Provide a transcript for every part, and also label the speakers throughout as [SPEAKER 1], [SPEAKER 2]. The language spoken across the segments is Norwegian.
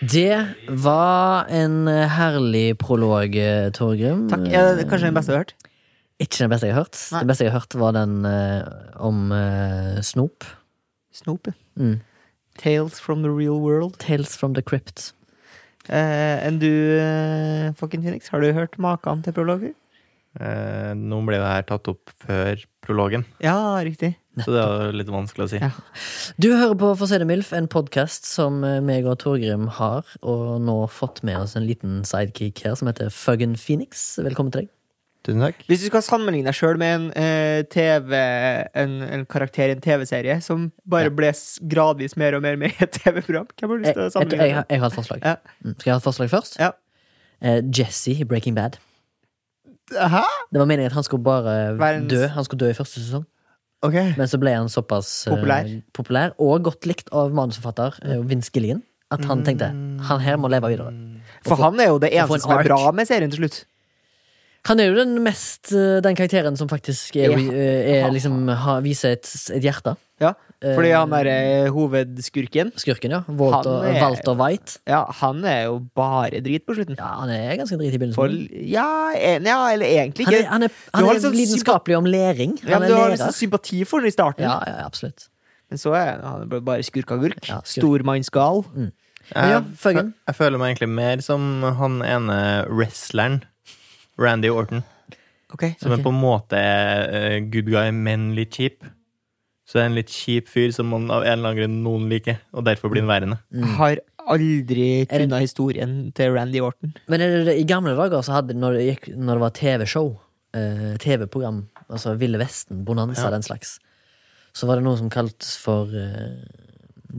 [SPEAKER 1] Det var en herlig prolog, Torgrim.
[SPEAKER 2] Takk. Er det kanskje den beste du har hørt?
[SPEAKER 1] Ikke den beste jeg har hørt.
[SPEAKER 2] Nei.
[SPEAKER 1] Det beste jeg har hørt, var den eh, om eh, snop.
[SPEAKER 2] Snoop. ja.
[SPEAKER 1] Mm.
[SPEAKER 2] Tales from the real world.
[SPEAKER 1] Tales from the Crypt.
[SPEAKER 2] Eh, enn du, eh, fucking Phoenix, har du hørt maken til prologer?
[SPEAKER 3] Eh, nå ble det her tatt opp før prologen,
[SPEAKER 2] Ja, riktig.
[SPEAKER 3] så det er jo litt vanskelig å si.
[SPEAKER 2] Ja.
[SPEAKER 1] Du hører på For å si det mildt, en podkast som eh, meg og Torgrim har, og nå fått med oss en liten sidekick her som heter Fuggen Phoenix. Velkommen til deg.
[SPEAKER 3] Tusen takk.
[SPEAKER 2] Hvis du skal sammenligne deg sjøl med en, eh, TV, en, en karakter i en TV-serie som bare ble s- gradvis mer og mer med i et TV-program, hvem har du lyst
[SPEAKER 1] Jeg,
[SPEAKER 2] til å
[SPEAKER 1] jeg, jeg,
[SPEAKER 2] sammenligne
[SPEAKER 1] har-
[SPEAKER 2] deg
[SPEAKER 1] jeg har Eh, et forslag.
[SPEAKER 2] Ja.
[SPEAKER 1] Mm. Skal jeg ha et forslag først?
[SPEAKER 2] Ja.
[SPEAKER 1] Eh, Jesse i Breaking Bad.
[SPEAKER 2] med? Hæ?
[SPEAKER 1] Det var meningen at han skulle bare
[SPEAKER 2] Verdens-
[SPEAKER 1] dø. Han skulle dø i første sesong.
[SPEAKER 2] Ok.
[SPEAKER 1] Men så ble han såpass eh,
[SPEAKER 2] Populær.
[SPEAKER 1] populær og godt likt av manusforfatter eh, Vince Gillian at
[SPEAKER 2] Mm.
[SPEAKER 1] han tenkte han her må leve videre.
[SPEAKER 2] For han er jo det
[SPEAKER 1] å få en
[SPEAKER 2] eneste som
[SPEAKER 1] arc.
[SPEAKER 2] er bra med serien til slutt.
[SPEAKER 1] Han er jo den mest eh, den karakteren som faktisk er,
[SPEAKER 2] Ja.
[SPEAKER 1] eh, er liksom, har, viser et, et hjerte.
[SPEAKER 2] Ja, Fordi
[SPEAKER 1] Eh,
[SPEAKER 2] han er eh, hovedskurken.
[SPEAKER 1] Skurken, ja. Walter,
[SPEAKER 2] Han er-
[SPEAKER 1] Walter White.
[SPEAKER 2] Ja, han er jo bare drit på slutten.
[SPEAKER 1] Ja, han er ganske drit i
[SPEAKER 2] For,
[SPEAKER 1] begynnelsen.
[SPEAKER 2] ja, en, ja, eller
[SPEAKER 1] Mhm.
[SPEAKER 2] egentlig
[SPEAKER 1] Han
[SPEAKER 2] ikke.
[SPEAKER 1] er, han er,
[SPEAKER 2] Du
[SPEAKER 1] han
[SPEAKER 2] har
[SPEAKER 1] er
[SPEAKER 2] liksom
[SPEAKER 1] lidenskapelig om læring. Han
[SPEAKER 2] Ja, men
[SPEAKER 1] er
[SPEAKER 2] du har
[SPEAKER 1] lærer.
[SPEAKER 2] liksom sympati for den i starten,
[SPEAKER 1] ja, ja, absolutt.
[SPEAKER 2] men så er han er bare skurkagurk.
[SPEAKER 1] Ja, skurk.
[SPEAKER 2] Stormannsgal.
[SPEAKER 1] Men ja,
[SPEAKER 3] Jeg fø-
[SPEAKER 1] Føggen.
[SPEAKER 3] Jeg føler meg egentlig mer som han ene wrestleren, Randy Orton,
[SPEAKER 2] Okay.
[SPEAKER 3] som
[SPEAKER 1] Ok.
[SPEAKER 3] er på en måte eh, good guy, men litt kjip. Så det er en litt kjip fyr som man av en eller annen grunn noen liker, og derfor blir han
[SPEAKER 1] Mm.
[SPEAKER 3] værende.
[SPEAKER 2] Har aldri
[SPEAKER 1] Er det-
[SPEAKER 2] kunnet historien til Randy Orton.
[SPEAKER 1] Men er det, det, i gamle dager, så hadde, når, det gikk, når det var TV-show, eh, TV-program, altså Ville Vesten, Bonanza, den slags, så var det noe som kaltes for eh,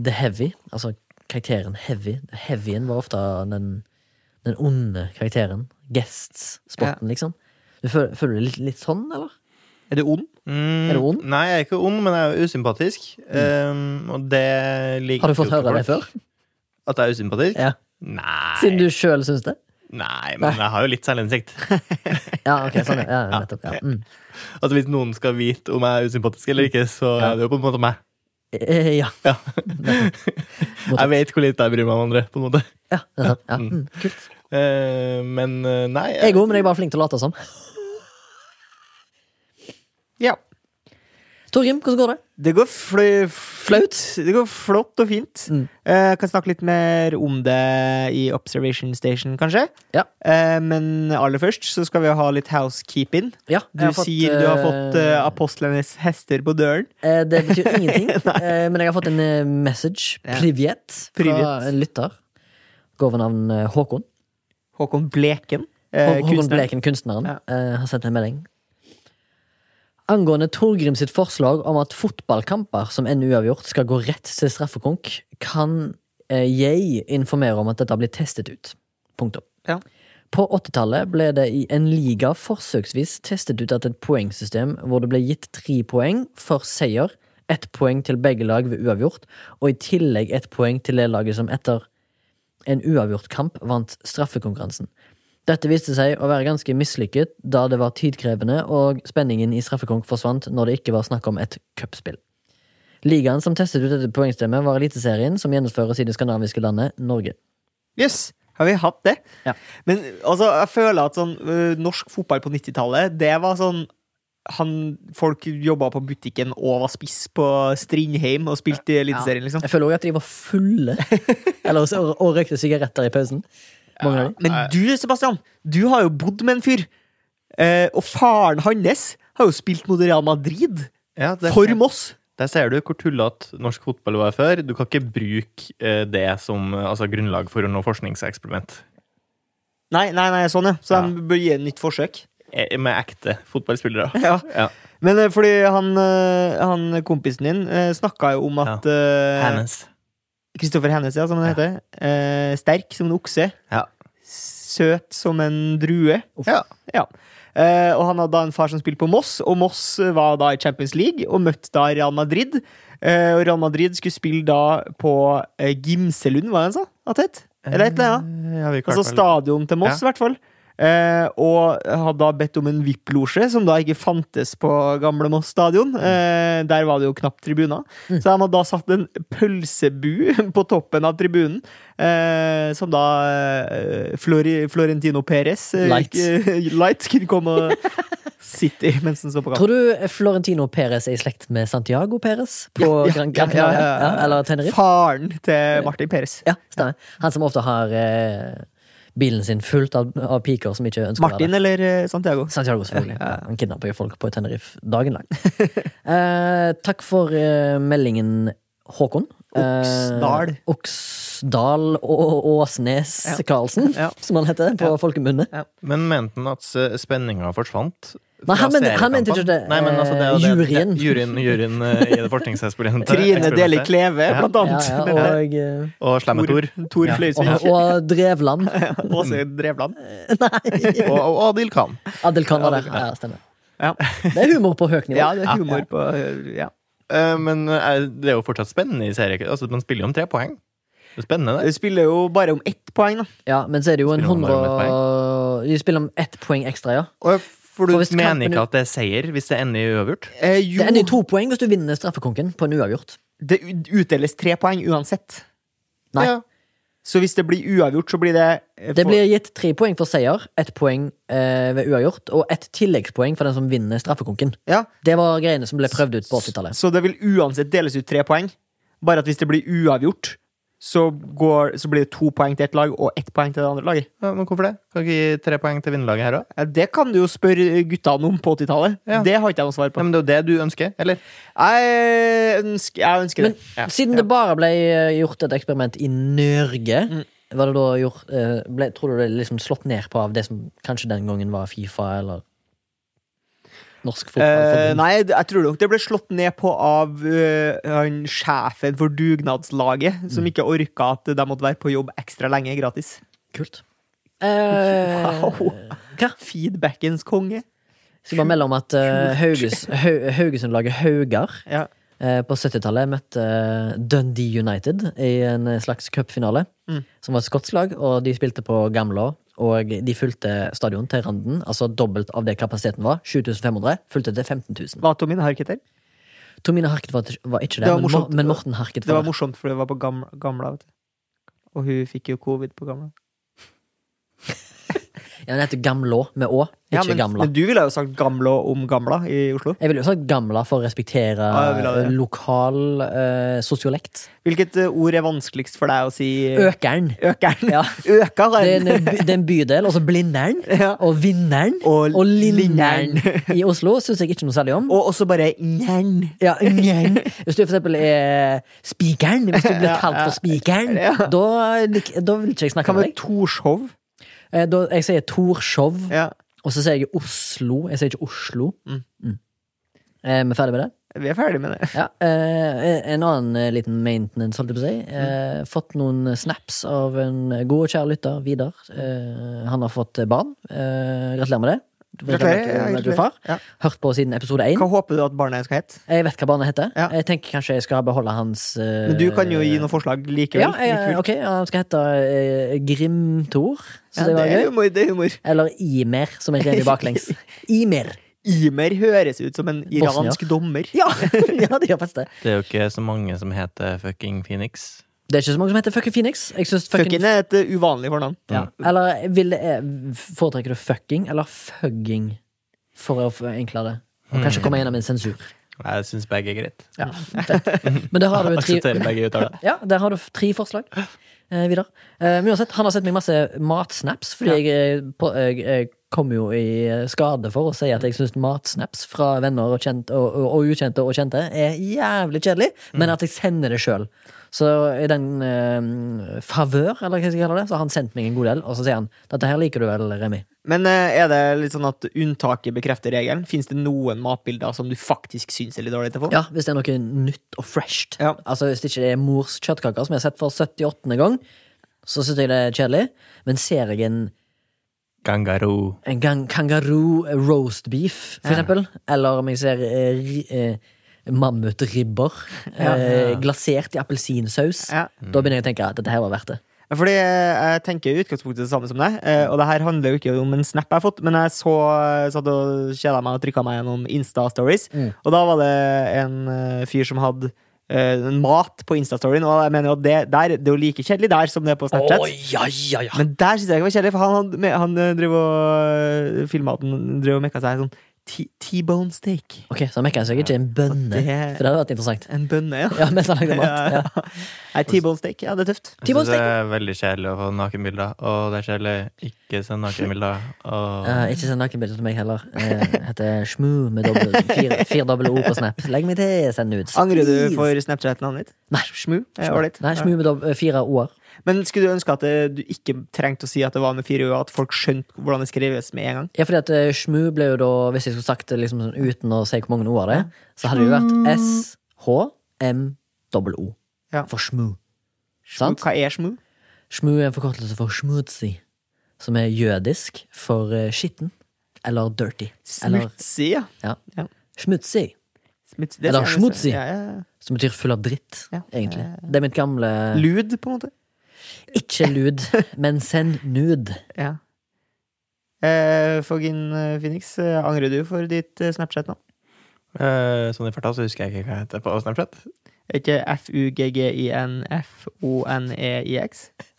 [SPEAKER 1] The Heavy. Altså karakteren Heavy. Heavyen var ofte den, den onde karakteren. Guest-spotten, liksom. Du føler, føler du litt, litt sånn, eller?
[SPEAKER 2] Er du ond?
[SPEAKER 3] Mm,
[SPEAKER 1] Er du ond? Mm.
[SPEAKER 3] Nei, jeg er ikke ond, men jeg er jo usympatisk. Um, og det liker
[SPEAKER 1] Har du fått
[SPEAKER 3] jo ikke
[SPEAKER 1] høre det
[SPEAKER 3] folk.
[SPEAKER 1] før?
[SPEAKER 3] At jeg er usympatisk?
[SPEAKER 1] Ja.
[SPEAKER 3] Nei.
[SPEAKER 1] Siden du sjøl syns det?
[SPEAKER 3] Nei, men jeg har jo litt selvinnsikt.
[SPEAKER 1] Ja, ok, sånn, ja, ja, nettopp. Ja. Mm.
[SPEAKER 3] Altså Hvis noen skal vite om jeg er usympatisk eller ikke, så
[SPEAKER 1] Ja.
[SPEAKER 3] er det jo på en måte meg.
[SPEAKER 1] Eh, ja.
[SPEAKER 3] Ja.
[SPEAKER 1] Mottopp.
[SPEAKER 3] Jeg vet hvor lite jeg bryr meg om andre, på en måte.
[SPEAKER 1] ja, nettopp. ja. Mm, kult.
[SPEAKER 3] Eh, Men eh, nei
[SPEAKER 1] Jeg er god, men jeg er bare flink til å late som.
[SPEAKER 2] Ja.
[SPEAKER 1] Torgrim, hvordan går det?
[SPEAKER 2] Det går flø flaut. Det går flott og fint.
[SPEAKER 1] Mm.
[SPEAKER 2] Eh, kan snakke litt mer om det i Observation Station, kanskje.
[SPEAKER 1] Ja.
[SPEAKER 2] Eh, men aller først så skal vi ha litt housekeeping.
[SPEAKER 1] Ja, jeg
[SPEAKER 2] Du
[SPEAKER 1] har fått,
[SPEAKER 2] sier du har fått eh,
[SPEAKER 1] eh,
[SPEAKER 2] apostlenes hester på døren.
[SPEAKER 1] eh, Det betyr ingenting, eh, men jeg har fått en eh, message,
[SPEAKER 2] Ja.
[SPEAKER 1] privet, fra
[SPEAKER 2] Privet.
[SPEAKER 1] en lytter. Går ved navn eh, Håkon.
[SPEAKER 2] Håkon Bleken.
[SPEAKER 1] Hå-
[SPEAKER 2] Eh,
[SPEAKER 1] Håkon
[SPEAKER 2] kunstneren.
[SPEAKER 1] Bleken, kunstneren,
[SPEAKER 2] Ja.
[SPEAKER 1] eh, har sendt en melding. Angående Torgrim sitt forslag om at fotballkamper som ender uavgjort, skal gå rett til straffekonk, kan eh, jeg informere om at dette blir testet ut. Punktum.
[SPEAKER 2] Ja.
[SPEAKER 1] På 80-tallet ble det i en liga forsøksvis testet ut at et poengsystem hvor det ble gitt tre poeng for seier, ett poeng til begge lag ved uavgjort, og i tillegg ett poeng til det laget som etter en uavgjort kamp vant straffekonkurransen. Dette viste seg å være ganske mislykket, da det var tidkrevende og spenningen i straffekonk forsvant når det ikke var snakk om et cupspill. Ligaen som testet ut dette poengstemmet, var Eliteserien, som gjennomføres i det skandinaviske landet Norge.
[SPEAKER 2] Yes, har vi hatt det?
[SPEAKER 1] Ja.
[SPEAKER 2] Men altså, jeg føler at sånn ø, norsk fotball på 90-tallet, det var sånn han, Folk jobba på butikken og var spiss på Strindheim og spilte i Eliteserien, liksom.
[SPEAKER 1] Jeg føler òg at de var fulle Eller, også- og, og røykte sigaretter i pausen. Mange av dem.
[SPEAKER 2] Men du, Sebastian, du har jo bodd med en fyr. Eh, og faren hans har jo spilt mot Real Madrid.
[SPEAKER 3] Ja, der,
[SPEAKER 2] For Moss!
[SPEAKER 3] der ser du hvor tullete norsk fotball var før. Du kan ikke bruke eh, det som eh, altså, grunnlag for å nå forskningseksperiment.
[SPEAKER 2] Nei, nei, nei, sånn, ja. Så
[SPEAKER 3] Ja.
[SPEAKER 2] de bør gi det et nytt forsøk.
[SPEAKER 3] Eh, Med ekte fotballspillere.
[SPEAKER 2] Ja.
[SPEAKER 3] Ja.
[SPEAKER 2] Men eh, fordi han, eh, han kompisen din eh, snakka jo om at eh,
[SPEAKER 3] Hannes.
[SPEAKER 2] Kristoffer Hennes, ja, som han
[SPEAKER 3] Ja.
[SPEAKER 2] altså, heter. Eh, sterk som en okse.
[SPEAKER 3] Ja.
[SPEAKER 2] Søt som en drue.
[SPEAKER 1] Uff.
[SPEAKER 3] Ja.
[SPEAKER 2] Ja. Eh, og han hadde da en far som spilte på Moss, og Moss var da i Champions League og møtte da Real Madrid. Eh, og Real Madrid skulle spille da på eh, Gimselund, var det han sa? At det het? Eller et eller annet.
[SPEAKER 3] Eh, ja, vi klarte
[SPEAKER 2] Altså
[SPEAKER 3] vel-
[SPEAKER 2] stadion til Moss, i hvert fall. Eh, og hadde da bedt om en VIP-losje, som da ikke fantes på gamle
[SPEAKER 1] Mm.
[SPEAKER 2] Moss stadion. Eh, der var det jo knapt tribuner. Så de hadde da satt en pølsebu på toppen av tribunen, eh, som da eh, Flori, Florentino Perez eh,
[SPEAKER 1] Light.
[SPEAKER 2] gikk- Light kunne komme og sitte i mens han så på kamp.
[SPEAKER 1] Tror du Florentino Perez er i slekt med Santiago Perez på Gran, Gran
[SPEAKER 2] ja, ja,
[SPEAKER 1] Canaria? Ja,
[SPEAKER 2] ja, ja.
[SPEAKER 1] eller Tenerife?
[SPEAKER 2] Faren til Martin Perez.
[SPEAKER 1] Ja, stemmer. Han som ofte har eh, bilen sin fullt av, av piker som ikke ønsker å være
[SPEAKER 2] Martin eller eh, Santiago?
[SPEAKER 1] der. Santiago, selvfølgelig. Ja, Han kidnapper jo folk på Tenerife dagen lang. eh, takk for eh, meldingen, Håkon. Eh,
[SPEAKER 2] Oksdal.
[SPEAKER 1] Oksdal og Åsnes
[SPEAKER 2] Ja.
[SPEAKER 1] Karlsen,
[SPEAKER 2] Ja.
[SPEAKER 1] som han heter på
[SPEAKER 2] Ja.
[SPEAKER 1] folkemunne.
[SPEAKER 3] Men mente han at eh, spenninga forsvant?
[SPEAKER 1] Nei, han
[SPEAKER 3] fra
[SPEAKER 1] mente- han mente ikke det.
[SPEAKER 3] seriekampene? Nei, men altså, det er jo det,
[SPEAKER 1] Juryen.
[SPEAKER 3] Det, juryen. Juryen eh, i det forskningseksperimentet.
[SPEAKER 2] Trine Deli Kleve,
[SPEAKER 3] Ja.
[SPEAKER 2] blant
[SPEAKER 1] Ja,
[SPEAKER 2] annet.
[SPEAKER 1] ja, og, eh,
[SPEAKER 3] Og Slemmetor.
[SPEAKER 2] Tor
[SPEAKER 3] Ja.
[SPEAKER 2] Fløysvik.
[SPEAKER 1] og, og Drevland.
[SPEAKER 2] Åse Drevland.
[SPEAKER 1] Nei!
[SPEAKER 3] Og, og Adil Khan.
[SPEAKER 1] Adelkan var der. Ja, ja, stemmer.
[SPEAKER 2] Ja.
[SPEAKER 1] Det er humor på høyt nivå.
[SPEAKER 2] Ja, det er humor på ja.
[SPEAKER 3] Eh, men eh, det er jo fortsatt spennende i serien. Altså, man spiller jo om tre poeng. Det er spennende,
[SPEAKER 2] Det
[SPEAKER 3] det.
[SPEAKER 2] spiller jo bare om ett poeng, da.
[SPEAKER 1] Ja, men så er det jo en
[SPEAKER 3] Spiller man bare om
[SPEAKER 1] 100 De spiller om ett poeng ekstra, ja.
[SPEAKER 3] For
[SPEAKER 1] For
[SPEAKER 3] du
[SPEAKER 1] hvis kampen-
[SPEAKER 3] mener ikke at det er seier hvis det ender i uavgjort?
[SPEAKER 2] Eh, jo,
[SPEAKER 1] Det ender i to poeng hvis du vinner straffekonken på en uavgjort.
[SPEAKER 2] det ut- utdeles tre poeng uansett.
[SPEAKER 1] Nei.
[SPEAKER 3] Ja.
[SPEAKER 2] Så hvis det blir uavgjort, så blir det eh,
[SPEAKER 1] Det
[SPEAKER 2] for-
[SPEAKER 1] blir gitt tre poeng for seier, ett poeng eh, ved uavgjort og ett tilleggspoeng for den som vinner straffekonken.
[SPEAKER 2] ja.
[SPEAKER 1] Det var greiene som ble prøvd ut på 80-tallet.
[SPEAKER 2] Så det vil uansett deles ut tre poeng. Bare at hvis det blir uavgjort, så, går, så blir det to poeng til ett lag og ett poeng til det andre laget.
[SPEAKER 3] Ja, men hvorfor det? Kan ikke gi tre poeng til vinnerlaget her òg?
[SPEAKER 2] Ja, Det kan du jo spørre guttene om på 80-tallet.
[SPEAKER 3] Ja.
[SPEAKER 2] Det har ikke jeg noe svar på.
[SPEAKER 3] Men det er jo det du ønsker, eller?
[SPEAKER 2] Jeg ønsker, jeg ønsker
[SPEAKER 1] Men
[SPEAKER 2] det.
[SPEAKER 1] siden det bare ble eh, gjort et eksperiment i Norge,
[SPEAKER 2] Mm.
[SPEAKER 1] var det da gjort eh, ble, Tror du det ble liksom slått ned på av det som kanskje den gangen var Fifa eller Norsk
[SPEAKER 2] Eh,
[SPEAKER 1] fotballforbund?
[SPEAKER 2] nei, d- jeg tror nok det ble slått ned på av eh, han sjefen for dugnadslaget, som
[SPEAKER 1] Mm.
[SPEAKER 2] ikke orka at de måtte være på jobb ekstra lenge gratis.
[SPEAKER 1] Kult. Eh,
[SPEAKER 2] Wow.
[SPEAKER 1] Hva?
[SPEAKER 2] Feedbackens konge.
[SPEAKER 1] Skal bare melde om at eh, Hauges, Hau, Haugesund-laget Haugar
[SPEAKER 2] Ja.
[SPEAKER 1] eh, på 70-tallet møtte eh, Dundee United i en slags cupfinale,
[SPEAKER 2] Mm.
[SPEAKER 1] som var et skotsk lag, og de spilte på Gamla. Og de fulgte stadion til randen, altså dobbelt av det kapasiteten var. 7500 fulgte til 15 000.
[SPEAKER 2] Hva Tommy Harket her?
[SPEAKER 1] Tomine Harket var, var ikke det,
[SPEAKER 2] Det var
[SPEAKER 1] men, Mor-
[SPEAKER 2] morsomt.
[SPEAKER 1] men Morten Harket
[SPEAKER 2] Det
[SPEAKER 1] var
[SPEAKER 2] var
[SPEAKER 1] der.
[SPEAKER 2] morsomt, for det var på gamla, gamla vet du. Og hun fikk jo covid på gamla.
[SPEAKER 1] Ja, den heter Gamlå med Å,
[SPEAKER 2] Ja,
[SPEAKER 1] ikke
[SPEAKER 2] men,
[SPEAKER 1] Gamla.
[SPEAKER 2] men du ville jo sagt gamla om gamla i Oslo.
[SPEAKER 1] Jeg ville jo sagt Gamla for å respektere
[SPEAKER 2] Ja, jeg vil ha det.
[SPEAKER 1] lokal eh, sosiolekt.
[SPEAKER 2] Hvilket eh, ord er vanskeligst for deg å si? eh,
[SPEAKER 1] Økeren.
[SPEAKER 2] Økeren.
[SPEAKER 1] Ja.
[SPEAKER 2] Øka, har
[SPEAKER 1] Det er,
[SPEAKER 2] jeg.
[SPEAKER 1] en, by- det er en bydel, og så Blindern.
[SPEAKER 2] Ja.
[SPEAKER 1] Og Vinneren.
[SPEAKER 2] Og
[SPEAKER 1] Og Linnern
[SPEAKER 2] Linnern.
[SPEAKER 1] i Oslo syns jeg ikke noe særlig om.
[SPEAKER 2] Og også bare njern.
[SPEAKER 1] Ja, Njern. Hvis du for eksempel er Spikeren, hvis du blir kalt for Spikeren,
[SPEAKER 2] Ja.
[SPEAKER 1] da, lik- da vil ikke jeg snakke
[SPEAKER 2] Hva
[SPEAKER 1] med
[SPEAKER 2] med
[SPEAKER 1] deg.
[SPEAKER 2] Torshov?
[SPEAKER 1] Eh, Da, jeg sier Torshov,
[SPEAKER 2] Ja.
[SPEAKER 1] og så sier jeg Oslo. Jeg sier ikke Oslo.
[SPEAKER 2] Mm.
[SPEAKER 1] Mm. Er vi ferdig med det?
[SPEAKER 2] Vi er ferdig med det.
[SPEAKER 1] Ja. eh, En annen eh, liten maintenance, holdt jeg på å si.
[SPEAKER 2] Mm.
[SPEAKER 1] Eh, Fått noen snaps av en god og kjær lytter, Vidar. Eh, Han har fått barn. Eh, Gratulerer med det. eh, Du får
[SPEAKER 2] Gratulerer,
[SPEAKER 1] med at du- med at du er
[SPEAKER 2] gratulerer.
[SPEAKER 1] far.
[SPEAKER 2] Ja.
[SPEAKER 1] Hørt på siden episode én.
[SPEAKER 2] Hva håper du at barnet skal hete?
[SPEAKER 1] Jeg vet hva barnet heter.
[SPEAKER 2] Ja.
[SPEAKER 1] Jeg tenker kanskje jeg skal beholde hans eh,
[SPEAKER 2] Men du kan jo gi noen forslag likevel.
[SPEAKER 1] Ja, jeg,
[SPEAKER 2] likevel.
[SPEAKER 1] ok, han skal hete eh, Grimtor. Så
[SPEAKER 2] Ja,
[SPEAKER 1] det var
[SPEAKER 2] det er
[SPEAKER 1] gøy.
[SPEAKER 2] humor. Det er humor.
[SPEAKER 1] Eller Imer, som jeg skrev i baklengs. Imer.
[SPEAKER 2] Imer høres ut som en iransk dommer.
[SPEAKER 1] Ja, ja, det gjør faktisk det.
[SPEAKER 3] Det er jo ikke så mange som heter fucking Phoenix.
[SPEAKER 1] Det er ikke så mange som heter Fucking Phoenix. Jeg synes fucking,
[SPEAKER 2] Fucken er et uh, uvanlig fornavn.
[SPEAKER 1] ja. Eller vil det, eh, foretrekker du fucking eller fugging? For å forenkle det. Og
[SPEAKER 2] Mm.
[SPEAKER 1] kanskje komme gjennom en sensur.
[SPEAKER 3] Jeg syns begge er greit.
[SPEAKER 1] Men der har du tre
[SPEAKER 3] Aksepterer begge uttaler.
[SPEAKER 1] Ja, der har du f- tre forslag. Eh, Vidar. Eh, men uansett, han har sett meg masse matsnaps fordi jeg, eh, på, jeg, jeg kom jo i skade for å si at jeg syns matsnaps fra venner og, kjent, og, og, og ukjente og kjente er jævlig kjedelig, men at jeg sender det sjøl. Så i den eh, favør, eller hva skal jeg kalle det, så har han sendt meg en god del, og så sier han dette her liker du vel, Remi?
[SPEAKER 2] Men eh, er det litt sånn at unntaket bekrefter regelen? Fins det noen matbilder som du faktisk syns er litt dårlige på?
[SPEAKER 1] Ja, hvis det er noe nytt og fresht.
[SPEAKER 2] Ja.
[SPEAKER 1] Altså Hvis det ikke er mors kjøttkaker, som jeg har sett for 78. gang, så syns jeg det er kjedelig. Men ser jeg en,
[SPEAKER 3] Kangaroo.
[SPEAKER 1] en gang kangaroo eh, roast beef, for
[SPEAKER 2] Ja.
[SPEAKER 1] eksempel, eller om jeg ser eh, ri- eh, mammutribber
[SPEAKER 2] Ja.
[SPEAKER 1] eh, glasert i appelsinsaus,
[SPEAKER 2] Ja.
[SPEAKER 1] da begynner jeg å tenke at dette her var verdt det.
[SPEAKER 2] Fordi eh, jeg tenker i utgangspunktet det samme som deg, eh, og det her handler jo ikke om en snap jeg har fått, men jeg så eh, satt og kjeda meg og trykka meg gjennom Insta-stories,
[SPEAKER 1] Mm.
[SPEAKER 2] og da var det en eh, fyr som hadde eh, mat på Insta-storyen, og jeg mener jo at det, der, det er jo like kjedelig der som det er på Snapchat.
[SPEAKER 1] Å, ja, ja, ja.
[SPEAKER 2] Men der synes jeg ikke var kjedelig, for han, hadde med- han eh, drev og filma at han drev og mekka seg sånn T- T-bone steak.
[SPEAKER 1] Ok, Så han mekka seg ikke en bønne,
[SPEAKER 2] Og det-
[SPEAKER 1] for det hadde vært interessant.
[SPEAKER 2] En bønne, ja.
[SPEAKER 1] Ja, mens han lagde mat. Ja.
[SPEAKER 2] Ja, ja. Nei, T-bone steak, ja, det er tøft.
[SPEAKER 3] Jeg synes det
[SPEAKER 1] T-bone
[SPEAKER 3] er veldig kjedelig å få nakenbilder. Og det er kjedelig ikke send nakenbilder. Og...
[SPEAKER 1] Eh, ikke send nakenbilder til meg heller. Uh, heter Shmoo med dobbel, fire, fire doble O på Snap. Legg meg til, send nudes.
[SPEAKER 2] Angrer du
[SPEAKER 1] Please.
[SPEAKER 2] for Snapchat-navnet ditt?
[SPEAKER 1] Nei.
[SPEAKER 2] Shmoo? er ålreit.
[SPEAKER 1] Nei, Shmoo med doble, fire O-er.
[SPEAKER 2] Men skulle du ønske at eh, du ikke trengte å si at det var med fire øyne, at folk skjønte hvordan det skrives med en gang?
[SPEAKER 1] Ja, fordi at eh, Shmoo ble jo da, hvis jeg skulle sagt det liksom sånn uten å si hvor mange O-er det er, så hadde det jo vært S-H-M-O.
[SPEAKER 2] Ja.
[SPEAKER 1] For Shmoo.
[SPEAKER 2] Shmoo,
[SPEAKER 1] Sant?
[SPEAKER 2] Hva er shmoo?
[SPEAKER 1] Shmoo er en forkortelse for schmutzi, som er jødisk for eh, skitten. Eller dirty. Eller
[SPEAKER 2] Smutsig, ja.
[SPEAKER 1] schmutzi,
[SPEAKER 2] Smuts- det
[SPEAKER 1] Eller
[SPEAKER 2] ser jeg nesten-
[SPEAKER 1] schmutzig.
[SPEAKER 2] Ja, ja. ja.
[SPEAKER 1] som betyr full av dritt,
[SPEAKER 2] Ja. Eh.
[SPEAKER 1] egentlig. Det er mitt gamle
[SPEAKER 2] Lud, på en måte.
[SPEAKER 1] Ikke lud, men send nude.
[SPEAKER 2] Ja. Eh, Fogin eh, Phoenix, eh, angrer du for ditt eh, Snapchat-navn?
[SPEAKER 3] Eh, sånn i farta så husker jeg ikke hva jeg heter på Snapchat.
[SPEAKER 2] Er ikke F-U-G-G-I-N-F-O-N-E-I-X?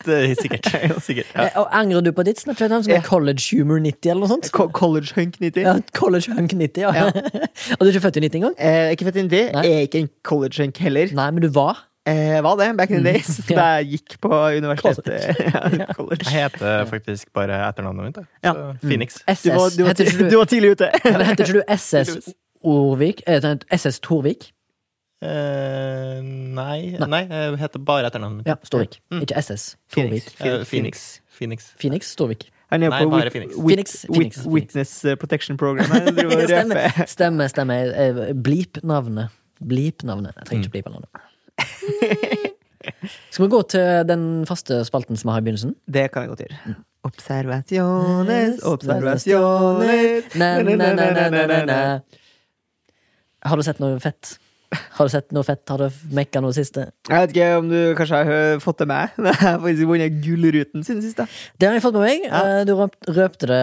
[SPEAKER 3] Det er sikkert. sikkert ja.
[SPEAKER 1] Eh, Og angrer du på ditt Snapchat-navn, som er
[SPEAKER 2] Ja.
[SPEAKER 1] College Humor 90, eller noe sånt?
[SPEAKER 2] Co- College Hunk 90?
[SPEAKER 1] Ja, college Hunk 90, ja.
[SPEAKER 2] Ja.
[SPEAKER 1] og du er ikke født i 90 engang?
[SPEAKER 2] Eh, ikke fett inn det.
[SPEAKER 1] Nei.
[SPEAKER 2] Jeg er ikke en college hunk heller.
[SPEAKER 1] Nei, men du var.
[SPEAKER 2] Eh, var det back in the days
[SPEAKER 1] ja.
[SPEAKER 2] da jeg gikk på universitetet. ja, college.
[SPEAKER 3] Jeg heter faktisk bare etternavnet mitt. da.
[SPEAKER 2] Ja.
[SPEAKER 3] Så, Phoenix.
[SPEAKER 1] SS.
[SPEAKER 2] Du var, du, var,
[SPEAKER 1] heter,
[SPEAKER 2] tidlig-
[SPEAKER 1] ikke
[SPEAKER 2] du
[SPEAKER 1] du,
[SPEAKER 2] var tidlig ute.
[SPEAKER 1] men heter ikke du SS Orvik? Eh, nei, SS Torvik?
[SPEAKER 3] Eh, nei. nei, jeg heter bare etternavnet mitt.
[SPEAKER 1] Ja, Storvik. Ikke SS.
[SPEAKER 2] Mm. Phoenix.
[SPEAKER 1] Torvik.
[SPEAKER 3] Eh, Phoenix. Phoenix.
[SPEAKER 1] Phoenix Storvik.
[SPEAKER 2] Han er
[SPEAKER 3] Nei,
[SPEAKER 2] på
[SPEAKER 3] bare
[SPEAKER 2] wit-
[SPEAKER 3] Phoenix.
[SPEAKER 2] wit-
[SPEAKER 1] Phoenix,
[SPEAKER 2] wit-
[SPEAKER 1] Phoenix,
[SPEAKER 2] Witness eh, Protection Program. Jeg driver og
[SPEAKER 1] Stemmer,
[SPEAKER 2] røper.
[SPEAKER 1] stemmer. stemmer. Eh, Bleep navnet. Bleep navnet. Jeg
[SPEAKER 2] Mm.
[SPEAKER 1] trenger ikke bleepe navnet. Skal vi gå til den faste spalten som vi har i begynnelsen?
[SPEAKER 2] Det kan vi godt gjøre. Observasjones, observasjones
[SPEAKER 1] Na, na, na, na, na, na, na. Har du sett noe fett? Har du sett noe fett? Har du mekka noe siste?
[SPEAKER 2] Jeg vet ikke om du kanskje har hø- fått det med, men jeg har faktisk vunnet Gullruten siden sist. da.
[SPEAKER 1] Det har jeg fått med meg. Eh, Du røpt, røpte det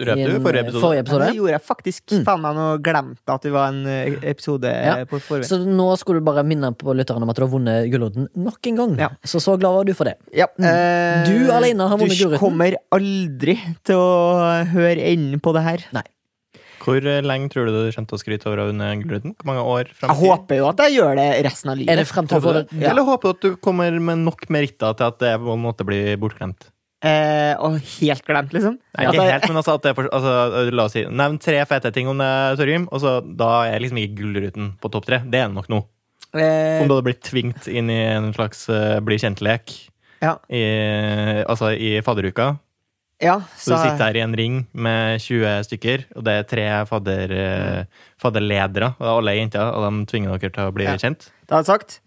[SPEAKER 3] Du røpte
[SPEAKER 1] i
[SPEAKER 3] jo
[SPEAKER 1] en-
[SPEAKER 3] forrige episode.
[SPEAKER 1] forrige
[SPEAKER 2] Ja, Det gjorde jeg faktisk. Faen meg nå glemte at det var en eh, episode eh,
[SPEAKER 1] Mm. Ja.
[SPEAKER 2] på forhånd.
[SPEAKER 1] Så nå skulle du bare minne på lytterne om at du har vunnet Gullruten nok en gang.
[SPEAKER 2] Ja.
[SPEAKER 1] Så så glad var du for det.
[SPEAKER 2] Ja, eh,
[SPEAKER 1] mm. Du alene har vunnet Gullruten.
[SPEAKER 2] Du kommer aldri til å høre enden på det her.
[SPEAKER 1] Nei.
[SPEAKER 3] Hvor eh, lenge tror du du kommer til å skryte over å ha vunnet Gullruten? Hvor mange år frem i
[SPEAKER 2] Jeg
[SPEAKER 3] tid?
[SPEAKER 2] håper jo at jeg gjør det resten av livet.
[SPEAKER 1] Er det frem til å få
[SPEAKER 3] Håper
[SPEAKER 1] det?
[SPEAKER 3] du det? Eller håper du at du kommer med nok meritter til at det på en måte blir bortglemt?
[SPEAKER 2] Eh, og helt glemt, liksom.
[SPEAKER 3] Nei,
[SPEAKER 2] At
[SPEAKER 3] ikke
[SPEAKER 2] jeg-
[SPEAKER 3] helt, men altså, at det er for, altså La oss si Nevn tre fete ting om det, Torgrim, og så da er liksom ikke Gullruten på topp tre. Det er nok nå.
[SPEAKER 2] eh,
[SPEAKER 3] Om du hadde blitt tvingt inn i en slags eh, bli kjent-lek
[SPEAKER 2] ja,
[SPEAKER 3] i, altså, i fadderuka.
[SPEAKER 2] ja,
[SPEAKER 3] Så du
[SPEAKER 2] så-
[SPEAKER 3] sitter her i en ring med 20 stykker, og det er tre fadder, eh, fadderledere, og det er alle er jenter, og de tvinger dere til å bli
[SPEAKER 2] Ja.
[SPEAKER 3] kjent.
[SPEAKER 2] Da har jeg sagt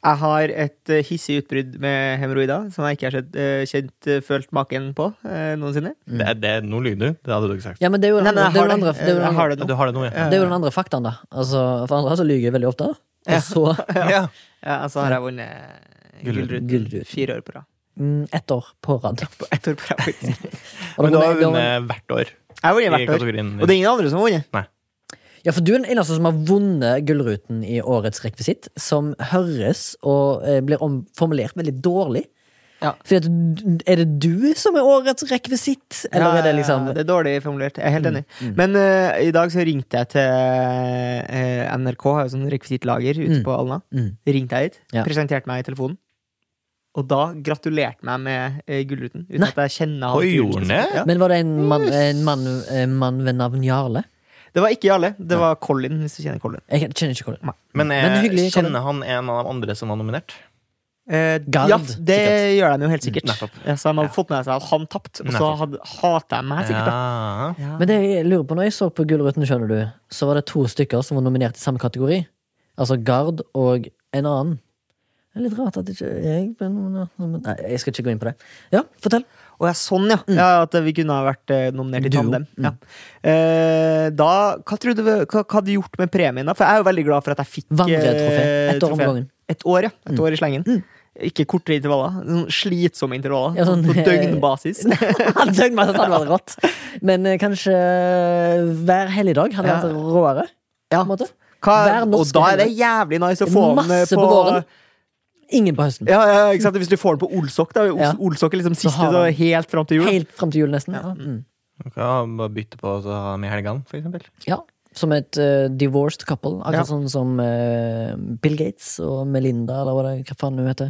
[SPEAKER 2] jeg har et eh, hissig utbrudd med hemoroider som jeg ikke har sett, eh, kjent, eh, følt maken på eh, noensinne.
[SPEAKER 3] Det, er- det, er- nå lyver du. Det hadde du ikke sagt.
[SPEAKER 1] Ja, men det er jo den
[SPEAKER 2] Nei, men
[SPEAKER 1] andre- det er
[SPEAKER 2] jeg har
[SPEAKER 1] jo den
[SPEAKER 2] det.
[SPEAKER 1] andre- det er jo den
[SPEAKER 2] Jeg
[SPEAKER 1] andre-
[SPEAKER 2] har det nå.
[SPEAKER 3] Du har det nå, ja.
[SPEAKER 1] det er jo den andre faktaen, da. Altså, for andre så lyver jeg veldig ofte.
[SPEAKER 2] Ja.
[SPEAKER 1] Og så
[SPEAKER 3] Ja.
[SPEAKER 2] Ja, altså har jeg vunnet
[SPEAKER 3] Gullruten.
[SPEAKER 2] Gullruten fire år på rad.
[SPEAKER 1] mm, ett år på rad.
[SPEAKER 2] På ett år på rad, faktisk.
[SPEAKER 1] Og
[SPEAKER 3] Men
[SPEAKER 1] da
[SPEAKER 3] du har
[SPEAKER 1] vunnet- da vunnet-
[SPEAKER 3] vunnet hvert år
[SPEAKER 2] Jeg har
[SPEAKER 3] i
[SPEAKER 2] vunnet hvert år.
[SPEAKER 3] kategorien.
[SPEAKER 2] Og det er ingen andre som har vunnet.
[SPEAKER 1] Ja, for du er den eneste som har vunnet Gullruten i årets rekvisitt, som høres og eh, blir om- formulert veldig dårlig.
[SPEAKER 2] Ja.
[SPEAKER 1] Fordi at, d- er det du som er årets rekvisitt, eller
[SPEAKER 2] Ja,
[SPEAKER 1] er det liksom Mm,
[SPEAKER 2] ja, Det er dårlig formulert. Jeg er helt enig. Men eh, i dag så ringte jeg til eh, NRK, har jo sånn rekvisittlager ute
[SPEAKER 1] Mm.
[SPEAKER 2] på Alna.
[SPEAKER 1] Mm.
[SPEAKER 2] Ringte jeg hit,
[SPEAKER 1] Ja.
[SPEAKER 2] presenterte meg i telefonen. Og da gratulerte meg med eh, Gullruten. Uten
[SPEAKER 1] Nei.
[SPEAKER 2] at jeg kjenner
[SPEAKER 3] Oi,
[SPEAKER 2] fyren som-
[SPEAKER 3] gjorde han det?
[SPEAKER 2] Ja.
[SPEAKER 1] Men var det en mann, en mann, en mann ved navn Jarle?
[SPEAKER 2] Det var ikke Jarle. Det var Colin, hvis du kjenner Colin.
[SPEAKER 1] Jeg kjenner ikke hvordan.
[SPEAKER 3] Men jeg
[SPEAKER 1] Men hyggelig, Colin.
[SPEAKER 3] kjenner han en av de andre som var nominert.
[SPEAKER 2] Eh,
[SPEAKER 1] Gard,
[SPEAKER 2] ja, det
[SPEAKER 1] sikkert.
[SPEAKER 2] gjør de jo helt sikkert.
[SPEAKER 3] Mm, nettopp.
[SPEAKER 2] ja, så de hadde fått med seg at han tapte, og så
[SPEAKER 3] Nettopp.
[SPEAKER 2] hadde, hater de meg sikkert. da.
[SPEAKER 3] Ja.
[SPEAKER 2] Ja.
[SPEAKER 1] Men det jeg lurer på når jeg så på Gullruten, skjønner du, så var det to stykker som var nominert i samme kategori. Altså Gard og en annen. Det er litt rart at ikke jeg ble nominert men- Nei, jeg skal ikke gå inn på det. Ja, fortell.
[SPEAKER 2] Å ja, sånn, ja. ja. At vi kunne ha vært eh, nominert i
[SPEAKER 1] Mm. Duo. Mm.
[SPEAKER 2] tandem. Ja. Eh, da, hva, tror du, hva, hva hadde du gjort med premien, da? For jeg er jo veldig glad for at jeg fikk eh,
[SPEAKER 1] Vandretrofé. Ett år om
[SPEAKER 2] trofé.
[SPEAKER 1] gangen.
[SPEAKER 2] Et år, ja.
[SPEAKER 1] Mm.
[SPEAKER 2] Et år i slengen. Ikke kortere intervaller. Sånn slitsomme intervaller.
[SPEAKER 1] Ja, sånn,
[SPEAKER 2] sånn, på
[SPEAKER 1] eh,
[SPEAKER 2] døgnbasis.
[SPEAKER 1] Han døgn meg, så det hadde vært rått. Men eh, kanskje eh, hver helligdag hadde
[SPEAKER 2] Ja.
[SPEAKER 1] vært råere.
[SPEAKER 2] Ja.
[SPEAKER 1] På en måte.
[SPEAKER 2] Hva,
[SPEAKER 1] hver
[SPEAKER 2] og
[SPEAKER 1] norske
[SPEAKER 2] da er det jævlig nice å få den eh,
[SPEAKER 1] Masse på,
[SPEAKER 2] på,
[SPEAKER 1] våren. Ingen på høsten.
[SPEAKER 2] ja, ja, ikke sant? Hvis du får den på Olsok, da. Ols,
[SPEAKER 1] Ja.
[SPEAKER 2] Olsok er liksom siste,
[SPEAKER 1] har
[SPEAKER 2] så
[SPEAKER 1] han-
[SPEAKER 2] helt fram til jul.
[SPEAKER 1] Helt fram til jul, nesten. Ja. Mm.
[SPEAKER 3] Du kan bare bytte på og så ha dem i helgene, for eksempel.
[SPEAKER 1] ja. Som et eh, divorced couple. Akkurat
[SPEAKER 2] Ja.
[SPEAKER 1] sånn som eh, Bill Gates og Melinda, eller hva, det, hva faen hun heter.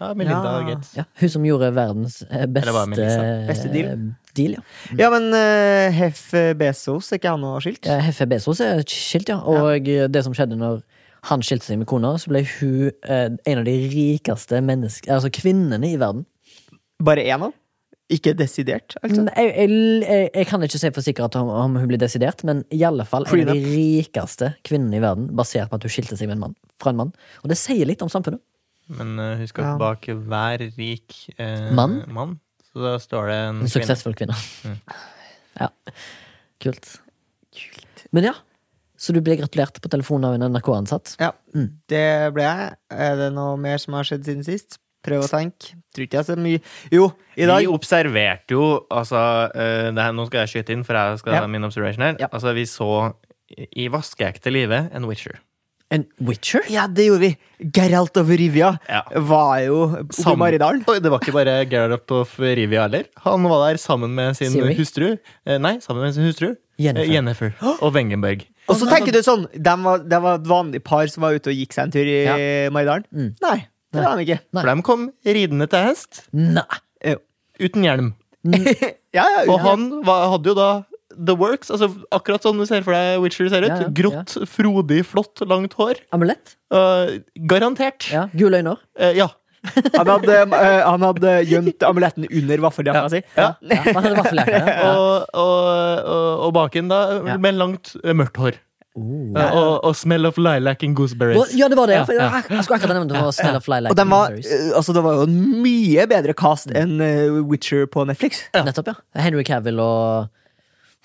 [SPEAKER 3] Ja, Melinda
[SPEAKER 2] Ja.
[SPEAKER 3] og Gates.
[SPEAKER 1] Ja, hun som gjorde verdens eh,
[SPEAKER 3] Eller var det
[SPEAKER 1] beste,
[SPEAKER 3] Melissa?
[SPEAKER 2] Beste deal?
[SPEAKER 1] deal ja.
[SPEAKER 2] Ja, men eh, Hef Bezos, er ikke han noe skilt?
[SPEAKER 1] Eh, Heffe Bezos er skilt, ja. Og eh, det som skjedde når han skilte seg med kona, så ble hun eh, en av de rikeste menneske, altså kvinnene i verden.
[SPEAKER 2] Bare én av? Ikke desidert, altså?
[SPEAKER 1] Nei, Jeg, jeg, jeg kan ikke si for sikkert om, om hun blir desidert, men i alle fall en av de rikeste kvinnene i verden, basert på at hun skilte seg med en mann, fra en mann. Og det sier litt om samfunnet.
[SPEAKER 3] Men eh, husk
[SPEAKER 2] Ja.
[SPEAKER 3] at bak hver rik eh,
[SPEAKER 1] Mann?
[SPEAKER 3] så da står det en
[SPEAKER 1] En
[SPEAKER 3] Mm, kvinne. Mm.
[SPEAKER 1] suksessfull kvinne. Ja. Kult. Men ja, så du ble gratulert på telefonen av en NRK-ansatt.
[SPEAKER 2] Ja,
[SPEAKER 1] Mm.
[SPEAKER 2] det ble jeg. Er det noe mer som har skjedd siden sist? Prøv å tenke. Tror ikke jeg så mye Jo, i dag
[SPEAKER 3] Vi observerte jo altså, eh, det her, Nå skal jeg skyte inn, for jeg skal
[SPEAKER 2] Ja.
[SPEAKER 3] ha min observation her.
[SPEAKER 2] Ja.
[SPEAKER 3] Altså, vi så i vaskeekte live en Witcher.
[SPEAKER 1] En Witcher?
[SPEAKER 2] Ja, det gjorde vi! Geralt of Rivia
[SPEAKER 3] Ja.
[SPEAKER 2] var jo oppe i
[SPEAKER 3] Sammen-
[SPEAKER 2] Maridalen.
[SPEAKER 3] Oi, Det var ikke bare Gerard of Rivia heller. Han var der sammen med sin
[SPEAKER 1] Siri?
[SPEAKER 3] hustru. Eh, Nei, sammen med sin hustru.
[SPEAKER 1] Jennifer.
[SPEAKER 3] Eh, Jennifer. Og Wengenberg.
[SPEAKER 2] Og så tenker du sånn Det var, dem var et vanlig par som var ute og gikk seg en tur i Maridalen. Mm. Nei, det var de ikke.
[SPEAKER 1] Nei.
[SPEAKER 3] For de kom ridende til hest
[SPEAKER 1] Nei.
[SPEAKER 2] Jo.
[SPEAKER 3] uten hjelm.
[SPEAKER 2] Ja, ja,
[SPEAKER 3] Og han var, hadde jo da The Works, altså akkurat sånn du ser for deg Witcher ser ut.
[SPEAKER 1] Ja, ja,
[SPEAKER 3] Grått, frodig, flott, langt hår.
[SPEAKER 1] Amulett?
[SPEAKER 3] Eh, garantert.
[SPEAKER 1] Ja. Gule øyne?
[SPEAKER 3] Eh, ja.
[SPEAKER 2] han, hadde, eh, han hadde gjemt amuletten under vaffeljakka si.
[SPEAKER 3] Ja.
[SPEAKER 1] Ja, han hadde vaffeljakke. Ja.
[SPEAKER 3] Og, og, og, og baken, da,
[SPEAKER 1] Ja.
[SPEAKER 3] med langt, eh, mørkt hår.
[SPEAKER 1] Oh.
[SPEAKER 3] Eh, og, og smell of lilac and
[SPEAKER 1] Hva-
[SPEAKER 3] gooseberries.
[SPEAKER 1] Ja, det var det. ja.
[SPEAKER 3] Ja,
[SPEAKER 1] For Jeg, jeg skulle akkurat nevne det. var Smell of Lilac
[SPEAKER 2] Og den var,
[SPEAKER 1] Berries.
[SPEAKER 2] eh, altså, det var jo en mye bedre cast enn eh, Witcher på Netflix.
[SPEAKER 1] Nettopp, ja. Henry Cavill og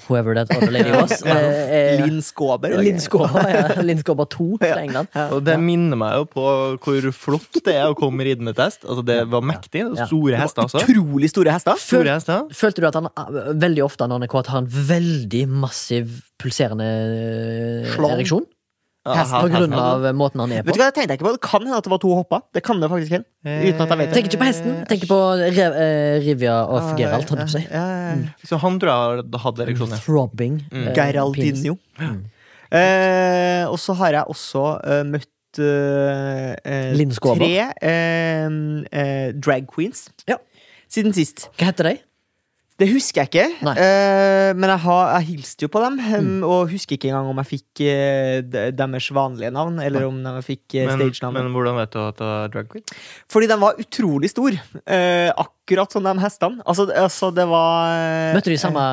[SPEAKER 1] whoever that other lady was. Eh, eh,
[SPEAKER 2] Linn Skåber. var det
[SPEAKER 1] Linn
[SPEAKER 2] ikke?
[SPEAKER 1] Skåber, ja. Linn Skåber 2 fra England.
[SPEAKER 3] Og det minner meg jo på hvor flott det er å komme ridende til hest. Altså, det var mektig. og
[SPEAKER 1] Ja.
[SPEAKER 3] Store hester, altså.
[SPEAKER 2] Utrolig store hester.
[SPEAKER 3] Store hester.
[SPEAKER 1] Følte du at han eh, veldig ofte når han er kåt, har en veldig massiv pulserende eh,
[SPEAKER 2] Slånd.
[SPEAKER 1] ereksjon? På
[SPEAKER 3] Ja, hest-
[SPEAKER 1] grunn
[SPEAKER 3] hest-
[SPEAKER 1] av eh, måten han er
[SPEAKER 2] Vet
[SPEAKER 1] på?
[SPEAKER 2] du hva, Det tenkte jeg ikke på. Det kan hende at det var to hopper. Det kan det faktisk hende. Uten at jeg vet det.
[SPEAKER 1] Jeg tenker ikke på hesten, jeg tenker på Re eh, Rivia og Geralt, holdt jeg på å si. Mm.
[SPEAKER 2] Ja, ja, ja.
[SPEAKER 3] Så han tror jeg hadde ereksjon, ja.
[SPEAKER 1] Throbbing. eh, penis.
[SPEAKER 2] Mm. Geraldinho. Eh, og så har jeg også eh, møtt eh, eh,
[SPEAKER 1] Linn Skåber.
[SPEAKER 2] tre eh, eh, drag queens
[SPEAKER 1] Ja.
[SPEAKER 2] siden sist.
[SPEAKER 1] Hva heter de?
[SPEAKER 2] Det husker jeg ikke,
[SPEAKER 1] Nei. Mm.
[SPEAKER 2] eh, men jeg, har, jeg hilste jo på dem. eh, Og husker ikke engang om jeg fikk eh, de- deres vanlige navn, eller om de fikk eh,
[SPEAKER 3] Men,
[SPEAKER 2] stagenavn.
[SPEAKER 3] men hvordan vet du at det var drag queen?
[SPEAKER 2] Fordi den var utrolig stor. Eh, akkurat som de hestene. Altså, det- altså det var eh,
[SPEAKER 1] Møtte de i samme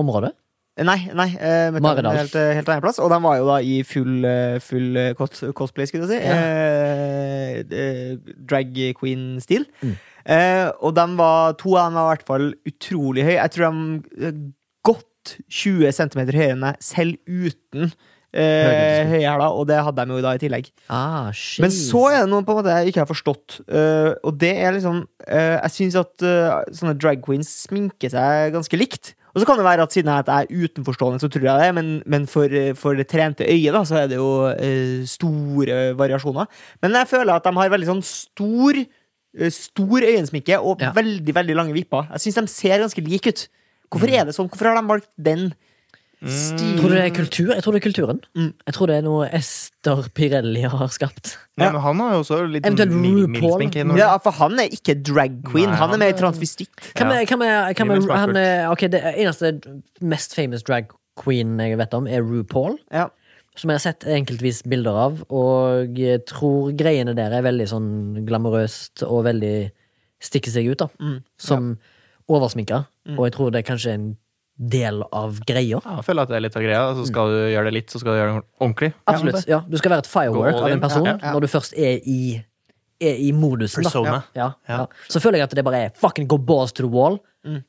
[SPEAKER 1] område?
[SPEAKER 2] eh, Nei, nei eh, møtte
[SPEAKER 1] Maridal.
[SPEAKER 2] dem helt, eh, helt annen plass. Og de var jo da i full, eh, full eh, cos cosplay, skulle jeg si.
[SPEAKER 1] Ja.
[SPEAKER 2] Eh, eh, drag queen-stil. Eh, og de var, to av dem var i hvert fall utrolig høye. Jeg tror de eh, godt 20 cm høyere enn meg, selv uten eh, høye hæler. Og det hadde de jo da i tillegg.
[SPEAKER 1] Ah,
[SPEAKER 2] Men så er det noe på en måte jeg ikke har forstått. eh, og det er liksom eh, Jeg syns at eh, sånne drag queens sminker seg ganske likt. Og så kan det være at siden jeg at jeg er utenforstående, så tror jeg det, men, men for, eh, for det trente øyet da, så er det jo eh, store variasjoner. Men jeg føler at de har veldig sånn stor eh, Stor øyensminke og
[SPEAKER 1] Ja.
[SPEAKER 2] veldig veldig lange vipper. Jeg syns de ser ganske like ut. Hvorfor er det sånn? Hvorfor har de valgt den? Stil.
[SPEAKER 1] Mm. Tror du det er kultur? Jeg tror det er kulturen.
[SPEAKER 2] Mm.
[SPEAKER 1] Jeg tror det er noe Ester Pirelli har skapt.
[SPEAKER 3] Nei, men han har jo også litt
[SPEAKER 1] Eventuelt
[SPEAKER 3] mil-
[SPEAKER 1] RuPaul.
[SPEAKER 3] milsminke innom.
[SPEAKER 2] Ja, for han er ikke drag queen.
[SPEAKER 3] Nei,
[SPEAKER 2] han er
[SPEAKER 3] han
[SPEAKER 2] mer transvestitt.
[SPEAKER 1] Hva med, hva med, hva med
[SPEAKER 3] Mye mer
[SPEAKER 1] han eh, Ok, det eneste mest famous drag queen jeg vet om, er RuPaul.
[SPEAKER 2] Ja.
[SPEAKER 1] Som jeg har sett enkeltvis bilder av, og jeg tror greiene der er veldig sånn glamorøst og veldig stikker seg ut, da.
[SPEAKER 2] mm.
[SPEAKER 1] Som oversminka. Og jeg tror det er kanskje en del av greia.
[SPEAKER 3] Ja, jeg føler at det er litt av greia. Så skal du gjøre det litt, så skal du gjøre det ordentlig.
[SPEAKER 1] Absolutt. ja. Du skal være et firework
[SPEAKER 3] Gå all
[SPEAKER 1] av
[SPEAKER 3] in.
[SPEAKER 1] en person
[SPEAKER 3] Ja,
[SPEAKER 2] ja.
[SPEAKER 1] når du først er i, er i modusen. da.
[SPEAKER 3] Persona.
[SPEAKER 1] Ja,
[SPEAKER 3] Ja.
[SPEAKER 1] ja. Så føler jeg at det bare er fucking go balls to the wall.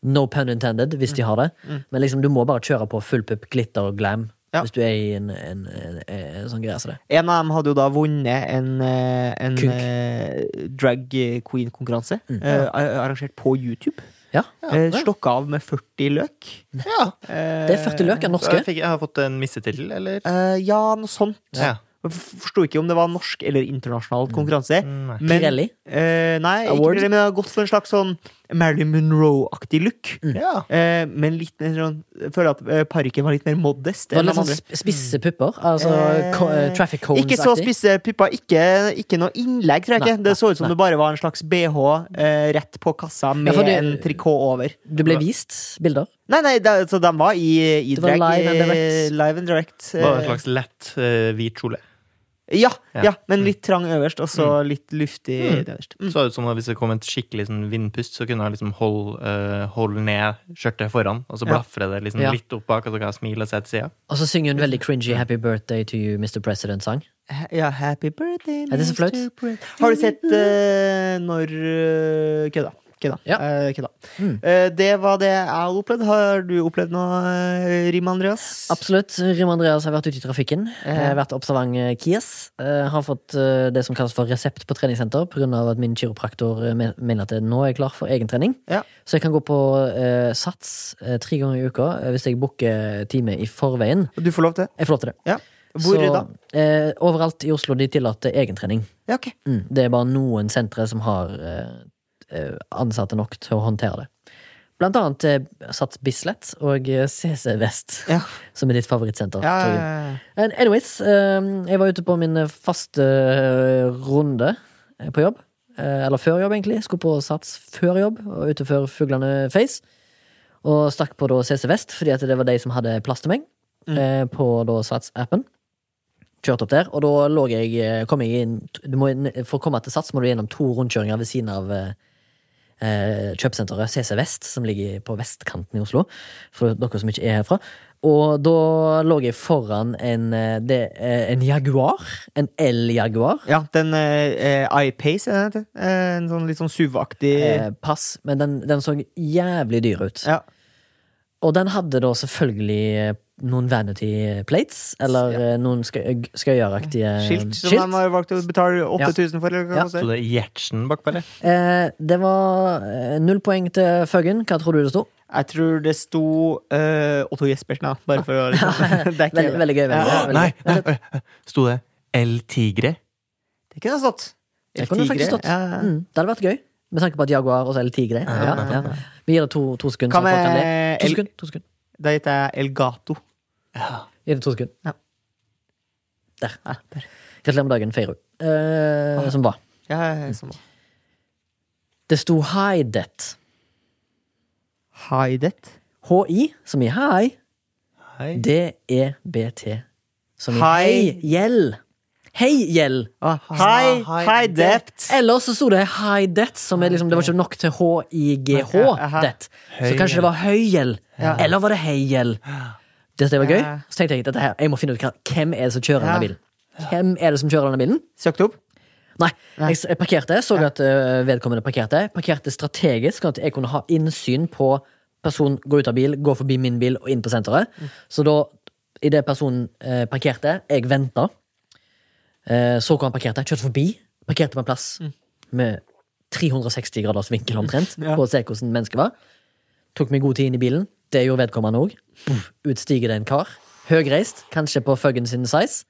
[SPEAKER 1] No pun intended, hvis de har det. Men liksom, du må bare kjøre på full pupp, glitter og glam.
[SPEAKER 2] Ja.
[SPEAKER 1] Hvis du er i en, en, en, en sånn greie som det.
[SPEAKER 2] En av dem hadde jo da vunnet en, eh, en
[SPEAKER 1] Kuk.
[SPEAKER 2] eh, drag queen-konkurranse. eh, ar- arrangert på YouTube.
[SPEAKER 1] Mm. Ja.
[SPEAKER 2] Eh, Stokka av med 40 løk.
[SPEAKER 3] Ja.
[SPEAKER 1] Det er 40 løker
[SPEAKER 3] Så
[SPEAKER 1] Ah, norske.
[SPEAKER 3] jeg, fikk, jeg har fått en missetittel, eller?
[SPEAKER 2] Eh, ja, noe sånt.
[SPEAKER 3] Ja.
[SPEAKER 2] Jeg f- Forsto ikke om det var norsk eller
[SPEAKER 1] Mm.
[SPEAKER 2] internasjonal konkurranse.
[SPEAKER 3] Nei.
[SPEAKER 2] Men-
[SPEAKER 1] Pirelli?
[SPEAKER 2] Eh, nei, ikke
[SPEAKER 1] Award?
[SPEAKER 2] Pirelli, men det har gått for en slags sånn Marilyn Monroe-aktig look.
[SPEAKER 1] Mm.
[SPEAKER 3] Ja.
[SPEAKER 2] Eh, men litt mer sånn Jeg føler at eh, parykken var litt mer modest.
[SPEAKER 1] Det var
[SPEAKER 2] enn de
[SPEAKER 1] litt sånn
[SPEAKER 2] andre.
[SPEAKER 1] sp- spisse pupper. Altså
[SPEAKER 2] Eh,
[SPEAKER 1] co eh, traffic cones-aktig.
[SPEAKER 2] Ikke så spisse pupper, ikke, ikke noe innlegg, tror jeg
[SPEAKER 1] Nei,
[SPEAKER 2] ikke. Det så ut som
[SPEAKER 1] nei.
[SPEAKER 2] det bare var en slags BH eh, rett på kassa med
[SPEAKER 1] for det-
[SPEAKER 2] en trikot over.
[SPEAKER 1] Du ble vist bilder.
[SPEAKER 2] Nei, nei, da, så de var i, i
[SPEAKER 1] Det var
[SPEAKER 2] drag.
[SPEAKER 1] live and
[SPEAKER 2] eh,
[SPEAKER 1] direct.
[SPEAKER 2] live and direct, eh,
[SPEAKER 3] Bare en slags lett eh, hvit kjole.
[SPEAKER 2] ja,
[SPEAKER 3] Ja. Mm.
[SPEAKER 2] ja. men litt trang øverst, og så litt luftig nederst. Mm.
[SPEAKER 3] Så ut som at hvis det kom et skikkelig sånn, vindpust, så kunne jeg liksom holde, eh, holde ned skjørtet foran, og så
[SPEAKER 2] Ja.
[SPEAKER 3] blafre det liksom
[SPEAKER 1] Ja.
[SPEAKER 3] litt opp bak, og så kan jeg smile og se til sida.
[SPEAKER 1] Og så synger hun veldig cringy 'Happy Birthday to You, Mr. President'-sang.
[SPEAKER 2] Ha- Ja, happy birthday,
[SPEAKER 1] Er det så flaut?
[SPEAKER 2] Mr. President. Har du sett eh, når eh, Kødda. Kødda.
[SPEAKER 1] Ja. Mm.
[SPEAKER 2] Eh, kødda. Eh, det var det jeg har opplevd. Har du opplevd noe eh, rim, Andreas?
[SPEAKER 1] Absolutt. Rim Andreas har vært ute i trafikken. Eh, Vært observant eh, Kies. Eh, Har fått eh, det som kalles for resept på treningssenter pga. at min kiropraktor eh, men- mener at jeg nå er klar for egentrening.
[SPEAKER 2] Ja.
[SPEAKER 1] Så jeg kan gå på eh, sats eh, tre ganger i uka eh, hvis jeg booker time i forveien.
[SPEAKER 2] Du får lov til det.
[SPEAKER 1] Jeg får lov til det.
[SPEAKER 2] Ja. Hvor
[SPEAKER 1] Så,
[SPEAKER 2] da?
[SPEAKER 1] Eh, overalt i Oslo de tillater egentrening.
[SPEAKER 2] Ja, ok.
[SPEAKER 1] Mm. Det er bare noen sentre som har eh, eh, ansatte nok til å håndtere det. Blant annet eh, Sats Bislett og eh, CC Vest,
[SPEAKER 2] Ja.
[SPEAKER 1] som er ditt favorittsenter.
[SPEAKER 2] Ja,
[SPEAKER 1] Torgrim. And anyways, ehm, jeg var ute på min faste eh, runde eh, på jobb. Eh, Eller før jobb, egentlig. Skulle på Sats før jobb, og ute før fuglene feis. Og stakk på da CC Vest, fordi at det var de som hadde plass til meg. eh, På da Sats-appen. Kjørte opp der, og da lå jeg, eh, kom jeg inn du må, inn- For å komme til Sats må du gjennom to rundkjøringer ved siden av eh, eh, kjøpesenteret CC Vest, som ligger på vestkanten i Oslo, for dere som ikke er herfra. Og da lå jeg foran en, eh, det, eh, en Jaguar. En El-Jaguar.
[SPEAKER 2] ja, den eh, eh, iPace, er det den heter? Eh, en sånn litt sånn SUV-aktig
[SPEAKER 1] Eh, pass, men den, den så jævlig dyr ut.
[SPEAKER 2] ja.
[SPEAKER 1] Og den hadde da selvfølgelig eh, noen vanity plates, eller eh, noen skøy- skøyeraktige
[SPEAKER 2] Skilt som
[SPEAKER 1] eh, skilt.
[SPEAKER 2] de har valgt å betale 8000 for. Eller hva
[SPEAKER 1] Ja.
[SPEAKER 2] det
[SPEAKER 3] Så
[SPEAKER 2] koster.
[SPEAKER 3] det er hjertsen bakpå, eller?
[SPEAKER 1] Eh, det var eh, null poeng til Føggen. Hva tror du det sto?
[SPEAKER 2] Jeg tror det sto eh, Otto Jespersen, da. Bare for å liksom. Det er ikke
[SPEAKER 1] Veldig, veldig gøy. Veldig,
[SPEAKER 2] Ja.
[SPEAKER 1] gøy, veldig.
[SPEAKER 3] Nei!
[SPEAKER 1] gøy.
[SPEAKER 3] Sto det El Tigre?
[SPEAKER 2] Det kunne ha stått.
[SPEAKER 1] Det kunne det faktisk stått.
[SPEAKER 2] Ja, ja.
[SPEAKER 1] Mm, det hadde vært gøy. Med tanke på at Jaguar og så er det tigre. Ja, ja. Vi gir det to, to sekunder.
[SPEAKER 2] Hva
[SPEAKER 1] så folk kan le.
[SPEAKER 2] med
[SPEAKER 1] To
[SPEAKER 2] El,
[SPEAKER 1] sekunder. To sekunder.
[SPEAKER 2] Da heter jeg El Gato.
[SPEAKER 1] Gi det to sekunder.
[SPEAKER 2] Ja.
[SPEAKER 1] Der.
[SPEAKER 2] Ja, der.
[SPEAKER 1] Gratulerer med dagen, Feirud.
[SPEAKER 2] Ah.
[SPEAKER 1] Eh, som var.
[SPEAKER 2] Ja, ja, sånn.
[SPEAKER 1] Det sto Hidet.
[SPEAKER 2] Hidet.
[SPEAKER 1] HI, som i hei,
[SPEAKER 3] Hei.
[SPEAKER 1] D-E-B-T. Som i
[SPEAKER 2] Hei.
[SPEAKER 1] hei, gjeld. Hei, gjeld.
[SPEAKER 2] Ah, high,
[SPEAKER 3] high
[SPEAKER 2] high debt.
[SPEAKER 1] Ellers så sto det high debt, som er liksom, det var ikke nok til H-I-G-H.
[SPEAKER 2] Ja, aha.
[SPEAKER 1] debt. Så
[SPEAKER 3] Høy
[SPEAKER 1] kanskje det var høygjeld. Eller var det høygjeld? Det det var gøy.
[SPEAKER 2] Ja.
[SPEAKER 1] Så tenkte jeg dette her, jeg må finne ut hva, hvem er det som kjører
[SPEAKER 2] Ja.
[SPEAKER 1] denne bilen. Hvem er det som kjører denne bilen?
[SPEAKER 2] Søkte opp?
[SPEAKER 1] Nei, jeg, s- jeg parkerte, så at ø, vedkommende parkerte. Parkerte strategisk, sånn at jeg kunne ha innsyn på personen gå ut av bil, gå forbi min bil og inn på senteret. Så da, idet personen ø, parkerte, jeg venta, Eh, så hvor han parkerte, kjørte forbi, parkerte på en plass med 360 graders vinkel omtrent,
[SPEAKER 2] Ja.
[SPEAKER 1] på å se hvordan mennesket var. Tok meg god tid inn i bilen, det gjorde vedkommende òg. Utstiger det en kar. Høgreist, kanskje på fuggen sin size.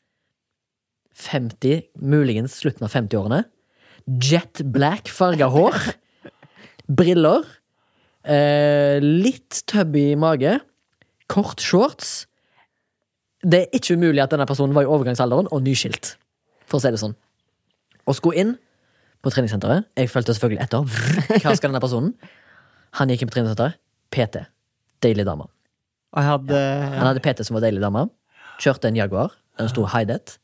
[SPEAKER 1] 50, muligens slutten av 50-årene. Jet black farga hår. Briller. Eh, litt tubby mage. Kort shorts. Det er ikke umulig at denne personen var i overgangsalderen og nyskilt. For å si det sånn. Og skulle inn på treningssenteret. Jeg fulgte selvfølgelig etter. Vrr, Hva skal denne personen? Han gikk inn på treningssenteret. PT. Deilig dame.
[SPEAKER 2] Og jeg hadde
[SPEAKER 1] Han hadde PT som var deilig dame. Kjørte en Jaguar. En stor Hidet.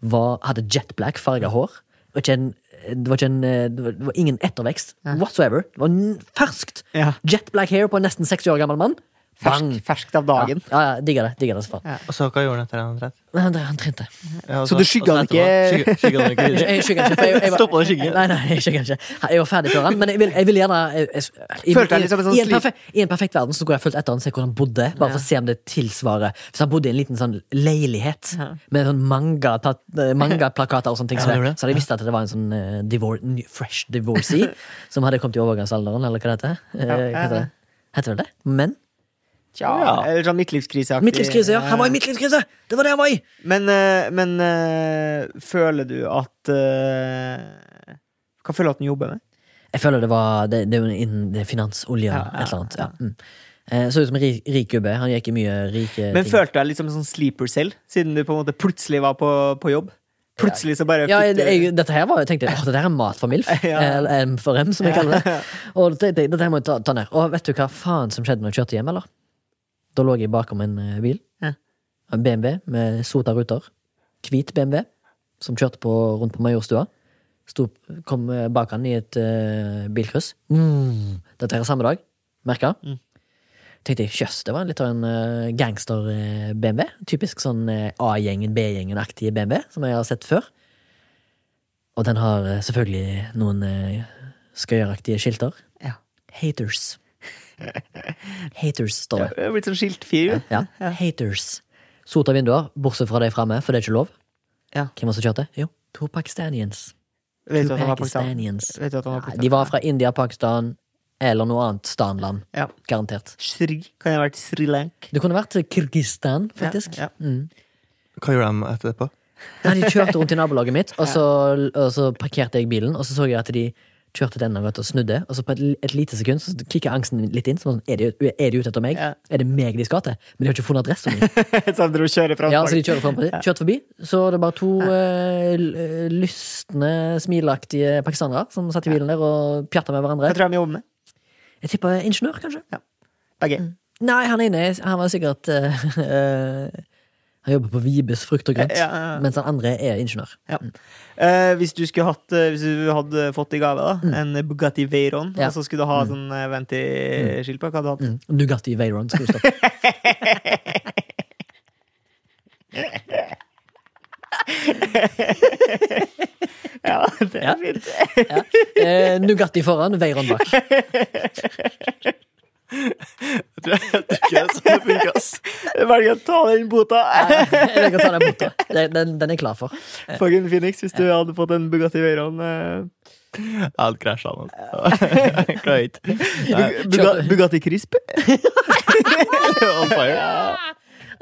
[SPEAKER 1] Var, hadde jet black, farga hår. Det var, ikke en, det, var ikke en, det var- det var ingen ettervekst whatsoever. Det var n- ferskt!
[SPEAKER 2] ja,
[SPEAKER 1] Jet black hair på en nesten 60 år gammel mann.
[SPEAKER 2] fersk,
[SPEAKER 1] Bang!
[SPEAKER 2] ferskt av dagen.
[SPEAKER 1] Ja, ja, digger det. digger det så faen.
[SPEAKER 2] Ja.
[SPEAKER 3] Og så hva gjorde han etter han trett?
[SPEAKER 1] Men han, han trente.
[SPEAKER 3] Ja, og
[SPEAKER 2] Så du skygget
[SPEAKER 3] og så
[SPEAKER 2] han
[SPEAKER 3] etterpå-
[SPEAKER 2] ikke?
[SPEAKER 3] skygget- Skygget han ikke videre?
[SPEAKER 1] Jeg skygger ikke. for jeg- jeg var-
[SPEAKER 3] Stoppa det skygge?
[SPEAKER 1] Nei, nei, jeg skygger ikke. Jeg var ferdig før han, men jeg vil, jeg vil gjerne jeg, jeg, i,
[SPEAKER 2] Følte jeg litt som
[SPEAKER 3] liksom
[SPEAKER 2] en sånn
[SPEAKER 1] i, en
[SPEAKER 2] slik-
[SPEAKER 1] perfekt, I en perfekt verden så går jeg fulgt etter han og ser hvor han bodde, bare for å se om det tilsvarer. Hvis han bodde i en liten sånn leilighet med sånn manga tatt- eh, mangaplakater og sånne ting, så,
[SPEAKER 3] Ja, det gjorde
[SPEAKER 1] jeg,
[SPEAKER 3] det.
[SPEAKER 1] så hadde jeg visst at det var en sånn eh, divor, ny- fresh divorcee som hadde kommet i overgangsalderen, eller hva det heter. Eh, hva heter det? Heter det det? Men?
[SPEAKER 2] Tja,
[SPEAKER 3] Ja.
[SPEAKER 2] eller sånn midtlivskriseaktig.
[SPEAKER 1] Midtlivskrise, ja! Han var i midtlivskrise! Det var det han var i!
[SPEAKER 2] Men, eh, men eh, føler du at eh, Hva føler du at den jobber med?
[SPEAKER 1] Jeg føler det var Det, det er jo innen det er finans, olje,
[SPEAKER 2] Ja, ja,
[SPEAKER 1] et eller annet. Ja. Mm. Eh, Så ut som en rik, rik gubbe. Han gikk i mye rike
[SPEAKER 2] Men
[SPEAKER 1] ting.
[SPEAKER 2] følte du deg litt som en sånn sleeper selv, siden du på en måte plutselig var på, på jobb? Plutselig så bare
[SPEAKER 1] ja,
[SPEAKER 2] fikk
[SPEAKER 1] jeg,
[SPEAKER 2] du
[SPEAKER 1] jeg, dette her var, jeg tenkte Åh, dette her er mat for MILF.
[SPEAKER 2] Ja.
[SPEAKER 1] Eller M for M, som jeg kaller det. Og dette, dette- dette her må jeg ta, ta ned. Og vet du hva faen som skjedde når jeg kjørte hjem, eller? Da lå jeg bakom en eh, bil.
[SPEAKER 2] Ja.
[SPEAKER 1] En BMW med sota ruter. Hvit BMW. Som kjørte på, rundt på Majorstua. Sto, kom eh, bak han i et eh, bilkryss. Mm. Dette her er samme dag. Merka. Tenkte jeg, jøss, det var litt av en eh, gangster-BMW. Typisk sånn eh, A-gjengen, B-gjengen-aktig BMW, som jeg har sett før. Og den har eh, selvfølgelig noen eh, skøyeraktige skilter.
[SPEAKER 2] Ja.
[SPEAKER 1] Haters. Haters, står det.
[SPEAKER 2] Du er blitt sånn skiltfyr.
[SPEAKER 1] Ja. Haters. Sota vinduer, bortsett fra de framme, for det er ikke lov.
[SPEAKER 2] Ja.
[SPEAKER 1] Hvem var det som kjørte? Jo, to pakistanians.
[SPEAKER 2] Vet du
[SPEAKER 1] To
[SPEAKER 2] at han var pakistaner?
[SPEAKER 1] pakistanians.
[SPEAKER 2] Vet du at han var
[SPEAKER 1] Nei, de
[SPEAKER 2] pakistaner?
[SPEAKER 1] var fra India, Pakistan eller noe annet stanland.
[SPEAKER 2] Ja.
[SPEAKER 1] Garantert.
[SPEAKER 2] Sri. Kan jeg ha vært Sri Lank?
[SPEAKER 1] Det kunne vært Kirgistan, faktisk.
[SPEAKER 2] Ja,
[SPEAKER 1] Mm.
[SPEAKER 3] Hva gjorde de etterpå?
[SPEAKER 1] Nei, de kjørte rundt i nabolaget mitt, og så, og så parkerte jeg bilen, og så så jeg at de kjørte til enden vet, du, og snudde, og så på et, et lite sekund så kikker angsten litt inn. Sånn, er, de, er de ute etter meg?
[SPEAKER 2] Ja.
[SPEAKER 1] Er det meg de skal til? Men de har ikke funnet adressen min.
[SPEAKER 2] Som dro og kjører fra
[SPEAKER 1] Ja, så de kjører frem på det. Kjørt forbi, så var det bare to eh, l- eh, lystne, smilaktige pakistanere som satt i bilen der og pjatta med
[SPEAKER 2] Hva
[SPEAKER 1] hverandre.
[SPEAKER 2] tror jeg de jobber med?
[SPEAKER 1] Jeg tipper ingeniør, kanskje.
[SPEAKER 2] Begge.
[SPEAKER 1] Mm. Nei, han ene er- han var sikkert eh, eh, Han jobber på Vibes frukt og grønt,
[SPEAKER 2] Ja, ja, ja.
[SPEAKER 1] mens han andre er ingeniør.
[SPEAKER 2] Ja. Eh, hvis du skulle hatt eh, Hvis du hadde fått i gave da en Bugatti Veyron,
[SPEAKER 1] Mm. Ja.
[SPEAKER 2] og så skulle du ha sånn eh, venti-skilt på, hva hadde du hatt?
[SPEAKER 1] Mm. Nugatti Veyron, skal du stoppe.
[SPEAKER 2] Ja, det
[SPEAKER 1] Ja.
[SPEAKER 2] er fint.
[SPEAKER 1] Eh, Nugatti foran, Veyron bak.
[SPEAKER 3] Jeg tror jeg tror ikke det er sånn det funker, ass.
[SPEAKER 2] Velg å ta den bota.
[SPEAKER 1] Jeg kan ta den, bort, da. den, den, den er jeg klar for.
[SPEAKER 2] Fucking Phoenix, hvis du hadde fått en Bugatti Veyron. eh,
[SPEAKER 3] Jeg hadde krasja han, altså. Jeg Klarer ikke. Nei,
[SPEAKER 2] Bug- Buga- Bugatti Crisp?
[SPEAKER 3] On fire.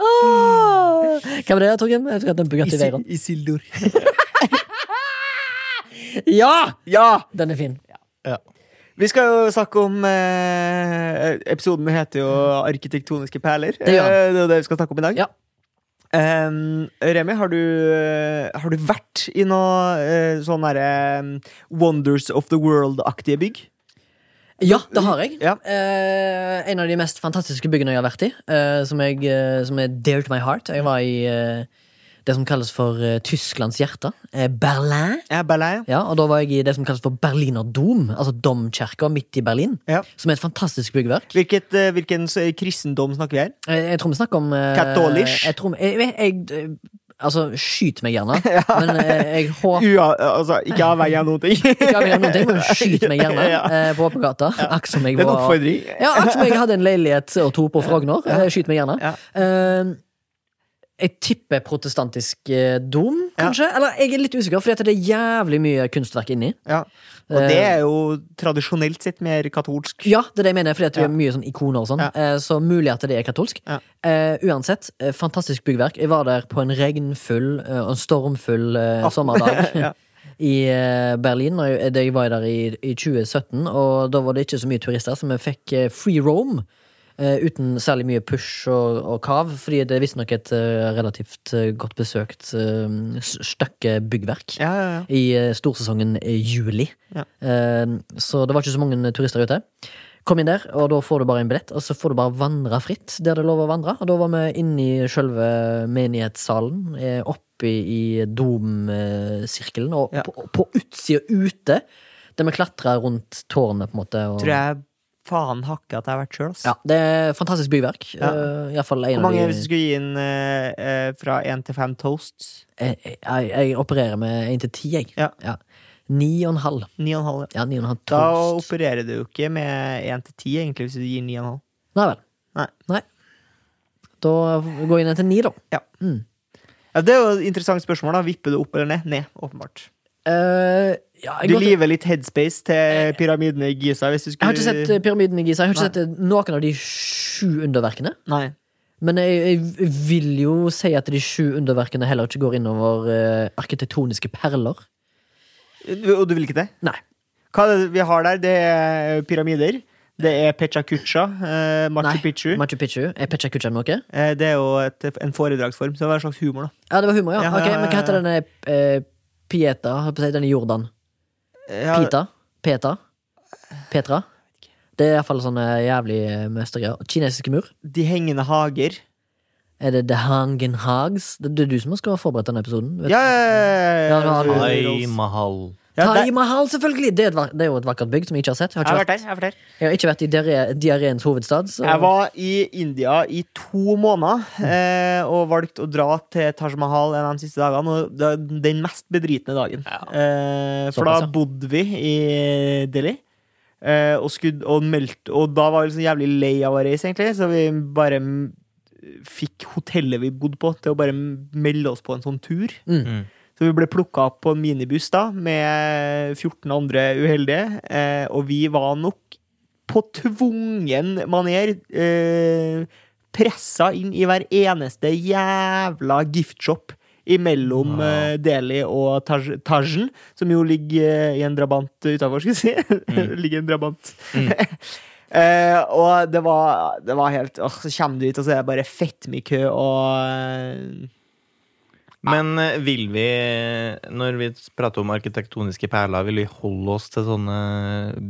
[SPEAKER 1] Åh! Hva var det, Torgrim? Jeg skulle hatt en Bugatti
[SPEAKER 2] Isil-
[SPEAKER 1] Veyron.
[SPEAKER 2] Isildur.
[SPEAKER 1] Ja!
[SPEAKER 2] Ja!
[SPEAKER 1] Den er fin.
[SPEAKER 3] Ja.
[SPEAKER 2] Vi skal jo snakke om eh, Episoden heter jo 'Arkitektoniske perler'.
[SPEAKER 1] Det gjør den.
[SPEAKER 2] Eh, det er det vi skal snakke om i dag.
[SPEAKER 1] Ja.
[SPEAKER 2] Em, Remi, har du, eh, har du vært i noe eh, sånn derre em, Wonders of the World-aktige bygg?
[SPEAKER 1] Ja, det har jeg.
[SPEAKER 2] Ja.
[SPEAKER 1] Eh, en av de mest fantastiske byggene jeg har vært i, eh, som, jeg, eh, som er dear to my heart. Jeg var i eh, det som kalles for eh, Tysklands hjerte, eh, Berlin.
[SPEAKER 2] Ja, Berlin.
[SPEAKER 1] Ja, og da var jeg i det som kalles for Berliner Dom, altså domkirka midt i Berlin.
[SPEAKER 2] Ja.
[SPEAKER 1] Som er et fantastisk byggverk.
[SPEAKER 2] Hvilket, eh, hvilken s- kristendom snakker vi her?
[SPEAKER 1] Eh, Jeg tror vi snakker om eh,
[SPEAKER 2] Katolisk?
[SPEAKER 1] Jeg tror, jeg, jeg, jeg, eh, altså, skyt meg gjerne, men eh, jeg håper
[SPEAKER 2] Ua, altså, ikke avhengig av noen ting.
[SPEAKER 1] ikke jeg vil gjøre noen ting, men skyt meg gjerne
[SPEAKER 2] Ja.
[SPEAKER 1] eh, på åpen gata. Akk som jeg
[SPEAKER 2] Det er en
[SPEAKER 1] var-
[SPEAKER 2] oppfordring.
[SPEAKER 1] Ja, akkurat som jeg hadde en leilighet og to på Frogner. Eh, Skyt meg gjerne.
[SPEAKER 2] Ja.
[SPEAKER 1] Eh, jeg tipper protestantisk eh, dom, kanskje? Eller jeg er litt usikker, for det er jævlig mye kunstverk inni.
[SPEAKER 2] Ja. Og det
[SPEAKER 1] Eh.
[SPEAKER 2] er jo tradisjonelt sett mer katolsk.
[SPEAKER 1] Ja, det er det jeg mener, fordi at det
[SPEAKER 2] Ja.
[SPEAKER 1] er mye sånn ikoner og sånn.
[SPEAKER 2] Ja.
[SPEAKER 1] Eh, Så mulig at det er katolsk.
[SPEAKER 2] Ja.
[SPEAKER 1] Eh, uansett, eh, fantastisk byggverk. Jeg var der på en regnfull eh, og en stormfull eh, sommerdag
[SPEAKER 2] Ah. Ja.
[SPEAKER 1] i eh, Berlin. Og jeg, jeg var der i, i 2017, og da var det ikke så mye turister, så vi fikk eh, free roam. eh, uten særlig mye push og, og kav, fordi det er visstnok et eh, relativt eh, godt besøkt eh, s- stykke byggverk
[SPEAKER 2] Ja, ja, ja.
[SPEAKER 1] i eh, storsesongen i juli.
[SPEAKER 2] Ja.
[SPEAKER 1] Eh, så det var ikke så mange turister ute. Kom inn der, og da får du bare en billett, og så får du bare vandre fritt der det er lov å vandre. Og da var vi inne i sjølve menighetssalen, eh, oppe i domsirkelen, og
[SPEAKER 2] Ja.
[SPEAKER 1] på, på utsida ute, der vi klatra rundt tårnet, på en måte. Og,
[SPEAKER 2] Tror jeg faen hakke at jeg har vært sjøl, ass.
[SPEAKER 1] ja, det er fantastisk byverk.
[SPEAKER 2] Ja.
[SPEAKER 1] eh, i hvert fall en
[SPEAKER 2] Hvor mange
[SPEAKER 1] av
[SPEAKER 2] hvis
[SPEAKER 1] de
[SPEAKER 2] du skulle gi en eh, eh, fra én til fem toasts?
[SPEAKER 1] jeg, jeg, Eh, jeg opererer med én til ti, jeg.
[SPEAKER 2] Ja.
[SPEAKER 1] Ni og en halv.
[SPEAKER 2] Ni og en halv. ja.
[SPEAKER 1] Ja, ni og en halv
[SPEAKER 2] Da
[SPEAKER 1] toast.
[SPEAKER 2] opererer du jo ikke med én til ti, egentlig, hvis du gir ni og en halv.
[SPEAKER 1] Nei vel.
[SPEAKER 2] Nei.
[SPEAKER 1] Da går jeg ned til ni, da. Hmm.
[SPEAKER 2] Ja, det er jo et interessant spørsmål. da Vipper du opp eller ned? Ned, åpenbart.
[SPEAKER 1] Eh, ja, jeg,
[SPEAKER 2] Du
[SPEAKER 1] går til- Eh,
[SPEAKER 2] liver litt headspace til pyramidene i Giza hvis du
[SPEAKER 1] jeg
[SPEAKER 2] skulle
[SPEAKER 1] har ikke sett eh, Pyramiden i Giza. Jeg har
[SPEAKER 2] Nei.
[SPEAKER 1] ikke sett eh, noen av de sju underverkene.
[SPEAKER 2] Nei.
[SPEAKER 1] Men jeg, jeg vil jo si at de sju underverkene heller ikke går innover eh, arkitektoniske perler.
[SPEAKER 2] Og du vil ikke det?
[SPEAKER 1] Nei.
[SPEAKER 2] Hva er det vi har der? Det er pyramider. Det er Pecha Kucha, eh, Machu
[SPEAKER 1] Nei.
[SPEAKER 2] Picchu.
[SPEAKER 1] Machu Picchu. Er Pecha Kucha noe? Ja,
[SPEAKER 2] Eh, det er jo et, en foredragsform, så det er en slags humor, da.
[SPEAKER 1] det var humor, ja.
[SPEAKER 2] Ja,
[SPEAKER 1] Ok,
[SPEAKER 2] ja, ja,
[SPEAKER 1] men hva heter denne eh, Pieta? holdt på å si, Den i Jordan.
[SPEAKER 2] Ja,
[SPEAKER 1] Pita? Peta? Petra? Det er iallfall sånne jævlig eh, mestergreier. Kinesiske mur.
[SPEAKER 2] de hengende hager.
[SPEAKER 1] Er det The Hangen Hags? Det det er du som skal ha forberedt denne episoden. vet
[SPEAKER 2] Ja, ja,
[SPEAKER 1] Ja, det har
[SPEAKER 2] ja,
[SPEAKER 1] du.
[SPEAKER 2] ja,
[SPEAKER 3] Ai,
[SPEAKER 2] ja.
[SPEAKER 3] mahal.
[SPEAKER 2] Ja,
[SPEAKER 1] Taj
[SPEAKER 2] der-
[SPEAKER 1] Mahal, selvfølgelig! Det er, et, va- det er jo et vakkert bygg som jeg ikke har sett. Jeg
[SPEAKER 2] Jeg har
[SPEAKER 1] har ikke,
[SPEAKER 2] vært der. Jeg har vært der.
[SPEAKER 1] vært, jeg har ikke vært i diaré- diaréens hovedstad. Så.
[SPEAKER 2] Jeg var i India i to måneder eh, og valgte å dra til Taj Mahal en av de siste dagene. Og det var den mest bedritne dagen. Eh, for
[SPEAKER 1] Såpass,
[SPEAKER 2] da
[SPEAKER 1] ja.
[SPEAKER 2] bodde vi i Delhi. Eh, og, skudd, og, meldte, og da var vi liksom jævlig lei av å reise, egentlig, så vi bare mm, fikk hotellet vi bodde på, til å bare melde oss på en sånn tur.
[SPEAKER 1] Mm.
[SPEAKER 2] Så vi ble plukka opp på en minibuss da, med 14 andre uheldige, eh, og vi var nok på tvungen maner eh, pressa inn i hver eneste jævla giftshop imellom eh, Delhi og Taj- Tajen, som jo ligger eh, i en drabant utafor, skal vi si.
[SPEAKER 1] Mm.
[SPEAKER 2] ligger i en drabant. Eh, og det var, det var helt åh, Så kommer du dit, og så er det bare fett mye kø, og eh,
[SPEAKER 3] Men eh, vil vi, når vi prater om arkitektoniske perler, vil vi holde oss til sånne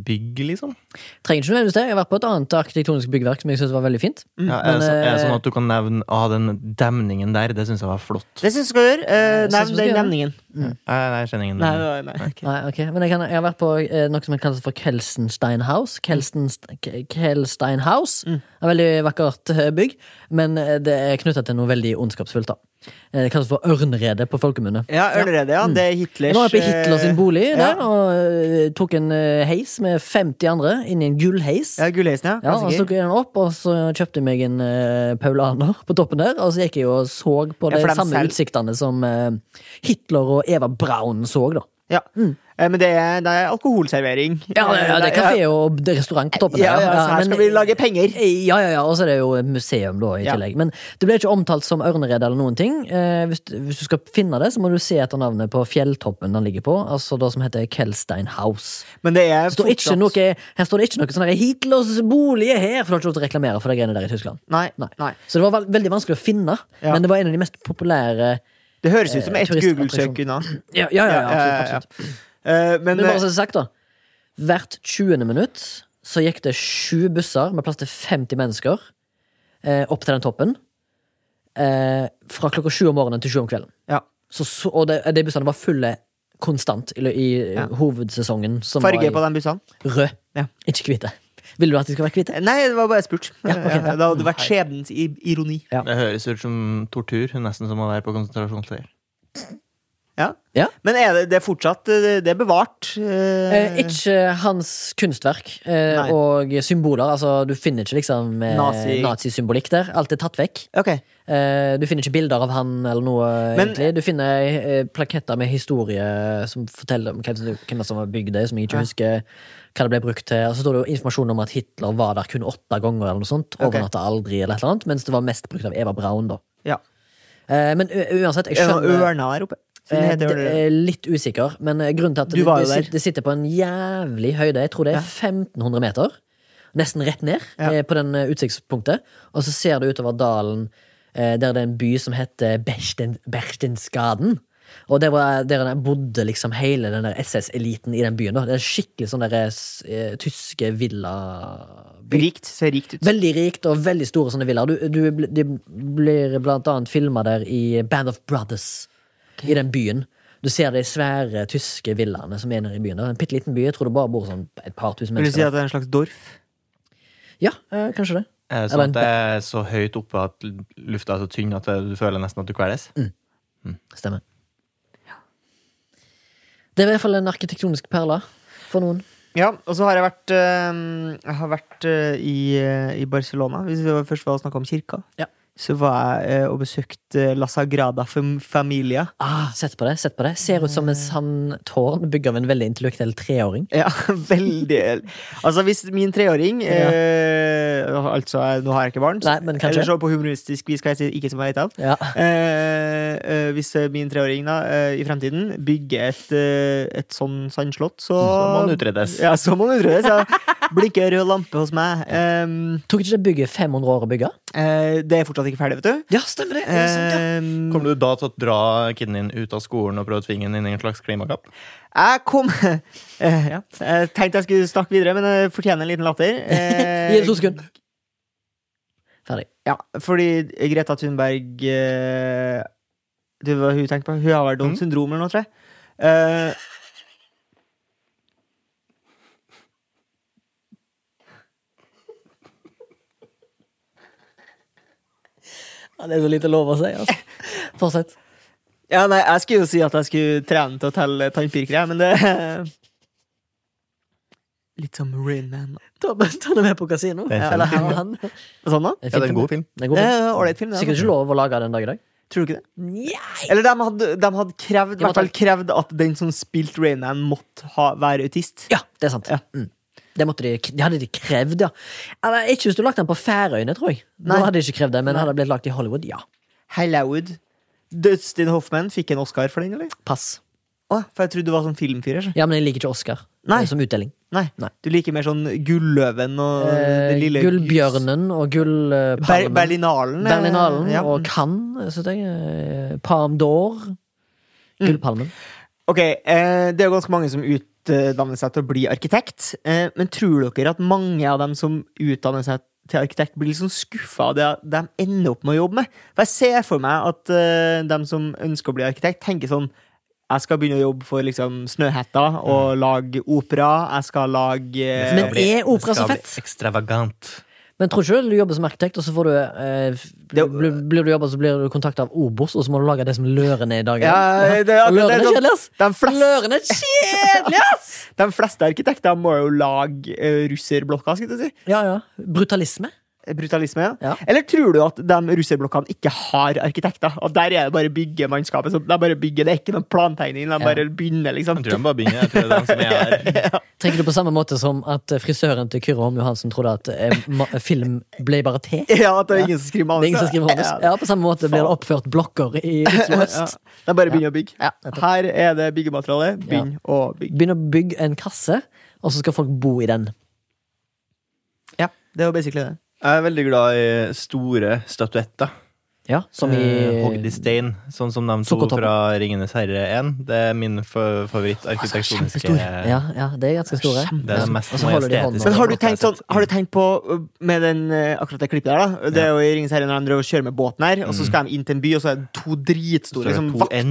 [SPEAKER 3] bygg, liksom?
[SPEAKER 1] Trenger ikke nødvendigvis det. Jeg har vært på et annet arkitektonisk byggverk som jeg synes var veldig fint.
[SPEAKER 2] Mm.
[SPEAKER 3] Ja, er,
[SPEAKER 1] Men,
[SPEAKER 3] det så, er det
[SPEAKER 1] eh,
[SPEAKER 3] sånn at du kan nevne ah, den demningen der? Det syns jeg var flott.
[SPEAKER 2] Det syns jeg du skal gjøre. Eh,
[SPEAKER 1] Jeg synes
[SPEAKER 2] nevn
[SPEAKER 1] vi skal
[SPEAKER 2] den
[SPEAKER 1] gjøre
[SPEAKER 2] nevningen.
[SPEAKER 3] Nei, nei, jeg kjenner ingen
[SPEAKER 2] Nei,
[SPEAKER 3] demning.
[SPEAKER 2] nei, nei. ok.
[SPEAKER 1] Nei, ok. Men jeg, kan, jeg har vært på eh, noe som kalles for Kelsenstein House. Kelsenst- K- Kelstein House.
[SPEAKER 2] Mm.
[SPEAKER 1] Et veldig vakkert eh, bygg, men eh, det er knytta til noe veldig ondskapsfullt. da. Eh, Det kalles for ørnredet på folkemunne.
[SPEAKER 2] Ja, Ørneredet,
[SPEAKER 1] Mm.
[SPEAKER 2] ja. Det er Hitlers
[SPEAKER 1] Jeg var oppe i Hitler sin bolig
[SPEAKER 2] eh,
[SPEAKER 1] der,
[SPEAKER 2] ja.
[SPEAKER 1] og eh, tok en eh, heis med 50 andre inn i en gullheis.
[SPEAKER 2] Ja, Gullheisen, ja.
[SPEAKER 1] Ja, og så
[SPEAKER 2] Klassiker.
[SPEAKER 1] tok jeg den opp, og så kjøpte jeg meg en eh, paulaner på toppen der. Og så gikk jeg og så på
[SPEAKER 2] Ja,
[SPEAKER 1] de
[SPEAKER 2] for dem
[SPEAKER 1] samme
[SPEAKER 2] selv.
[SPEAKER 1] utsiktene som eh, Hitler og Eva Braun så, da.
[SPEAKER 2] Ja.
[SPEAKER 1] Mm.
[SPEAKER 2] Eh, Men det er, det er alkoholservering. Eh,
[SPEAKER 1] Ja, ja, ja, Eh, det er kafé og det er restaurant på toppen
[SPEAKER 2] Ja,
[SPEAKER 1] der. eh,
[SPEAKER 2] ja, så her skal vi lage penger.
[SPEAKER 1] Ja, ja, ja, og så er det jo et museum, da, i
[SPEAKER 2] Ja.
[SPEAKER 1] tillegg. Men det ble ikke omtalt som Ørneredet eller noen ting. Eh, hvis, hvis du skal finne det, så må du se etter navnet på fjelltoppen den ligger på, altså det som heter Kelstein House.
[SPEAKER 2] Men det er
[SPEAKER 1] står ikke
[SPEAKER 2] fortsatt-
[SPEAKER 1] noe, her står det ikke noe sånn her, Hitlers bolig er her, for du har ikke lov til å reklamere for de greiene der i Tyskland.
[SPEAKER 2] Nei,
[SPEAKER 1] Nei.
[SPEAKER 2] nei.
[SPEAKER 1] Så det var vel- veldig vanskelig å finne,
[SPEAKER 2] Ja.
[SPEAKER 1] men det var en av de mest populære
[SPEAKER 2] Det høres ut som
[SPEAKER 1] Eh,
[SPEAKER 2] ett
[SPEAKER 1] turistattraksjon.
[SPEAKER 2] Google-søk unna.
[SPEAKER 1] Ja, ja, ja, absolutt.
[SPEAKER 2] ja, ja.
[SPEAKER 1] absolutt.
[SPEAKER 2] Eh, Men
[SPEAKER 1] Men bare
[SPEAKER 2] eh,
[SPEAKER 1] så det sånn- er sagt, da. Hvert 20. minutt så gikk det sju busser med plass til 50 mennesker eh, opp til den toppen. Eh, fra klokka sju om morgenen til sju om kvelden.
[SPEAKER 2] ja.
[SPEAKER 1] Så, så, og de, de bussene var fulle konstant i, i
[SPEAKER 2] Ja.
[SPEAKER 1] hovedsesongen. Som
[SPEAKER 2] farge på
[SPEAKER 1] var
[SPEAKER 2] de bussene?
[SPEAKER 1] i rød,
[SPEAKER 2] Ja.
[SPEAKER 1] ikke hvite. Vil du at de skal være hvite?
[SPEAKER 2] Eh, Nei, det var bare spurt.
[SPEAKER 1] Ja, ok,
[SPEAKER 2] Eh,
[SPEAKER 1] ja.
[SPEAKER 2] Det hadde vært skjebnens i- ironi.
[SPEAKER 1] Ja.
[SPEAKER 3] Det høres ut som tortur. Nesten som å være på konsentrasjonsleir.
[SPEAKER 2] Ja.
[SPEAKER 1] Ja.
[SPEAKER 2] Men er det, det er fortsatt eh, Det er bevart.
[SPEAKER 1] Eh,
[SPEAKER 2] eh,
[SPEAKER 1] ikke hans kunstverk eh,
[SPEAKER 2] Nei.
[SPEAKER 1] og symboler. Altså, du finner ikke liksom eh,
[SPEAKER 2] Nazi-
[SPEAKER 1] nazisymbolikk der. Alt er tatt vekk.
[SPEAKER 2] Ok.
[SPEAKER 1] Eh, du finner ikke bilder av han eller noe.
[SPEAKER 2] Men-
[SPEAKER 1] egentlig Du finner eh, plaketter med historie som forteller om hvem som, hvem som var bygd det, som jeg ikke
[SPEAKER 2] Ja.
[SPEAKER 1] husker hva det ble brukt til. Og så står det jo informasjon om at Hitler var der kun åtte ganger, eller noe sånt.
[SPEAKER 2] Ok.
[SPEAKER 1] Overnatta aldri, eller et eller annet. Mens det var mest brukt av Eva Braun, da.
[SPEAKER 2] Ja.
[SPEAKER 1] Eh, men u uansett, jeg
[SPEAKER 2] Er det noen
[SPEAKER 1] skjønner
[SPEAKER 2] ørner her oppe?
[SPEAKER 1] Eh,
[SPEAKER 2] Siden det heter
[SPEAKER 1] det
[SPEAKER 2] ørneredet.
[SPEAKER 1] er litt usikker, men eh, grunnen til at
[SPEAKER 2] Du
[SPEAKER 1] det,
[SPEAKER 2] var jo
[SPEAKER 1] det,
[SPEAKER 2] der.
[SPEAKER 1] sitter, det sitter på en jævlig høyde, jeg tror det
[SPEAKER 2] Ja.
[SPEAKER 1] er 1500 meter. nesten rett ned
[SPEAKER 2] Ja.
[SPEAKER 1] eh, på den eh, utsiktspunktet. Og så ser du utover dalen eh, der det er en by som heter Berchten, Berchtensgaden. Og der, var, der den bodde liksom hele den der SS-eliten i den byen. Da. Det er en skikkelig sånn der, eh, s- eh, tyske villaby.
[SPEAKER 2] Rikt. Ser rikt ut.
[SPEAKER 1] Veldig rikt og veldig store sånne villaer. Du, du, bl- de blir blant annet filma der i Band of Brothers. I den byen. Du ser de svære tyske villaene som er nede i byen. Det er En bitte liten by. Jeg tror det bare bor sånn et par tusen
[SPEAKER 2] Vil du si
[SPEAKER 1] mennesker.
[SPEAKER 2] at det er en slags dorf?
[SPEAKER 1] der. Ja, eh, kanskje det.
[SPEAKER 3] Er det
[SPEAKER 1] Eller
[SPEAKER 3] sånn
[SPEAKER 1] en
[SPEAKER 3] at det er så høyt oppe at lufta er så tynn at du føler nesten at du kveles?
[SPEAKER 1] Stemmer. Det er i hvert fall en arkitektonisk perle for noen.
[SPEAKER 2] Ja, og så har jeg vært, eh, jeg har vært eh, i, eh, i Barcelona. Hvis vi først var og snakka om kirka,
[SPEAKER 1] Ja.
[SPEAKER 2] så var jeg eh, og besøkte La Sagrada Fam- Familia.
[SPEAKER 1] Ah, sett på det. sett på det Ser ut som en sandtårn bygd av en veldig intellektuell treåring.
[SPEAKER 2] Ja, veldig Altså, hvis min treåring eh, Altså, nå har jeg ikke barn, så-
[SPEAKER 1] Nei, men
[SPEAKER 2] eller
[SPEAKER 1] kanskje.
[SPEAKER 2] så på humoristisk vis kan jeg si ikke som jeg vet av.
[SPEAKER 1] Ja.
[SPEAKER 2] Eh, eh, hvis eh, min treåring da, eh, i fremtiden bygger et, eh, et sånn sandslott, så
[SPEAKER 3] Så må den utredes.
[SPEAKER 2] Ja, så må han utredes. Ja. Blinker rød lampe hos meg. Ehm,
[SPEAKER 1] Tok ikke det bygget 500 år å bygge?
[SPEAKER 2] eh, det er fortsatt ikke ferdig, vet du.
[SPEAKER 1] Ja, stemmer det.
[SPEAKER 2] Ehm,
[SPEAKER 3] Kommer du da til å dra kiden din ut av skolen og prøve å tvinge den inn i en slags klimakapp?
[SPEAKER 2] jeg kom Eh, ja. Jeg tenkte jeg skulle snakke videre, men jeg fortjener en liten latter. Eh,
[SPEAKER 1] Gi det to sekunder. Ferdig.
[SPEAKER 2] Ja, fordi Greta Thunberg eh, Du hva hun tenkte på? Hun har vel
[SPEAKER 1] Mm.
[SPEAKER 2] Downs syndrom eller noe, tror jeg. Eh,
[SPEAKER 1] Ja, det er så lite lov å si, altså. Fortsett.
[SPEAKER 2] ja, nei, jeg skulle jo si at jeg skulle trene til å telle tannpirkere, jeg, men det Litt som Rain Man.
[SPEAKER 1] Ta den med på kasino.
[SPEAKER 3] Det er en
[SPEAKER 1] Eller han.
[SPEAKER 2] kjempefilm.
[SPEAKER 1] han.
[SPEAKER 2] Sånn, da?
[SPEAKER 1] En
[SPEAKER 3] Ja, det er en
[SPEAKER 1] film.
[SPEAKER 3] god film.
[SPEAKER 1] Det er en
[SPEAKER 2] Det
[SPEAKER 1] god film.
[SPEAKER 2] er ålreit film, det.
[SPEAKER 1] Sikkert
[SPEAKER 2] Altså.
[SPEAKER 1] ikke lov å lage den dag i dag.
[SPEAKER 2] Tror du ikke det?
[SPEAKER 1] Nei.
[SPEAKER 2] Eller de hadde, de hadde krevd, i
[SPEAKER 1] Ja,
[SPEAKER 2] hvert fall krevd at den som spilte Rain Man, måtte ha, være autist.
[SPEAKER 1] Ja, det er sant.
[SPEAKER 2] Ja.
[SPEAKER 1] Mm. Det, måtte de, det hadde de krevd, ja. Eller, ikke hvis du lagde den på Færøyene, tror jeg. Nå
[SPEAKER 2] Nei.
[SPEAKER 1] hadde de ikke krevd det, men hadde det blitt lagd i Hollywood, ja.
[SPEAKER 2] Hellowood. Dustin Hoffman fikk en Oscar for den, eller?
[SPEAKER 1] Pass.
[SPEAKER 2] Å, for jeg trodde du var sånn filmfyrer. så.
[SPEAKER 1] Ja, men jeg liker ikke Oscar eh,
[SPEAKER 2] Nei.
[SPEAKER 1] som utdeling.
[SPEAKER 2] Nei.
[SPEAKER 1] Nei.
[SPEAKER 2] Du liker mer sånn Gulløven og
[SPEAKER 1] Eh,
[SPEAKER 2] den lille
[SPEAKER 1] Gullbjørnen og
[SPEAKER 2] Ber
[SPEAKER 1] Gullpalmen.
[SPEAKER 2] Berlinalen. eh,
[SPEAKER 1] Berlinalen
[SPEAKER 2] ja.
[SPEAKER 1] og Cannes, synes jeg. eh, Palme d'Or.
[SPEAKER 2] Mm.
[SPEAKER 1] Gullpalmen.
[SPEAKER 2] Ok, eh, det er jo ganske mange som utdanner seg til å bli arkitekt. Eh, men tror dere at mange av dem som utdanner seg til arkitekt, blir liksom skuffa av det de ender opp med å jobbe med? For jeg ser for meg at eh, dem som ønsker å bli arkitekt, tenker sånn jeg skal begynne å jobbe for liksom Snøhetta og lage opera. Jeg skal lage eh,
[SPEAKER 1] Mm. Men er opera så
[SPEAKER 3] Skal bli
[SPEAKER 1] fett?
[SPEAKER 3] Ekstravagant.
[SPEAKER 1] Men tror ikke du du jobber som arkitekt, og så får du eh, f-
[SPEAKER 2] Det-
[SPEAKER 1] blir, blir du jobber, så blir du kontakta av Obos, og så må du lage det som løren er i dag.
[SPEAKER 2] Ja, det-
[SPEAKER 1] og løren
[SPEAKER 2] det-
[SPEAKER 1] er
[SPEAKER 2] det-
[SPEAKER 1] kjedelig, ass!
[SPEAKER 2] de fleste
[SPEAKER 1] Løren er kjedelig, ass!
[SPEAKER 2] De fleste arkitekter må jo lage eh, russerblokka, skal jeg si.
[SPEAKER 1] Ja, ja. Brutalisme.
[SPEAKER 2] Brutalisme. ja.
[SPEAKER 1] Ja.
[SPEAKER 2] Eller tror du at de russerblokkene ikke har arkitekter? At der er det bare byggemannskapet som de bare bygger, det er ikke noen plantegning, de bare begynner, liksom.
[SPEAKER 3] Jeg tror jeg bare begynner. Jeg tror det er den som er her.
[SPEAKER 1] Tenker du på samme måte som at eh, frisøren til Kyrre Holm Johansen trodde at eh, ma- film ble bare til? Det
[SPEAKER 2] Ja, at det er ingen som skriver
[SPEAKER 1] er ingen som skriver manus. Ja, på samme måte blir det oppført blokker i Oslo
[SPEAKER 2] Ja.
[SPEAKER 1] øst.
[SPEAKER 2] De bare begynner å bygge.
[SPEAKER 1] Ja, nettopp.
[SPEAKER 2] Her er det byggemateriale, begynn å bygge.
[SPEAKER 1] Begynner å bygge en kasse, og så skal folk bo i den.
[SPEAKER 2] Ja, det er jo basically det.
[SPEAKER 3] Jeg er veldig glad i store statuetter.
[SPEAKER 1] Ja, som
[SPEAKER 3] Eh,
[SPEAKER 1] i
[SPEAKER 3] Hogd i stein, sånn som de to
[SPEAKER 1] Sukkertoppen.
[SPEAKER 3] fra Ringenes herre 1. Det er min fa- favorittarkitektoniske
[SPEAKER 1] Ja, ja, de er ganske store.
[SPEAKER 3] Det er det mest
[SPEAKER 1] Og så holder de hånden
[SPEAKER 3] majestetiske.
[SPEAKER 2] Men har du
[SPEAKER 3] Blokka er
[SPEAKER 2] tenkt sånn
[SPEAKER 3] sett.
[SPEAKER 2] Har du tenkt på uh, Med den, uh, akkurat det klippet der da Det er jo i Ringens Herre Når de driver og kjører med båten her Og så skal de inn til en by Og så er det to
[SPEAKER 3] Så
[SPEAKER 2] dritstore
[SPEAKER 3] er det
[SPEAKER 2] liksom,
[SPEAKER 3] to
[SPEAKER 2] vakter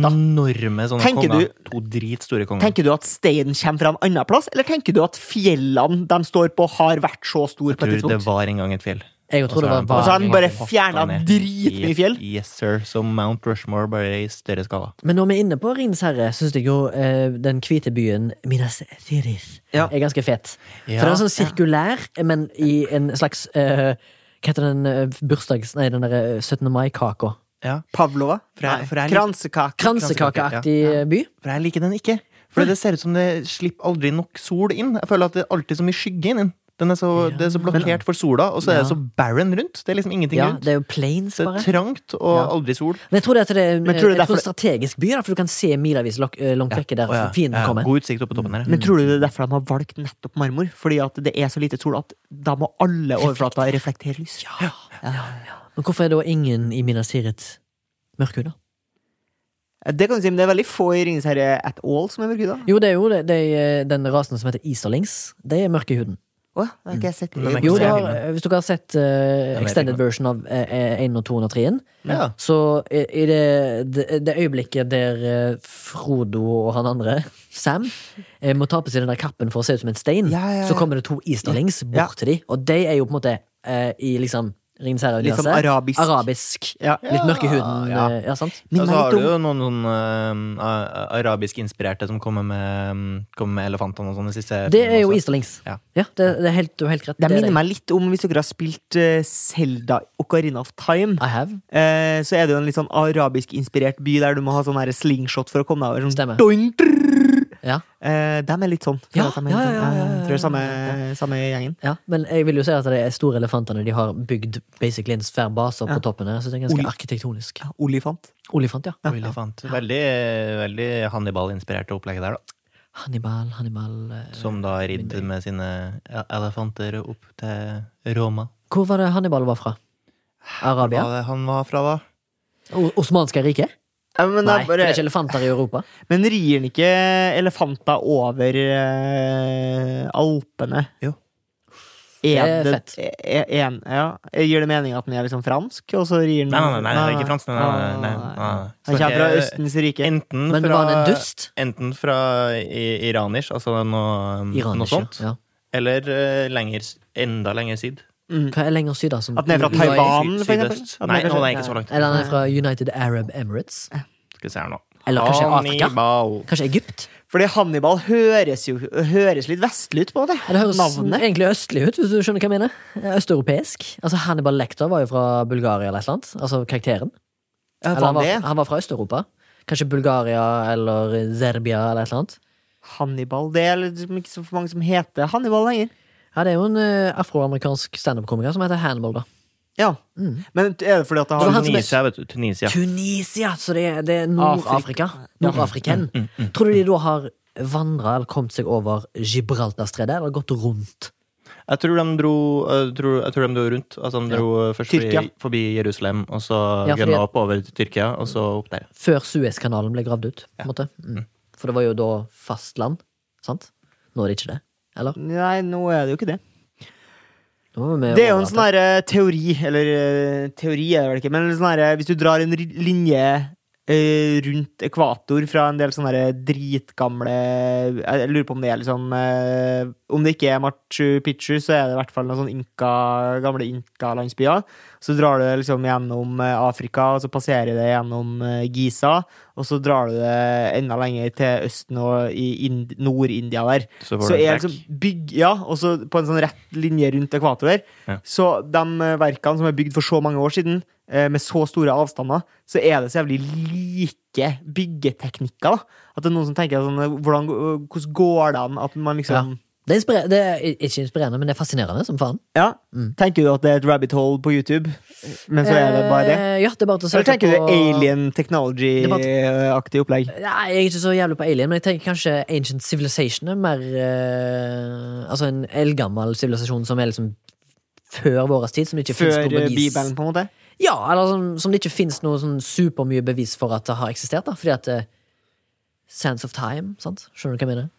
[SPEAKER 3] enorme sånne
[SPEAKER 2] Tenker
[SPEAKER 3] konger.
[SPEAKER 2] du-
[SPEAKER 3] To dritstore konger.
[SPEAKER 2] Tenker du at steinen kommer fra en annen plass Eller tenker du at fjellene De står på Har vært så store på et
[SPEAKER 3] Jeg tror det
[SPEAKER 2] tidspunkt
[SPEAKER 3] var en gang et fjell.
[SPEAKER 1] Jeg tror det var
[SPEAKER 2] Og så har de bare
[SPEAKER 1] vanlig.
[SPEAKER 2] fjernet dritmye fjell
[SPEAKER 3] Yes, sir. Som Mount Rushmore, bare i større skala.
[SPEAKER 1] Men når vi er inne på Ringens herre, syns jeg jo eh, den hvite byen Minas Tirith
[SPEAKER 2] Ja.
[SPEAKER 1] er ganske fet.
[SPEAKER 3] Ja,
[SPEAKER 1] For den er sånn sirkulær, men i en slags eh, Hva heter den eh, bursdags... Nei, den derre 17. mai-kaka.
[SPEAKER 3] Ja,
[SPEAKER 2] Pavlova
[SPEAKER 3] For jeg-
[SPEAKER 2] Nei,
[SPEAKER 3] for jeg liker-
[SPEAKER 2] Kransekake
[SPEAKER 1] Kransekakeaktig
[SPEAKER 3] ja.
[SPEAKER 1] by.
[SPEAKER 3] For jeg liker den ikke. For det ser ut som det slipper aldri nok sol inn. Jeg føler at det er alltid så mye skygge inn. Den er så,
[SPEAKER 1] Ja.
[SPEAKER 3] Det er så blokkert for sola, og så er det
[SPEAKER 1] Ja.
[SPEAKER 3] så barren rundt. Det er liksom ingenting
[SPEAKER 1] Ja,
[SPEAKER 3] rundt.
[SPEAKER 1] det er jo planes,
[SPEAKER 3] Så
[SPEAKER 1] bare.
[SPEAKER 3] det er trangt og
[SPEAKER 1] Ja.
[SPEAKER 3] aldri sol.
[SPEAKER 1] Men jeg tror det er, det er,
[SPEAKER 2] Men
[SPEAKER 1] jeg tror det
[SPEAKER 2] tror du det
[SPEAKER 1] er
[SPEAKER 2] er
[SPEAKER 1] en
[SPEAKER 2] derfor-
[SPEAKER 1] strategisk by, da, for du kan se milavis lok- eh, langt vekke der
[SPEAKER 3] Å, ja.
[SPEAKER 1] fienden
[SPEAKER 3] Ja,
[SPEAKER 1] kommer.
[SPEAKER 3] God utsikt oppe på toppen her.
[SPEAKER 2] Men tror du det er derfor de har valgt nettopp marmor? Fordi at det er så lite sol at da må alle overflater reflektere lys? Ja.
[SPEAKER 1] Men hvorfor er da ingen i Minas Tirith mørkhuda?
[SPEAKER 2] Det kan du si, men det er veldig få i Ringenes herre at all som er mørkhuda.
[SPEAKER 1] Jo, det er jo det, det er eh, den rasen som heter Easterlings. De er mørke i huden.
[SPEAKER 2] Å, det har ikke jeg sett.
[SPEAKER 3] Men Mm. det er ikke
[SPEAKER 1] Jo,
[SPEAKER 3] så
[SPEAKER 1] det har,
[SPEAKER 3] jævlig, men-
[SPEAKER 1] eh, hvis dere har sett eh,
[SPEAKER 3] vet
[SPEAKER 1] extended
[SPEAKER 3] ikke.
[SPEAKER 1] version av 1 og 2 og 3
[SPEAKER 3] Ja.
[SPEAKER 1] så i i det, det, det øyeblikket der eh, Frodo og han andre, Sam, eh, må ta på seg den der kappen for å se ut som en stein,
[SPEAKER 2] Ja, ja, ja.
[SPEAKER 1] så kommer det to easterlings bort
[SPEAKER 2] Ja.
[SPEAKER 1] til dem, og de er jo på en måte eh, i liksom Ringens
[SPEAKER 2] Litt
[SPEAKER 1] herre-universet.
[SPEAKER 2] sånn arabisk.
[SPEAKER 1] arabisk.
[SPEAKER 2] Ja.
[SPEAKER 1] Litt mørk i huden.
[SPEAKER 3] Ja.
[SPEAKER 1] eh, ja sant?
[SPEAKER 2] Minn
[SPEAKER 3] Og så
[SPEAKER 2] meg
[SPEAKER 3] Altså, har
[SPEAKER 2] litt
[SPEAKER 3] du
[SPEAKER 2] om
[SPEAKER 3] jo noen sånn eh, a- arabisk inspirerte som kommer med, kommer med elefantene og sånn de siste
[SPEAKER 1] Det er jo
[SPEAKER 3] filmene også.
[SPEAKER 1] easterlings.
[SPEAKER 3] Ja.
[SPEAKER 1] Ja, det, det er helt, du har helt rett.
[SPEAKER 2] Det
[SPEAKER 1] er
[SPEAKER 2] minner meg litt om hvis dere har spilt eh, Zelda Ocarina of Time.
[SPEAKER 1] I have.
[SPEAKER 2] Eh, så er det jo en litt sånn arabisk-inspirert by der du må ha sånn her slingshot for å komme deg over.
[SPEAKER 1] Stemmer.
[SPEAKER 2] Sånn doing, drrrr.
[SPEAKER 1] Ja.
[SPEAKER 2] eh, dem er litt sånn. føler
[SPEAKER 1] Ja,
[SPEAKER 2] at dem er
[SPEAKER 1] ja,
[SPEAKER 2] litt sånn,
[SPEAKER 1] ja, ja, ja,
[SPEAKER 2] eh, Tror det er samme, samme gjengen.
[SPEAKER 1] Ja, men jeg vil jo si at det er store elefantene de har bygd basically en svær base opp på toppen her. Så det er ganske
[SPEAKER 2] Oli-
[SPEAKER 1] arkitektonisk.
[SPEAKER 2] Olifant.
[SPEAKER 1] Olifant, ja.
[SPEAKER 3] Oi, elefant. Veldig, veldig Hannibal-inspirerte opplegget der, da.
[SPEAKER 1] Hannibal, Hannibal eh,
[SPEAKER 3] Som da ridder med sine el- elefanter opp til Roma.
[SPEAKER 1] Hvor var det Hannibal var fra?
[SPEAKER 3] Hva
[SPEAKER 1] Arabia?
[SPEAKER 3] var det han var fra, da?
[SPEAKER 1] O Osmanske riket?
[SPEAKER 2] Ja, Eh, men,
[SPEAKER 1] Nei,
[SPEAKER 2] Nei,
[SPEAKER 1] for det
[SPEAKER 2] bare,
[SPEAKER 1] er ikke elefanter i Europa.
[SPEAKER 2] men rir den ikke elefanter over eh, Alpene?
[SPEAKER 3] Jo.
[SPEAKER 1] Det
[SPEAKER 2] Er
[SPEAKER 1] er
[SPEAKER 2] det, er- er- en, ja. Gir det mening at den er liksom fransk, og så rir den
[SPEAKER 3] Nei, nei, nei, nei, ikke fransk. Nei, nei, nei, nei, nei.
[SPEAKER 2] Han kommer fra
[SPEAKER 3] Snakker-
[SPEAKER 2] Østens rike.
[SPEAKER 3] Enten
[SPEAKER 1] Men
[SPEAKER 3] fra,
[SPEAKER 1] var han en dust?
[SPEAKER 3] Enten fra i- iranisk, altså noe, noe
[SPEAKER 1] Iranisk,
[SPEAKER 3] sånt,
[SPEAKER 1] ja.
[SPEAKER 3] eller eh, lenger, s- enda lenger syd.
[SPEAKER 2] Mm.
[SPEAKER 1] Hva er lenger syd, da? som-
[SPEAKER 2] At den er fra
[SPEAKER 1] Dubai?
[SPEAKER 2] Taiwan?
[SPEAKER 3] Syd-
[SPEAKER 2] for eksempel?
[SPEAKER 3] Sydøst.
[SPEAKER 2] At den er
[SPEAKER 3] Nei, nå
[SPEAKER 2] kanskje-
[SPEAKER 3] er jeg ikke så langt.
[SPEAKER 1] Eller han er fra United Arab Emirates?
[SPEAKER 3] Skal vi se her nå.
[SPEAKER 1] Eller kanskje Afrika?
[SPEAKER 3] Hannibal.
[SPEAKER 1] Kanskje Egypt?
[SPEAKER 2] Fordi Hannibal høres jo høres litt vestlig ut på det.
[SPEAKER 1] Ja, Det høres
[SPEAKER 2] Navnet.
[SPEAKER 1] egentlig østlig ut, hvis du skjønner hva jeg mener. Eh, Østeuropeisk. Altså Hannibal Lecter var jo fra Bulgaria eller et eller annet. Altså karakteren.
[SPEAKER 2] Ja,
[SPEAKER 1] Eller han,
[SPEAKER 2] faen,
[SPEAKER 1] var,
[SPEAKER 2] det.
[SPEAKER 1] han var fra Øst-Europa. Kanskje Bulgaria eller Serbia eller et eller annet.
[SPEAKER 2] Hannibal. Det er liksom ikke så mange som heter Hannibal lenger.
[SPEAKER 1] Ja, Det er jo en eh, afroamerikansk standup-komiker som heter Hannibal, da.
[SPEAKER 2] Ja. Men er det fordi at det
[SPEAKER 1] Mm. Så
[SPEAKER 2] har
[SPEAKER 1] han som er-
[SPEAKER 3] Tunisia, vet du. Tunisia.
[SPEAKER 1] Tunisia! Så det er, det er Nord-Afrika. Nordafriken.
[SPEAKER 2] Mm,
[SPEAKER 1] Tror du de da har vandra eller kommet seg over Gibraltarstredet, eller gått rundt?
[SPEAKER 3] Jeg tror de dro, jeg tror, jeg tror de dro rundt. Altså, de dro eh, først
[SPEAKER 2] Tyrkia.
[SPEAKER 3] forbi, forbi Jerusalem, og så
[SPEAKER 1] Ja,
[SPEAKER 3] ja,
[SPEAKER 1] fordi-
[SPEAKER 3] opp over til Tyrkia, og så opp der.
[SPEAKER 1] Før Suezkanalen ble gravd ut, på en måte. Mm. For det var jo da fastland, sant? Nå er det ikke det. Eller?
[SPEAKER 2] Nei, nå er det jo ikke det.
[SPEAKER 1] Nå var vi
[SPEAKER 2] Det er jo en
[SPEAKER 1] overalt.
[SPEAKER 2] sånn her eh, teori, eller eh, teori er det vel ikke, men en sånn her, eh, hvis du drar en ri- linje eh, rundt ekvator fra en del sånne her eh, dritgamle Jeg jeg lurer på om det er liksom eh, Om det ikke er Machu Picchu, så er det i hvert fall noen sånne inka, gamle inkalandsbyer. Så drar du liksom gjennom eh, Afrika, og så passerer det gjennom eh, Giza, og så drar du det enda lenger til Østen og i Ind- Nord-India der.
[SPEAKER 3] Så får
[SPEAKER 2] Så
[SPEAKER 3] du en
[SPEAKER 2] er
[SPEAKER 3] trekk.
[SPEAKER 2] liksom bygg, ja, og så på en sånn rett linje rundt ekvator der.
[SPEAKER 3] Ja.
[SPEAKER 2] Så de eh, verkene som er bygd for så mange år siden, eh, med så store avstander, så er det så jævlig like byggeteknikker, da. At det er noen som tenker sånn eh, hvordan, Hvordan går det an at man
[SPEAKER 1] Ja.
[SPEAKER 2] liksom
[SPEAKER 1] Det er, inspire- det er i- ikke inspirerende, men det er fascinerende som faen.
[SPEAKER 2] Ja.
[SPEAKER 1] Mm.
[SPEAKER 2] Tenker du at det er et rabbit hole på YouTube, men så er det bare det?
[SPEAKER 1] Eh, Ja, det er bare til å
[SPEAKER 2] Eller
[SPEAKER 1] søke
[SPEAKER 2] tenker du
[SPEAKER 1] på-
[SPEAKER 2] alien technology-aktig opplegg?
[SPEAKER 1] Nei, jeg er ikke så jævlig på alien, men jeg tenker kanskje ancient civilization er mer eh, Altså en eldgammel sivilisasjon som er liksom før vår tid, som det ikke
[SPEAKER 2] Før
[SPEAKER 1] finnes noe
[SPEAKER 2] eh,
[SPEAKER 1] bevis
[SPEAKER 2] Bibelen, på en måte?
[SPEAKER 1] Ja, eller som, som det ikke finnes noe sånn supermye bevis for at det har eksistert. da Fordi at eh, Sands of time, sant? Skjønner du hva jeg mener?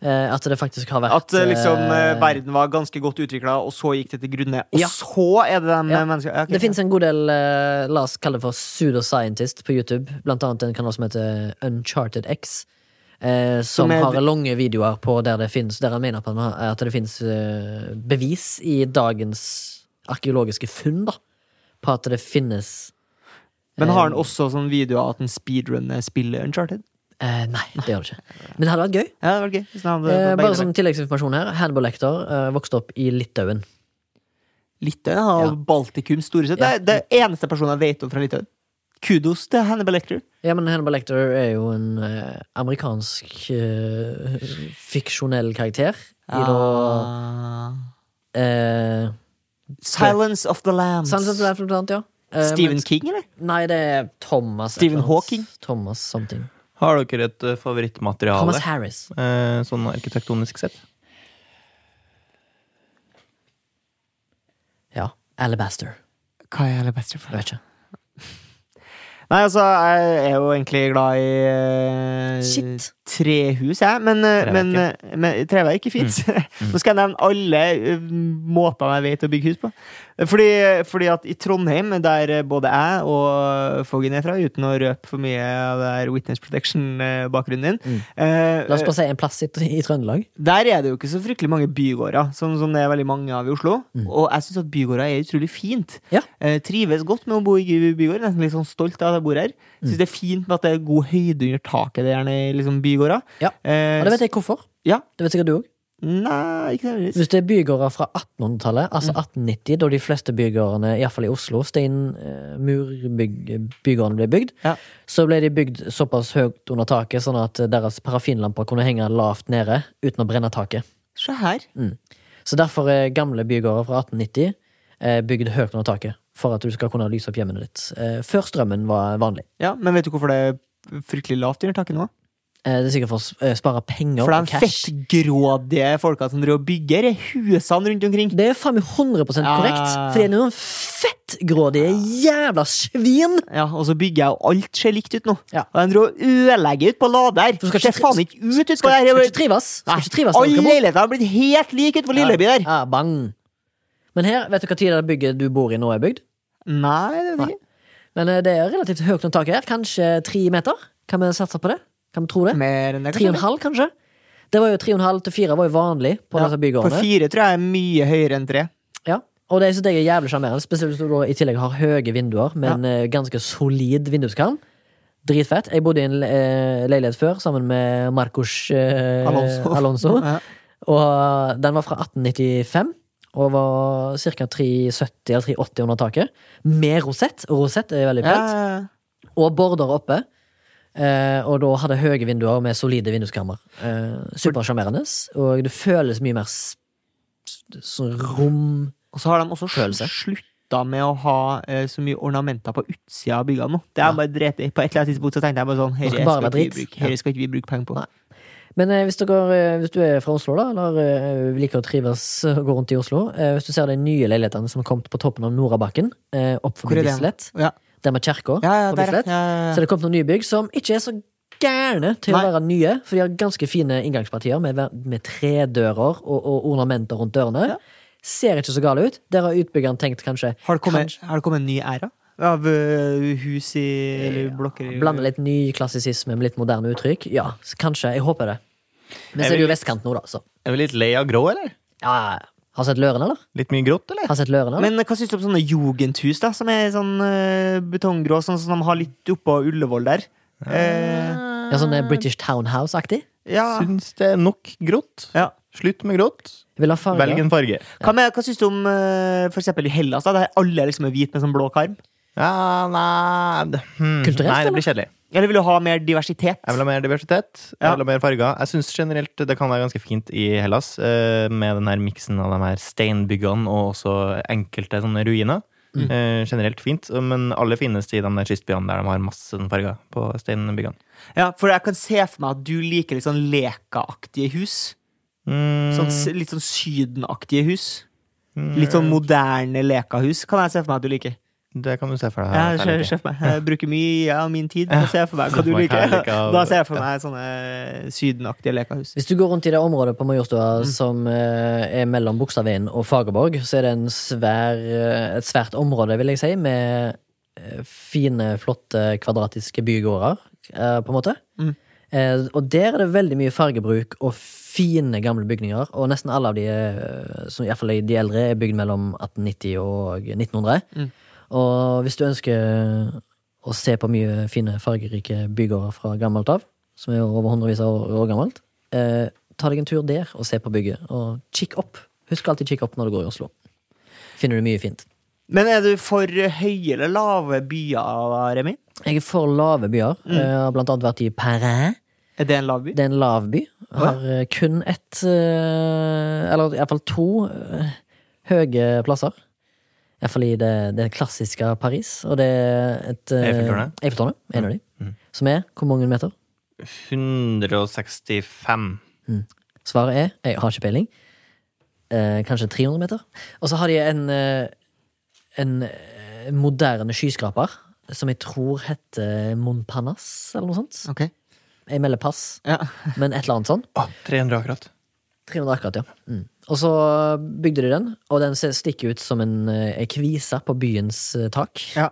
[SPEAKER 1] Eh, at det faktisk har vært
[SPEAKER 2] At eh, liksom eh,
[SPEAKER 1] eh,
[SPEAKER 2] verden var ganske godt utvikla, og så gikk det til grunne. Og
[SPEAKER 1] Ja.
[SPEAKER 2] så er det de
[SPEAKER 1] Ja.
[SPEAKER 2] menneskene ja, ok.
[SPEAKER 1] Det finnes en god del, eh, la oss kalle det for pseudoscientist på YouTube. Blant annet en kanal som heter Uncharted X. Eh, som
[SPEAKER 2] Som er-
[SPEAKER 1] har lange videoer på der det finnes Der han mener på at det finnes eh, bevis i dagens arkeologiske funn da på at det finnes
[SPEAKER 2] Men har han også sånn videoer at han speedrunner spillet Uncharted?
[SPEAKER 1] eh, Nei, det gjør det ikke. Men det hadde vært gøy.
[SPEAKER 2] Ja, det var gøy. Hvis han hadde
[SPEAKER 1] Eh,
[SPEAKER 2] begge
[SPEAKER 1] bare
[SPEAKER 2] deler.
[SPEAKER 1] som tilleggsinformasjon her. Hannibal Lecter eh, vokste opp i Litauen.
[SPEAKER 2] Litauen har
[SPEAKER 1] Ja.
[SPEAKER 2] Baltikum store sett.
[SPEAKER 1] Ja.
[SPEAKER 2] Det er det eneste personen jeg vet om fra Litauen. Kudos til Hannibal Lecter.
[SPEAKER 1] Ja, men Hannibal Lecter er jo en eh, Ah.
[SPEAKER 2] Ah.
[SPEAKER 1] amerikansk eh, fiksjonell karakter i da eh,
[SPEAKER 2] Silence of the Lambs.
[SPEAKER 1] Sons of the Lambs, blant annet, ja. Eh,
[SPEAKER 2] Stephen
[SPEAKER 1] mens-
[SPEAKER 2] King, eller?
[SPEAKER 1] Nei, det er Thomas. et
[SPEAKER 2] Stephen
[SPEAKER 1] eller annet.
[SPEAKER 2] Hawking?
[SPEAKER 1] Thomas something.
[SPEAKER 3] Har dere et eh,
[SPEAKER 1] Thomas
[SPEAKER 3] favorittmateriale
[SPEAKER 1] Harris.
[SPEAKER 3] eh, sånn arkitektonisk sett?
[SPEAKER 1] Ja. Alabaster.
[SPEAKER 2] Hva er jeg aller best
[SPEAKER 1] Jeg
[SPEAKER 2] for?
[SPEAKER 1] vet ikke.
[SPEAKER 2] Nei, altså, jeg er jo egentlig glad i eh,
[SPEAKER 1] Shit.
[SPEAKER 2] trehus, jeg. Men, eh, men,
[SPEAKER 3] Treverket.
[SPEAKER 2] eh, men treverk er fint.
[SPEAKER 1] Mm.
[SPEAKER 2] Nå skal jeg nevne alle eh, måter jeg vet å bygge hus på. Fordi, fordi at i Trondheim, der eh, både jeg og Foggen er fra, uten å røpe for mye av det her witness protection-bakgrunnen din eh,
[SPEAKER 1] Mm. La oss bare si en plass i, i Trøndelag.
[SPEAKER 2] Der er det jo ikke så fryktelig mange bygårder, sånn som det er veldig mange av i Oslo. Og jeg syns at bygårder er utrolig fint.
[SPEAKER 1] Mm. Ja.
[SPEAKER 2] Eh, trives godt med å bo i bygård. Nesten litt sånn stolt av at jeg bor her.
[SPEAKER 1] Mm.
[SPEAKER 2] Syns det er fint med at det er god høyde under taket. Det er gjerne i liksom bygårder.
[SPEAKER 1] Ja.
[SPEAKER 2] Eh,
[SPEAKER 1] Og det vet jeg hvorfor.
[SPEAKER 2] Ja.
[SPEAKER 1] Det vet sikkert du òg.
[SPEAKER 2] Nei, ikke nødvendigvis.
[SPEAKER 1] Hvis det er bygårder fra 1800-tallet, altså
[SPEAKER 2] Mm.
[SPEAKER 1] 1890, da de fleste bygårdene, iallfall i Oslo, eh, steinmurbygårdene ble bygd,
[SPEAKER 2] Ja.
[SPEAKER 1] så ble de bygd såpass høyt under taket sånn at deres parafinlamper kunne henge lavt nede uten å brenne taket.
[SPEAKER 2] Se her.
[SPEAKER 1] Så derfor er gamle bygårder fra 1890 eh, bygd høyt under taket. For at du skal kunne lyse opp hjemmene ditt. Eh, Før strømmen var vanlig.
[SPEAKER 2] Ja, men vet du hvorfor det er fryktelig lavt under taket nå?
[SPEAKER 1] Eh, Det er sikkert for å s- eh, spare penger
[SPEAKER 2] For
[SPEAKER 1] og
[SPEAKER 2] de
[SPEAKER 1] cash.
[SPEAKER 2] fettgrådige folka som driver og bygger husene rundt omkring.
[SPEAKER 1] Det er faen meg 100 korrekt.
[SPEAKER 2] Ja.
[SPEAKER 1] For det er noen fettgrådige jævla svin!
[SPEAKER 2] Ja, Og så bygger jeg, og alt ser likt ut nå.
[SPEAKER 1] Ja.
[SPEAKER 2] Og de driver og ødelegger utpå Lader.
[SPEAKER 1] Du skal ikke
[SPEAKER 2] Det ser
[SPEAKER 1] tri-
[SPEAKER 2] faen ikke ut utpå
[SPEAKER 1] Skal,
[SPEAKER 2] der.
[SPEAKER 1] skal ikke trives. Skal
[SPEAKER 2] Nei,
[SPEAKER 1] ikke trives når du
[SPEAKER 2] Alle
[SPEAKER 1] skal bo.
[SPEAKER 2] leiligheter har blitt helt like utenfor Lilleby der.
[SPEAKER 1] Ja, bang. Men her, vet du hva tid det bygget du bor i nå er bygd?
[SPEAKER 2] Nei, det vet jeg ikke.
[SPEAKER 1] Men eh, det er relativt høyt under taket her. Kanskje tre meter? Kan vi satse på det? Kan vi tro det?
[SPEAKER 2] Mer enn det,
[SPEAKER 1] Tre og en
[SPEAKER 2] kanskje.
[SPEAKER 1] halv, kanskje? Det var jo tre og en halv til fire var jo vanlig på disse
[SPEAKER 2] For
[SPEAKER 1] bygårdene.
[SPEAKER 2] fire tror jeg er mye høyere enn tre.
[SPEAKER 1] Ja. Og det synes jeg er jævlig sjarmerende, spesielt hvis du da i tillegg har høye vinduer med en eh, ganske solid vinduskarm. Dritfett. Jeg bodde i en eh, leilighet før sammen med Marcos eh,
[SPEAKER 2] Alonso.
[SPEAKER 1] Alonso.
[SPEAKER 2] Ja.
[SPEAKER 1] Og eh, den var fra 1895 og var ca. 370 eller 380 under taket. Med rosett. og Rosett er veldig
[SPEAKER 2] Ja,
[SPEAKER 1] pent. Og border oppe. Eh, og da hadde høye vinduer med solide vinduskammer. Eh, Supersjarmerende. Og det føles mye mer s- s- sånn rom
[SPEAKER 2] Og så har de også
[SPEAKER 1] Følelse.
[SPEAKER 2] slutta med å ha eh, så mye ornamenter på utsida av byggene nå. Det
[SPEAKER 1] Ja.
[SPEAKER 2] er bare drete i. På et eller annet tidspunkt så tenkte jeg bare sånn
[SPEAKER 1] Det
[SPEAKER 2] Herre
[SPEAKER 1] skal bare
[SPEAKER 2] skal,
[SPEAKER 1] være
[SPEAKER 2] ikke vi
[SPEAKER 1] dritt.
[SPEAKER 2] bruke- herre skal ikke vi bruke penger på.
[SPEAKER 1] Nei. Men eh, hvis, dere, eh, hvis du er fra Oslo, da, eller eh, liker å trives og gå rundt i Oslo eh, Hvis du ser de nye leilighetene som har kommet på toppen av Norabakken, eh, opp
[SPEAKER 2] Hvor
[SPEAKER 1] forbi
[SPEAKER 2] er det?
[SPEAKER 1] Bislett,
[SPEAKER 2] Ja,
[SPEAKER 1] der med kirka
[SPEAKER 2] ja, ja
[SPEAKER 1] på
[SPEAKER 2] der, ja.
[SPEAKER 1] Bislett
[SPEAKER 2] ja. ja,
[SPEAKER 1] Så det er kommet noen nye bygg som ikke er så gærne til
[SPEAKER 2] Nei.
[SPEAKER 1] å være nye, for de har ganske fine inngangspartier med, med tredører og, og ornamenter rundt dørene.
[SPEAKER 2] Ja.
[SPEAKER 1] Ser ikke så gale ut. Der har utbyggeren tenkt kanskje
[SPEAKER 2] ja. Har det kommet,
[SPEAKER 1] kanskje-
[SPEAKER 2] har det kommet en ny æra? Av eh, hus i eller blokker i
[SPEAKER 1] Blande litt ny klassisisme med litt moderne uttrykk. Ja, så kanskje. Jeg håper det. Men så er det jo vestkant nå, da. Så.
[SPEAKER 3] Er vi litt lei av grå, eller?
[SPEAKER 1] Ja, ja, ja. har sett Løren, eller?
[SPEAKER 3] Litt mye grått, eller?
[SPEAKER 1] Har sett Løren, eller?
[SPEAKER 2] Men hva syns du om sånne jugendhus, da? Som er sånn eh, betonggrå, sånn som de har litt oppå Ullevål der. Eh,
[SPEAKER 1] ja, sånn eh, British Townhouse-aktig.
[SPEAKER 2] ja.
[SPEAKER 3] Syns det er nok grått.
[SPEAKER 2] ja.
[SPEAKER 3] Slutt med grått.
[SPEAKER 1] Jeg Vil ha farge.
[SPEAKER 3] Velg en farge.
[SPEAKER 2] Hva, med, hva syns du om eh, for eksempel i Hellas, da, der alle liksom er hvite med sånn blå karm?
[SPEAKER 3] Ja, nei det- hmm.
[SPEAKER 1] Kulturelt,
[SPEAKER 3] Nei, det blir kjedelig.
[SPEAKER 2] Eller vil du ha mer diversitet?
[SPEAKER 3] Jeg vil ha mer diversitet.
[SPEAKER 2] Ja.
[SPEAKER 3] Jeg vil ha mer farger. Jeg syns generelt det kan være ganske fint i Hellas, eh, med den her miksen av de her steinbyggene og også enkelte sånne ruiner.
[SPEAKER 2] Mm.
[SPEAKER 3] Eh, generelt fint, men aller finest i de der kystbyene der de har masse sånne farger på steinbyggene.
[SPEAKER 2] Ja, for jeg kan se for meg at du liker litt sånn lekaaktige hus.
[SPEAKER 3] Mm,
[SPEAKER 2] Sånn, s- litt sånn sydenaktige hus. Litt sånn moderne lekahus kan jeg se for meg at du liker.
[SPEAKER 3] det kan du se for deg.
[SPEAKER 2] Ja,
[SPEAKER 3] at
[SPEAKER 2] jeg,
[SPEAKER 3] jeg
[SPEAKER 2] ser
[SPEAKER 3] liker.
[SPEAKER 2] for meg. jeg bruker mye av min tid på å se for meg hva du
[SPEAKER 3] Hva jeg
[SPEAKER 2] liker.
[SPEAKER 3] liker av-
[SPEAKER 2] Da ser jeg for meg sånne sydenaktige lekahus.
[SPEAKER 1] Hvis du går rundt i det området på Majorstua som eh, er mellom Bogstadveien og Fagerborg, så er det en svær, eh, et svært område, vil jeg si, med eh, fine, flotte, kvadratiske bygårder, eh, på en måte.
[SPEAKER 2] Mm.
[SPEAKER 1] Eh, og der er det veldig mye fargebruk og fine, gamle bygninger, og nesten alle av de, eh, som i hvert fall de eldre, er bygd mellom 1890 og 1900.
[SPEAKER 2] Mm.
[SPEAKER 1] Og hvis du ønsker å se på mye fine, fargerike bygårder fra gammelt av, som er over hundrevis av år, år gammelt, eh, ta deg en tur der og se på bygget. Og kikk opp. Husk alltid kikk opp når du går i Oslo. Finner du mye fint.
[SPEAKER 2] Men er du for høye eller lave byer, da, Remi?
[SPEAKER 1] Jeg er for lave byer. Eh, har blant annet vært i Perrin.
[SPEAKER 2] Er det en lav by?
[SPEAKER 1] Det er en lav by. Har eh, kun ett eh, Eller iallfall to eh, Høye plasser. Iallfall i det, det klassiske Paris. Og det er et eh,
[SPEAKER 3] Eiffeltårnet.
[SPEAKER 1] Eiffeltårnet, en av de.
[SPEAKER 3] Mm.
[SPEAKER 1] Som er hvor mange meter?
[SPEAKER 3] 165.
[SPEAKER 1] Svaret er Jeg har ikke peiling. Eh, kanskje 300 meter. Og så har de en, eh, en eh, moderne skyskraper som jeg tror heter Montparnasse, eller noe sånt.
[SPEAKER 2] Ok.
[SPEAKER 1] Jeg melder pass,
[SPEAKER 2] Ja.
[SPEAKER 1] men et eller annet sånn.
[SPEAKER 3] Å, 300 akkurat.
[SPEAKER 1] 300 akkurat, ja. Mm. Og så bygde de den, og den ser- stikker ut som en eh, kvise på byens eh, tak.
[SPEAKER 2] ja.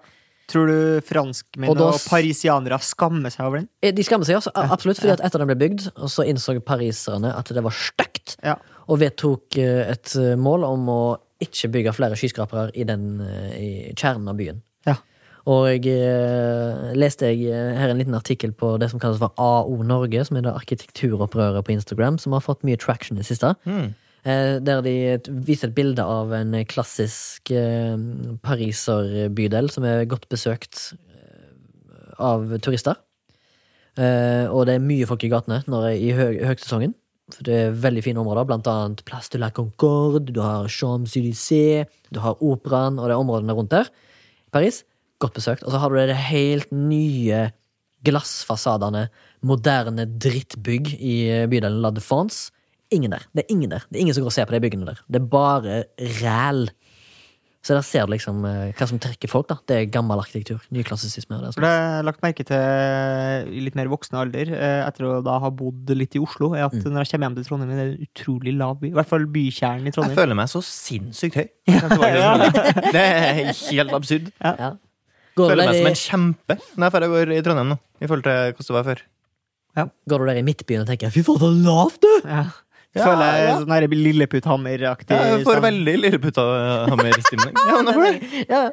[SPEAKER 2] Tror du franskmenn
[SPEAKER 1] Og
[SPEAKER 2] og,
[SPEAKER 1] da
[SPEAKER 2] og
[SPEAKER 1] s-
[SPEAKER 2] parisianere skammer seg over den?
[SPEAKER 1] Eh, De skammer seg, altså, a- absolutt, fordi at etter den ble bygd, og så innså pariserne at det var stygt,
[SPEAKER 2] Ja.
[SPEAKER 1] og vedtok eh, et eh, mål om å ikke bygge flere skyskrapere i, den, eh, i kjernen av byen.
[SPEAKER 2] Ja.
[SPEAKER 1] Og eh, leste jeg eh, her en liten artikkel på det som kalles for AO Norge, som er det arkitekturopprøret på Instagram, som har fått mye traction i det siste.
[SPEAKER 3] Mm.
[SPEAKER 1] Eh, Der de t- viser et bilde av en klassisk eh, pariserbydel som er godt besøkt eh, av turister. Eh, og det er mye folk i gatene når, i hø høgsesongen. For det er veldig fine områder, blant annet Place de la Concorde, du har Champs-Élysées, du har Operaen og det er områdene rundt der. Paris, godt besøkt. Og så har du det helt nye glassfasadene, moderne drittbygg i bydelen La Défense. Ingen der. Det er ingen der. Det er ingen som går og ser på de byggene der. Det er bare ræl. Så der ser du liksom eh, hva som trekker folk. da. Det er gammel arkitektur. Nyklassisisme. og det sånn.
[SPEAKER 2] For det har jeg lagt merke til i litt mer voksen alder, eh, etter å da ha bodd litt i Oslo, er at
[SPEAKER 3] Mm.
[SPEAKER 2] når jeg kommer hjem til Trondheim, er det en utrolig lav by. I hvert fall bykjernen i
[SPEAKER 3] Jeg
[SPEAKER 2] Trondheim.
[SPEAKER 3] føler meg så sinnssykt høy. Det er helt absurd.
[SPEAKER 1] Går du,
[SPEAKER 3] Føler meg som
[SPEAKER 1] der
[SPEAKER 3] en
[SPEAKER 1] i,
[SPEAKER 3] kjempe når jeg drar går i Trondheim nå. I forhold til hvordan det var før.
[SPEAKER 1] går du der i midtbyen og tenker 'fy faen, så lavt', du?
[SPEAKER 2] Ja.
[SPEAKER 3] Ja,
[SPEAKER 2] Føler jeg
[SPEAKER 3] ja.
[SPEAKER 2] sånn her Lilleputthammer-aktig. sånn.
[SPEAKER 3] Jeg får
[SPEAKER 2] stemning.
[SPEAKER 3] veldig lilleputtahammer-stemning. Ja, men det får det.
[SPEAKER 1] Ja.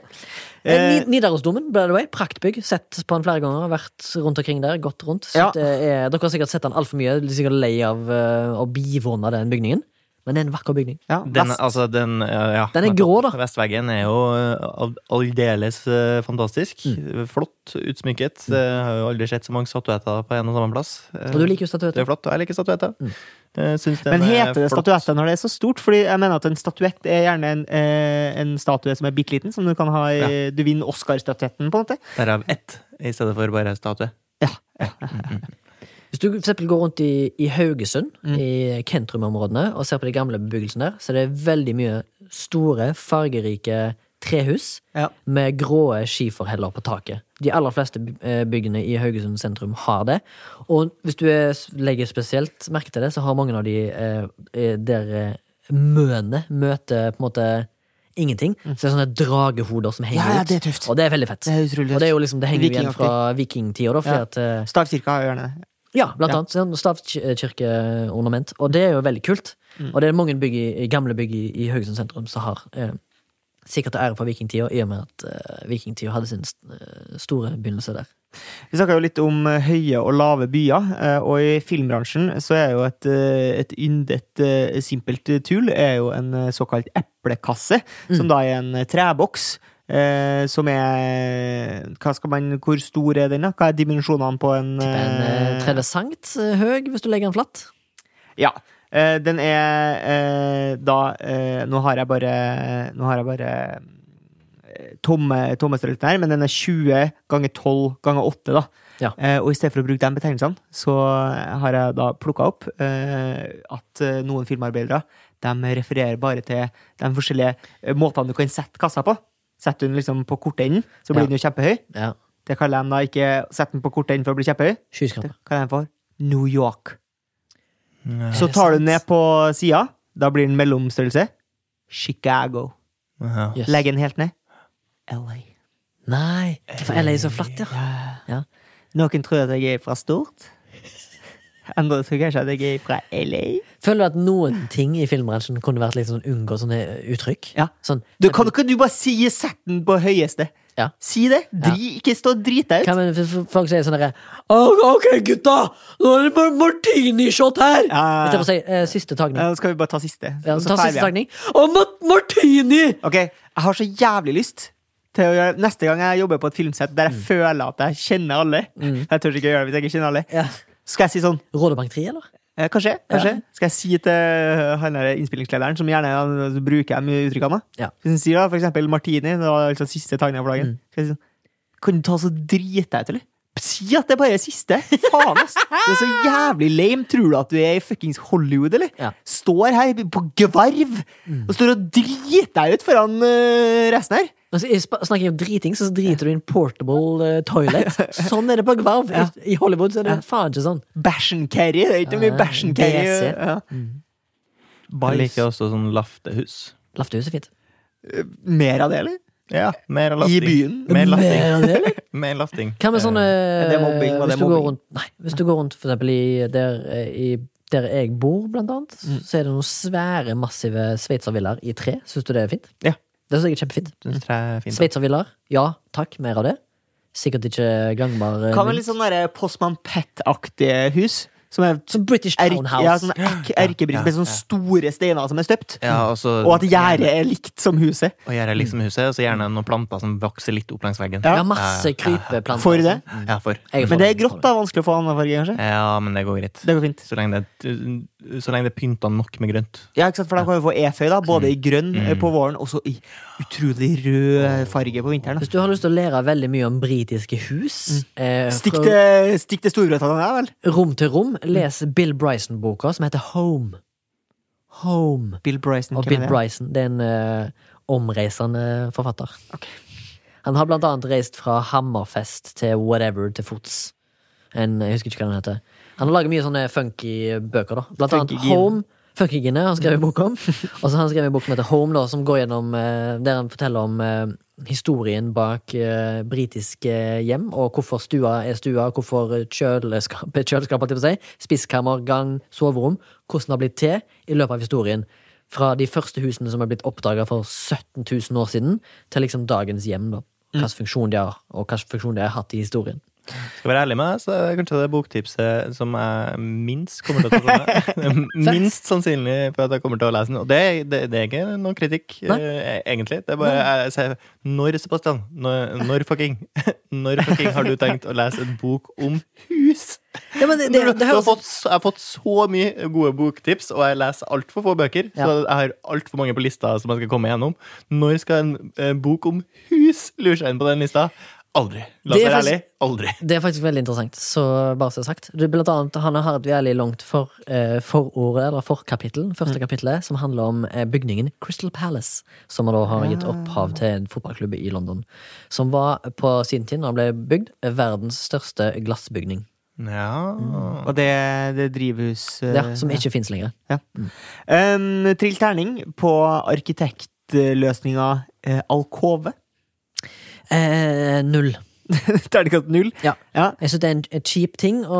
[SPEAKER 2] Eh,
[SPEAKER 1] Ni- Nidarosdomen, by the way. Praktbygg. Sett på den flere ganger. Vært rundt omkring der. Gått rundt. Så
[SPEAKER 2] Ja.
[SPEAKER 1] det er, dere har sikkert sett den altfor mye. Dere er sikkert lei av eh, å bivåne den bygningen. Men det er en vakker bygning.
[SPEAKER 2] Ja,
[SPEAKER 3] Den,
[SPEAKER 2] vest.
[SPEAKER 3] altså, den, ja,
[SPEAKER 1] Den er grå, da.
[SPEAKER 3] Vestveggen er jo eh, al- aldeles eh, fantastisk.
[SPEAKER 1] Mm.
[SPEAKER 3] Flott utsmykket. Jeg har jo aldri sett så mange statuetter på en og samme plass. Eh,
[SPEAKER 1] Og Mm. du liker Mm. jo
[SPEAKER 3] Det
[SPEAKER 1] statuetter.
[SPEAKER 3] er flott, og jeg liker statuetter. Jeg synes den
[SPEAKER 2] Men
[SPEAKER 3] er
[SPEAKER 2] heter det
[SPEAKER 3] flott.
[SPEAKER 2] statuette når det er så stort? Fordi jeg mener at en statuett er gjerne en, eh, en statue som er bitte liten, som du kan ha i, Du vinner Oscar-statuetten, på en måte.
[SPEAKER 3] Derav ett, i stedet for bare statue.
[SPEAKER 1] Hvis du for eksempel går rundt i, i Haugesund, i Kentrum-områdene, og ser på de gamle bebyggelsene der, så er det veldig mye store, fargerike trehus
[SPEAKER 2] Ja.
[SPEAKER 1] med gråe skiferheller på taket. De aller fleste by- eh, byggene i Haugesund sentrum har det. Og hvis du er, legger spesielt merke til det, så har mange av de eh, eh, der eh, møene møter på en måte ingenting. Så det er sånne dragehoder som henger
[SPEAKER 2] Mm. Ja, ja,
[SPEAKER 1] ut.
[SPEAKER 2] det er tøft.
[SPEAKER 1] Og det er veldig fett.
[SPEAKER 2] Det er utrolig
[SPEAKER 1] og det er jo liksom, det henger jo igjen
[SPEAKER 2] Vikingaktig.
[SPEAKER 1] fra vikingtida, da, fordi
[SPEAKER 2] Ja.
[SPEAKER 1] at eh,
[SPEAKER 2] Stavkirka har jo gjerne det.
[SPEAKER 1] ja, blant
[SPEAKER 2] Ja.
[SPEAKER 1] annet. Sånn Stavkirkeornament. Og det er jo veldig kult. Og det er mange bygg i, i gamle bygg i, i Haugesund sentrum som har eh, Sikkert til ære for vikingtida, i og med at eh, vikingtida hadde sin eh, store begynnelse der.
[SPEAKER 2] Vi snakka jo litt om eh, høye og lave byer, eh, og i filmbransjen så er jo et, eh, et yndet, eh, simpelt eh, tul er jo en eh, såkalt eplekasse, som da er en eh, treboks. eh, som er hva skal man, Hvor stor er den? da? Hva er dimensjonene på en
[SPEAKER 1] Tipper en eh,
[SPEAKER 2] eh,
[SPEAKER 1] 30 sankt eh, høg, hvis du legger den flatt.
[SPEAKER 2] Ja. eh, den er eh, da eh, Nå har jeg bare Nå har jeg bare eh, tomme, tomme størrelsen her, men den er 20 ganger 12 ganger 8, da.
[SPEAKER 1] Ja.
[SPEAKER 2] Eh, og i stedet for å bruke de betegnelsene, så har jeg da plukka opp eh, at eh, noen filmarbeidere de refererer bare til de forskjellige eh, måtene du kan sette kassa på. Setter du den liksom på korte enden, så blir
[SPEAKER 1] Ja.
[SPEAKER 2] den jo kjempehøy.
[SPEAKER 1] Ja.
[SPEAKER 2] Det kaller de da ikke sette den på korte enden for å bli kjempehøy. Det
[SPEAKER 1] Skyskraper.
[SPEAKER 2] kaller de for New York.
[SPEAKER 3] Ja.
[SPEAKER 2] Så tar du den ned på sida. Da blir den mellomstørrelse. Chicago.
[SPEAKER 3] Ja.
[SPEAKER 1] Yes.
[SPEAKER 2] Legg den helt ned. LA.
[SPEAKER 1] Nei, for LA er så flatt, ja. ja.
[SPEAKER 2] Noen tror at jeg er fra stort. Andre tror kanskje at jeg er fra LA.
[SPEAKER 1] Føler du at noen ting i filmbransjen kunne vært litt sånn unngå sånne uttrykk?
[SPEAKER 2] Ja.
[SPEAKER 1] Sånn,
[SPEAKER 2] Du kan ikke du bare si sett den på høyeste.
[SPEAKER 1] Ja.
[SPEAKER 2] Si det. Dri, ikke stå og drit deg ut.
[SPEAKER 1] Hva med hvis folk sier sånn derre Ok, gutta! Nå er det bare martinishot her!
[SPEAKER 2] Ja, ja, ja.
[SPEAKER 1] Istedenfor å si eh, siste tagning.
[SPEAKER 2] Ja, Nå skal vi bare ta siste.
[SPEAKER 1] Ja,
[SPEAKER 2] og så
[SPEAKER 1] ta
[SPEAKER 2] fer vi
[SPEAKER 1] siste
[SPEAKER 2] hjem.
[SPEAKER 1] tagning. Å, ma- martini!
[SPEAKER 2] Ok, Jeg har så jævlig lyst til å gjøre Neste gang jeg jobber på et filmsett
[SPEAKER 1] Mm.
[SPEAKER 2] der jeg føler at jeg kjenner alle Jeg tør ikke gjøre det hvis jeg ikke kjenner alle.
[SPEAKER 1] Ja.
[SPEAKER 2] Skal jeg si sånn
[SPEAKER 1] Rådebank 3, eller?
[SPEAKER 2] Eh, Kanskje. kanskje. Skal jeg si til eh, han der innspillingslederen, som gjerne han, bruker de uttrykkene
[SPEAKER 1] Ja. Mm.
[SPEAKER 2] Hvis han sier da, for eksempel Martini, det var altså siste tagninga for dagen Skal jeg si sånn Kan du ta så drite deg ut, eller? Si at det bare er siste! Faen, ass! Det er så jævlig lame. Tror du at du er i fuckings Hollywood, eller?
[SPEAKER 1] Ja. Mm.
[SPEAKER 2] Står her på gvarv og står og driter deg ut foran eh, resten her.
[SPEAKER 1] Altså, jeg sp- snakker jeg om driting, så driter du i en portable eh, toilet. Sånn er det på Gvarv. I Hollywood så er det faen ikke sånn.
[SPEAKER 2] Bæsjen carry. Det er ikke mye
[SPEAKER 1] Ja,
[SPEAKER 2] bæsjen carry.
[SPEAKER 1] BC.
[SPEAKER 2] Ja.
[SPEAKER 3] Jeg
[SPEAKER 2] Bæsj.
[SPEAKER 3] liker også sånn laftehus.
[SPEAKER 1] Laftehus er fint.
[SPEAKER 2] Mer av det, eller?
[SPEAKER 3] Ja, mer
[SPEAKER 2] I
[SPEAKER 3] lafting.
[SPEAKER 2] byen.
[SPEAKER 3] Mer lafting.
[SPEAKER 1] Men, eller?
[SPEAKER 3] Mer Eh, lafting.
[SPEAKER 1] Hva med sånne
[SPEAKER 2] Eh, er det mobbing? Var
[SPEAKER 1] hvis
[SPEAKER 2] det
[SPEAKER 1] du går
[SPEAKER 2] mobbing?
[SPEAKER 1] rundt, Nei, hvis du går rundt for eksempel i der, eh, i der jeg bor, blant annet,
[SPEAKER 2] Mm.
[SPEAKER 1] så er det noen svære, massive sveitservillaer i tre. Syns du det er fint?
[SPEAKER 3] Ja.
[SPEAKER 1] Det syns jeg er kjempefint.
[SPEAKER 3] Synes tre er fint. da.
[SPEAKER 1] Sveitservillaer, ja takk, mer av det. Sikkert ikke gangbar eh,
[SPEAKER 2] Hva
[SPEAKER 1] mynt.
[SPEAKER 2] med litt sånn derre Postman Pet-aktige hus? Som er
[SPEAKER 1] Som British
[SPEAKER 2] erk,
[SPEAKER 1] Townhouse.
[SPEAKER 2] ja, sånn erk, erkebrikker med
[SPEAKER 3] ja,
[SPEAKER 2] sånne store steiner som er støpt.
[SPEAKER 3] Ja, altså, og så
[SPEAKER 2] Og at gjerdet er likt som huset.
[SPEAKER 3] Og gjerdet er liksom huset, og så gjerne noen planter som vokser litt opp langs veggen.
[SPEAKER 1] Ja, masse krypeplanter. sånn.
[SPEAKER 2] For det?
[SPEAKER 3] Ja, for.
[SPEAKER 1] Jeg
[SPEAKER 2] Men det er
[SPEAKER 1] for-
[SPEAKER 2] grått, da. Vanskelig å få annen farge, kanskje?
[SPEAKER 3] Ja, men det går
[SPEAKER 2] Det
[SPEAKER 3] greit.
[SPEAKER 2] går fint.
[SPEAKER 3] Så lenge det, er- så lenge det er pynta nok med grønt.
[SPEAKER 2] Ja, ikke sant? For da kan vi få eføy, da. Både i grønn
[SPEAKER 1] Mm.
[SPEAKER 2] eh, på våren, og så i utrolig rød farge på vinteren.
[SPEAKER 1] Hvis
[SPEAKER 2] da.
[SPEAKER 1] du har lyst til å lære veldig mye om britiske hus, eh,
[SPEAKER 2] Mm. Stikk
[SPEAKER 1] fra
[SPEAKER 2] til, stikk til Storbritannia, vel.
[SPEAKER 1] rom til rom, les Bill Bryson-boka som heter Home. Home.
[SPEAKER 2] Bill Bryson.
[SPEAKER 1] Og Bill
[SPEAKER 2] hvem er det?
[SPEAKER 1] Bryson, det er en eh, omreisende forfatter. Han har blant annet reist fra Hammerfest til whatever til fots. En, jeg husker ikke hva den heter. Han har laget mye sånne funky bøker, da. Blant
[SPEAKER 2] Funky
[SPEAKER 1] annet
[SPEAKER 2] Gine.
[SPEAKER 1] Home. Funky Gine har han skrevet bok om. Og så har han skrevet en bok som heter Home, da, som går gjennom eh, der han forteller om eh, historien bak eh, britiske hjem, og hvorfor stua er stua, hvorfor kjøleskap, kjøleskap holdt jeg på å si, spiskammer, gang, soverom, hvordan det har blitt til i løpet av historien. Fra de første husene som er blitt oppdaga for 17 000 år siden, til liksom dagens hjem. da. Hvilken funksjon de har, og hvilken funksjon de har hatt i historien.
[SPEAKER 3] Skal jeg være ærlig med deg, så er kanskje det boktipset som jeg minst kommer til å komme med. Minst sannsynlig for at jeg kommer til å lese den. Og det, det, det er ikke noen kritikk,
[SPEAKER 1] Nei.
[SPEAKER 3] eh, egentlig. Det er bare jeg sier Når, Sebastian? Når, når fucking? Når fucking har du tenkt å lese en bok om hus?
[SPEAKER 1] Ja, men det, det,
[SPEAKER 3] Når
[SPEAKER 1] det
[SPEAKER 3] du har
[SPEAKER 1] høres
[SPEAKER 3] fått, så- jeg har fått så mye gode boktips, og jeg leser altfor få bøker. Så jeg har altfor mange på lista som jeg skal komme gjennom. Når skal en eh, bok om hus lure seg inn på den lista? Aldri. La oss
[SPEAKER 1] Det er
[SPEAKER 3] være
[SPEAKER 1] faktisk-
[SPEAKER 3] ærlig. Aldri.
[SPEAKER 1] Det er faktisk veldig interessant, så bare så det er sagt. Det er blant annet Hanne har et veldig langt for, eh, forordet, eller forkapittel, første kapittelet, som handler om eh, bygningen Crystal Palace, som man da har gitt opphav til en fotballklubb i London. Som var på sin tid, når den ble bygd, eh, verdens største glassbygning.
[SPEAKER 3] Ja.
[SPEAKER 2] Og det, det drivhus... eh,
[SPEAKER 1] Ja, som Mm. ikke fins lenger.
[SPEAKER 2] Ja. Um, trill terning på arkitektløsninga eh, Alkove.
[SPEAKER 1] Eh, null.
[SPEAKER 2] Terningkast null.
[SPEAKER 1] Ja.
[SPEAKER 2] Ja.
[SPEAKER 1] Jeg syns det er en en kjip ting å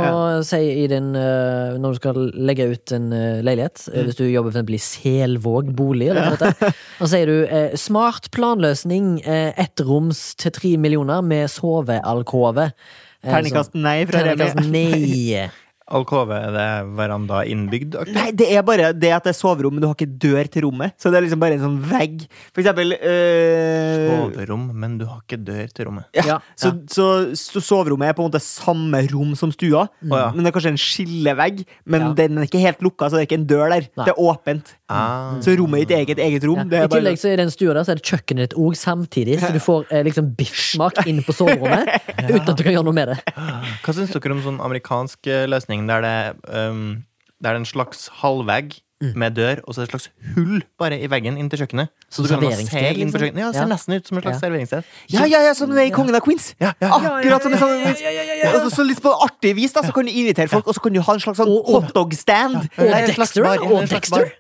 [SPEAKER 1] si i din, eh, når du skal legge ut en eh, leilighet,
[SPEAKER 2] Mm.
[SPEAKER 1] eh, hvis du jobber for eksempel i Selvåg bolig, eller hva det heter. Da sier du eh, 'smart planløsning, eh, ettroms til tre millioner med sovealkove'. Eh,
[SPEAKER 2] Terningkast nei
[SPEAKER 1] sånn-
[SPEAKER 2] fra
[SPEAKER 1] Terningkast
[SPEAKER 2] Remi.
[SPEAKER 1] nei.
[SPEAKER 3] Alkove, er det veranda innbygd?
[SPEAKER 2] Nei, det er bare det at det er soverom, men du har ikke dør til rommet. Så det er liksom bare en sånn vegg. For eksempel eh,
[SPEAKER 3] Overrom, men du har ikke dør til rommet.
[SPEAKER 2] ja.
[SPEAKER 1] Ja,
[SPEAKER 2] Så, så, så soverommet er på en måte samme rom som stua,
[SPEAKER 3] Mm. ja.
[SPEAKER 2] men det er kanskje en skillevegg. Men
[SPEAKER 1] Ja.
[SPEAKER 2] den er ikke helt lukka, så det er ikke en dør der.
[SPEAKER 1] Nei.
[SPEAKER 2] Det er åpent.
[SPEAKER 3] Ah.
[SPEAKER 2] Så rommet er ditt eget eget rom.
[SPEAKER 1] Ja.
[SPEAKER 2] Det
[SPEAKER 1] I
[SPEAKER 2] er bare
[SPEAKER 1] tillegg så er det en stue der, så er det kjøkkenet ditt òg samtidig, så du får eh, liksom biffsmak inn på soverommet uten at du kan gjøre noe med det.
[SPEAKER 3] Hva syns dere om sånn amerikansk eh, løsning der det, ehm, der det er en slags halvvegg
[SPEAKER 1] Mm.
[SPEAKER 3] med dør, og så er det et slags hull bare i veggen inn til kjøkkenet?
[SPEAKER 1] Som
[SPEAKER 3] Så du kan bare
[SPEAKER 1] serveringssted,
[SPEAKER 3] se inn
[SPEAKER 1] liksom?
[SPEAKER 3] på kjøkkenet. Ja, det
[SPEAKER 1] Ja.
[SPEAKER 3] ser nesten ut som et slags
[SPEAKER 1] Ja.
[SPEAKER 3] serveringssted.
[SPEAKER 2] Ja, ja, ja, som det er i Kongen av Queens. Akkurat som en sånn Og så litt på artig vis, da, så kan du invitere folk, og så kan du ha en slags sånn
[SPEAKER 1] Og- og-
[SPEAKER 2] hotdog-stand.
[SPEAKER 1] Og
[SPEAKER 3] Det er en slags
[SPEAKER 1] Dexter.
[SPEAKER 3] bar,
[SPEAKER 1] Og
[SPEAKER 3] en slags
[SPEAKER 1] Dexter.
[SPEAKER 3] bar.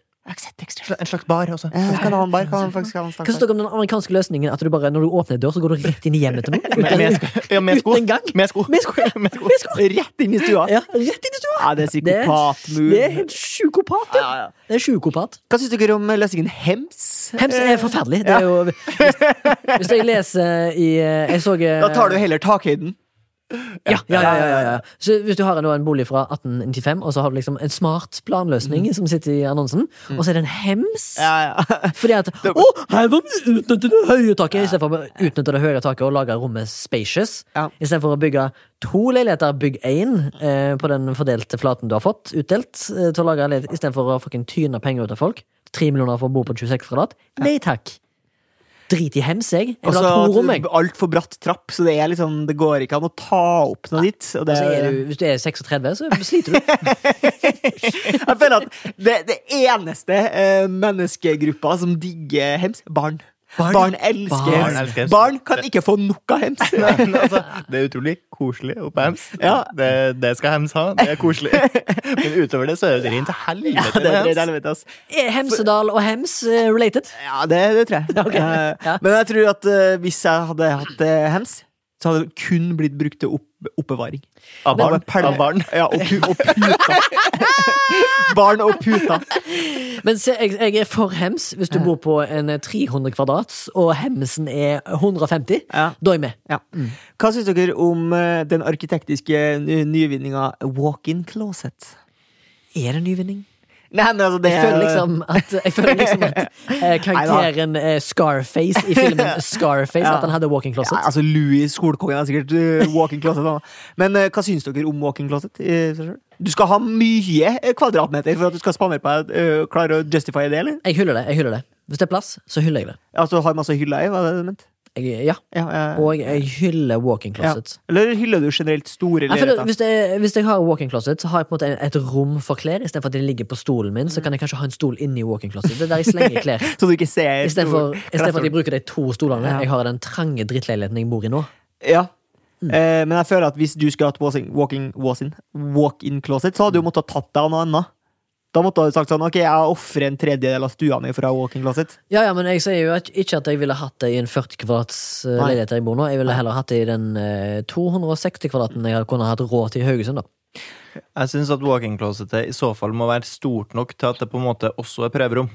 [SPEAKER 3] En slags bar også.
[SPEAKER 2] Eh, Kan han bare, kan han faktisk ha en
[SPEAKER 1] Hva
[SPEAKER 2] slags
[SPEAKER 1] syns dere om den amerikanske løsningen at du bare, når du åpner en dør, så går du rett inn i hjemmet til noen?
[SPEAKER 3] Med, med, sko. ja, med sko.
[SPEAKER 1] Uten gang.
[SPEAKER 3] Med sko.
[SPEAKER 1] Med sko, ja.
[SPEAKER 3] Med sko.
[SPEAKER 1] Med sko.
[SPEAKER 2] Rett inn i stua.
[SPEAKER 1] Ja, rett inn i stua!
[SPEAKER 2] Ja, det er
[SPEAKER 1] Det er, det er
[SPEAKER 2] psykopatmove.
[SPEAKER 1] helt psykopat, ja.
[SPEAKER 2] Ja, ja.
[SPEAKER 1] Det er psykopat.
[SPEAKER 2] Hva syns dere om eh, løsningen hems?
[SPEAKER 1] Hems er forferdelig. Det er jo, hvis, hvis jeg leser i eh, Jeg så eh,
[SPEAKER 2] Da tar du heller takhøyden.
[SPEAKER 1] Ja, ja, ja, ja, ja, ja. Så hvis du har en, en bolig fra 1895, og så har du liksom en smart planløsning som sitter i annonsen, og så er det en hems
[SPEAKER 2] Mm. Ja, ja.
[SPEAKER 1] fordi at Å, her må vi utnytte det høye taket! Istedenfor å utnytte det høye taket og lage rommet spacious.
[SPEAKER 2] Ja.
[SPEAKER 1] Istedenfor å bygge to leiligheter, bygg én eh, på den fordelte flaten du har fått utdelt. Eh, til å lage leilighet- Istedenfor å fucking tyne penger ut av folk. Tre millioner for å bo på 26 kvadrat. Nei takk! Drit i hems, jeg. Jeg vil
[SPEAKER 2] Altså,
[SPEAKER 1] ha to rom, jeg.
[SPEAKER 2] altfor bratt trapp, så det, er liksom, det går ikke an å ta opp noe dit. Og det,
[SPEAKER 1] Altså, er du, hvis du er 36, så sliter du.
[SPEAKER 2] jeg føler at det, det eneste eh, menneskegruppa som digger hems, barn.
[SPEAKER 1] Barn.
[SPEAKER 2] Barn, elsker
[SPEAKER 1] Barn
[SPEAKER 2] hems.
[SPEAKER 3] elsker hems.
[SPEAKER 2] Barn kan ikke få nok av hems.
[SPEAKER 3] Nei, men altså, det er utrolig koselig oppe på Hems.
[SPEAKER 2] Ja.
[SPEAKER 3] Det, det skal Hems ha. Det er koselig. Men utover det så er det rent til
[SPEAKER 2] Ja,
[SPEAKER 3] helvete
[SPEAKER 2] det,
[SPEAKER 3] med
[SPEAKER 2] det,
[SPEAKER 3] Hems.
[SPEAKER 2] det, det,
[SPEAKER 1] Er Hemsedal og hems eh, related?
[SPEAKER 2] Ja, det, det tror jeg. Eh,
[SPEAKER 1] Ja.
[SPEAKER 2] Men jeg tror at eh, hvis jeg hadde hatt eh, hems, så hadde det kun blitt brukt til opp oppbevaring.
[SPEAKER 3] Av barn.
[SPEAKER 2] Det var perle-
[SPEAKER 3] Av barn.
[SPEAKER 2] Ja, og, pu og puta. Barn og puta.
[SPEAKER 1] Men se, jeg, jeg er for hems hvis du bor på en eh, 300 kvadrats, og hemsen er 150.
[SPEAKER 2] Ja.
[SPEAKER 1] Da er jeg med.
[SPEAKER 2] Ja. Hva syns dere om eh, den arktektiske ny- nyvinninga walk-in closet?
[SPEAKER 1] Er det nyvinning?
[SPEAKER 2] Nei, men altså, det
[SPEAKER 1] Jeg føler liksom at, jeg føler liksom at eh, karakteren eh, Scarface i filmen Scarface
[SPEAKER 2] Ja.
[SPEAKER 1] At han hadde walking
[SPEAKER 2] ja,
[SPEAKER 1] closet.
[SPEAKER 2] altså Louis Solkongen er sikkert eh, walk-in closet. da. Men eh, hva syns dere om walk-in closet? i seg selv? Du skal ha mye eh, kvadratmeter for at du skal spandere på deg eh, Klarer å justify det, eller?
[SPEAKER 1] Jeg hyller det. jeg hyller det Hvis det er plass, så hyller jeg det.
[SPEAKER 2] Altså har masse hyller i, var det det du mente?
[SPEAKER 1] Jeg, ja.
[SPEAKER 2] Ja, eh,
[SPEAKER 1] Og jeg hyller walking
[SPEAKER 2] ja.
[SPEAKER 1] closet.
[SPEAKER 2] Eller hyller du generelt store
[SPEAKER 1] Jeg føler, at
[SPEAKER 2] leiligheter?
[SPEAKER 1] hvis, jeg, hvis jeg har walking closet, så har jeg på en måte et rom for klær. Istedenfor at de ligger på stolen
[SPEAKER 2] Mm.
[SPEAKER 1] min, så kan jeg kanskje ha en stol inni walking closet. Det er der jeg slenger klær.
[SPEAKER 2] Så du ikke ser
[SPEAKER 1] Istedenfor
[SPEAKER 2] stor-
[SPEAKER 1] istedenfor at de bruker de to stolene
[SPEAKER 2] Ja.
[SPEAKER 1] jeg har i den trange drittleiligheten jeg bor i nå.
[SPEAKER 2] Ja.
[SPEAKER 1] Mm.
[SPEAKER 2] Eh, men jeg føler at hvis du skulle hatt walking, walking, walk-in walk-in closet, så hadde
[SPEAKER 1] Mm.
[SPEAKER 2] du måttet tatt deg av noe annet. Da måtte du sagt sånn Ok, jeg ofrer en tredjedel av stua mi for å ha walk-in closet.
[SPEAKER 1] Ja, ja, men jeg sier jo at, ikke at jeg ville hatt det i en 40 kvadrats eh,
[SPEAKER 2] Nei.
[SPEAKER 1] leilighet jeg bor nå. Jeg ville heller hatt det i den eh, 260 kvadraten jeg kunne hatt råd til i Haugesund, da.
[SPEAKER 3] Jeg syns at walk-in-closetet i så fall må være stort nok til at det på en måte også er prøverom.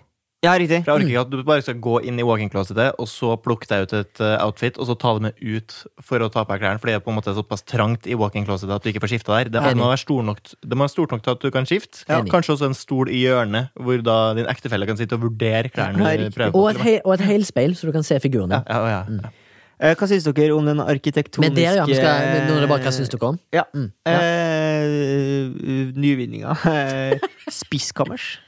[SPEAKER 2] Ja, riktig.
[SPEAKER 3] For Jeg orker ikke at du bare skal gå inn i walk-in-closetet, og så plukke deg ut et eh, outfit, og så ta det med ut for å ta på deg klærne, fordi det er på en måte såpass trangt i walk-in-closetet at du ikke får skifta der. Det,
[SPEAKER 1] Enig.
[SPEAKER 3] må være stor nok, det må være stort nok til at du kan skifte.
[SPEAKER 1] Enig.
[SPEAKER 3] Kanskje også en stol i hjørnet, hvor da din ektefelle kan sitte og vurdere klærne
[SPEAKER 2] Ja,
[SPEAKER 3] du
[SPEAKER 2] riktig.
[SPEAKER 3] prøver
[SPEAKER 1] Og
[SPEAKER 3] på.
[SPEAKER 1] et,
[SPEAKER 3] til og med.
[SPEAKER 1] hei, og et heilspeil, så du kan se figurene.
[SPEAKER 3] Ja, ja, ja, ja.
[SPEAKER 2] Eh, hva syns dere om den
[SPEAKER 1] Men
[SPEAKER 2] arkitektoniske
[SPEAKER 1] det, ja. vi Skal, men nå er det bare hva syns dere om?
[SPEAKER 2] Ja.
[SPEAKER 1] Mm, ja.
[SPEAKER 2] Eh, nyvinninga. Eh, Spiskammers.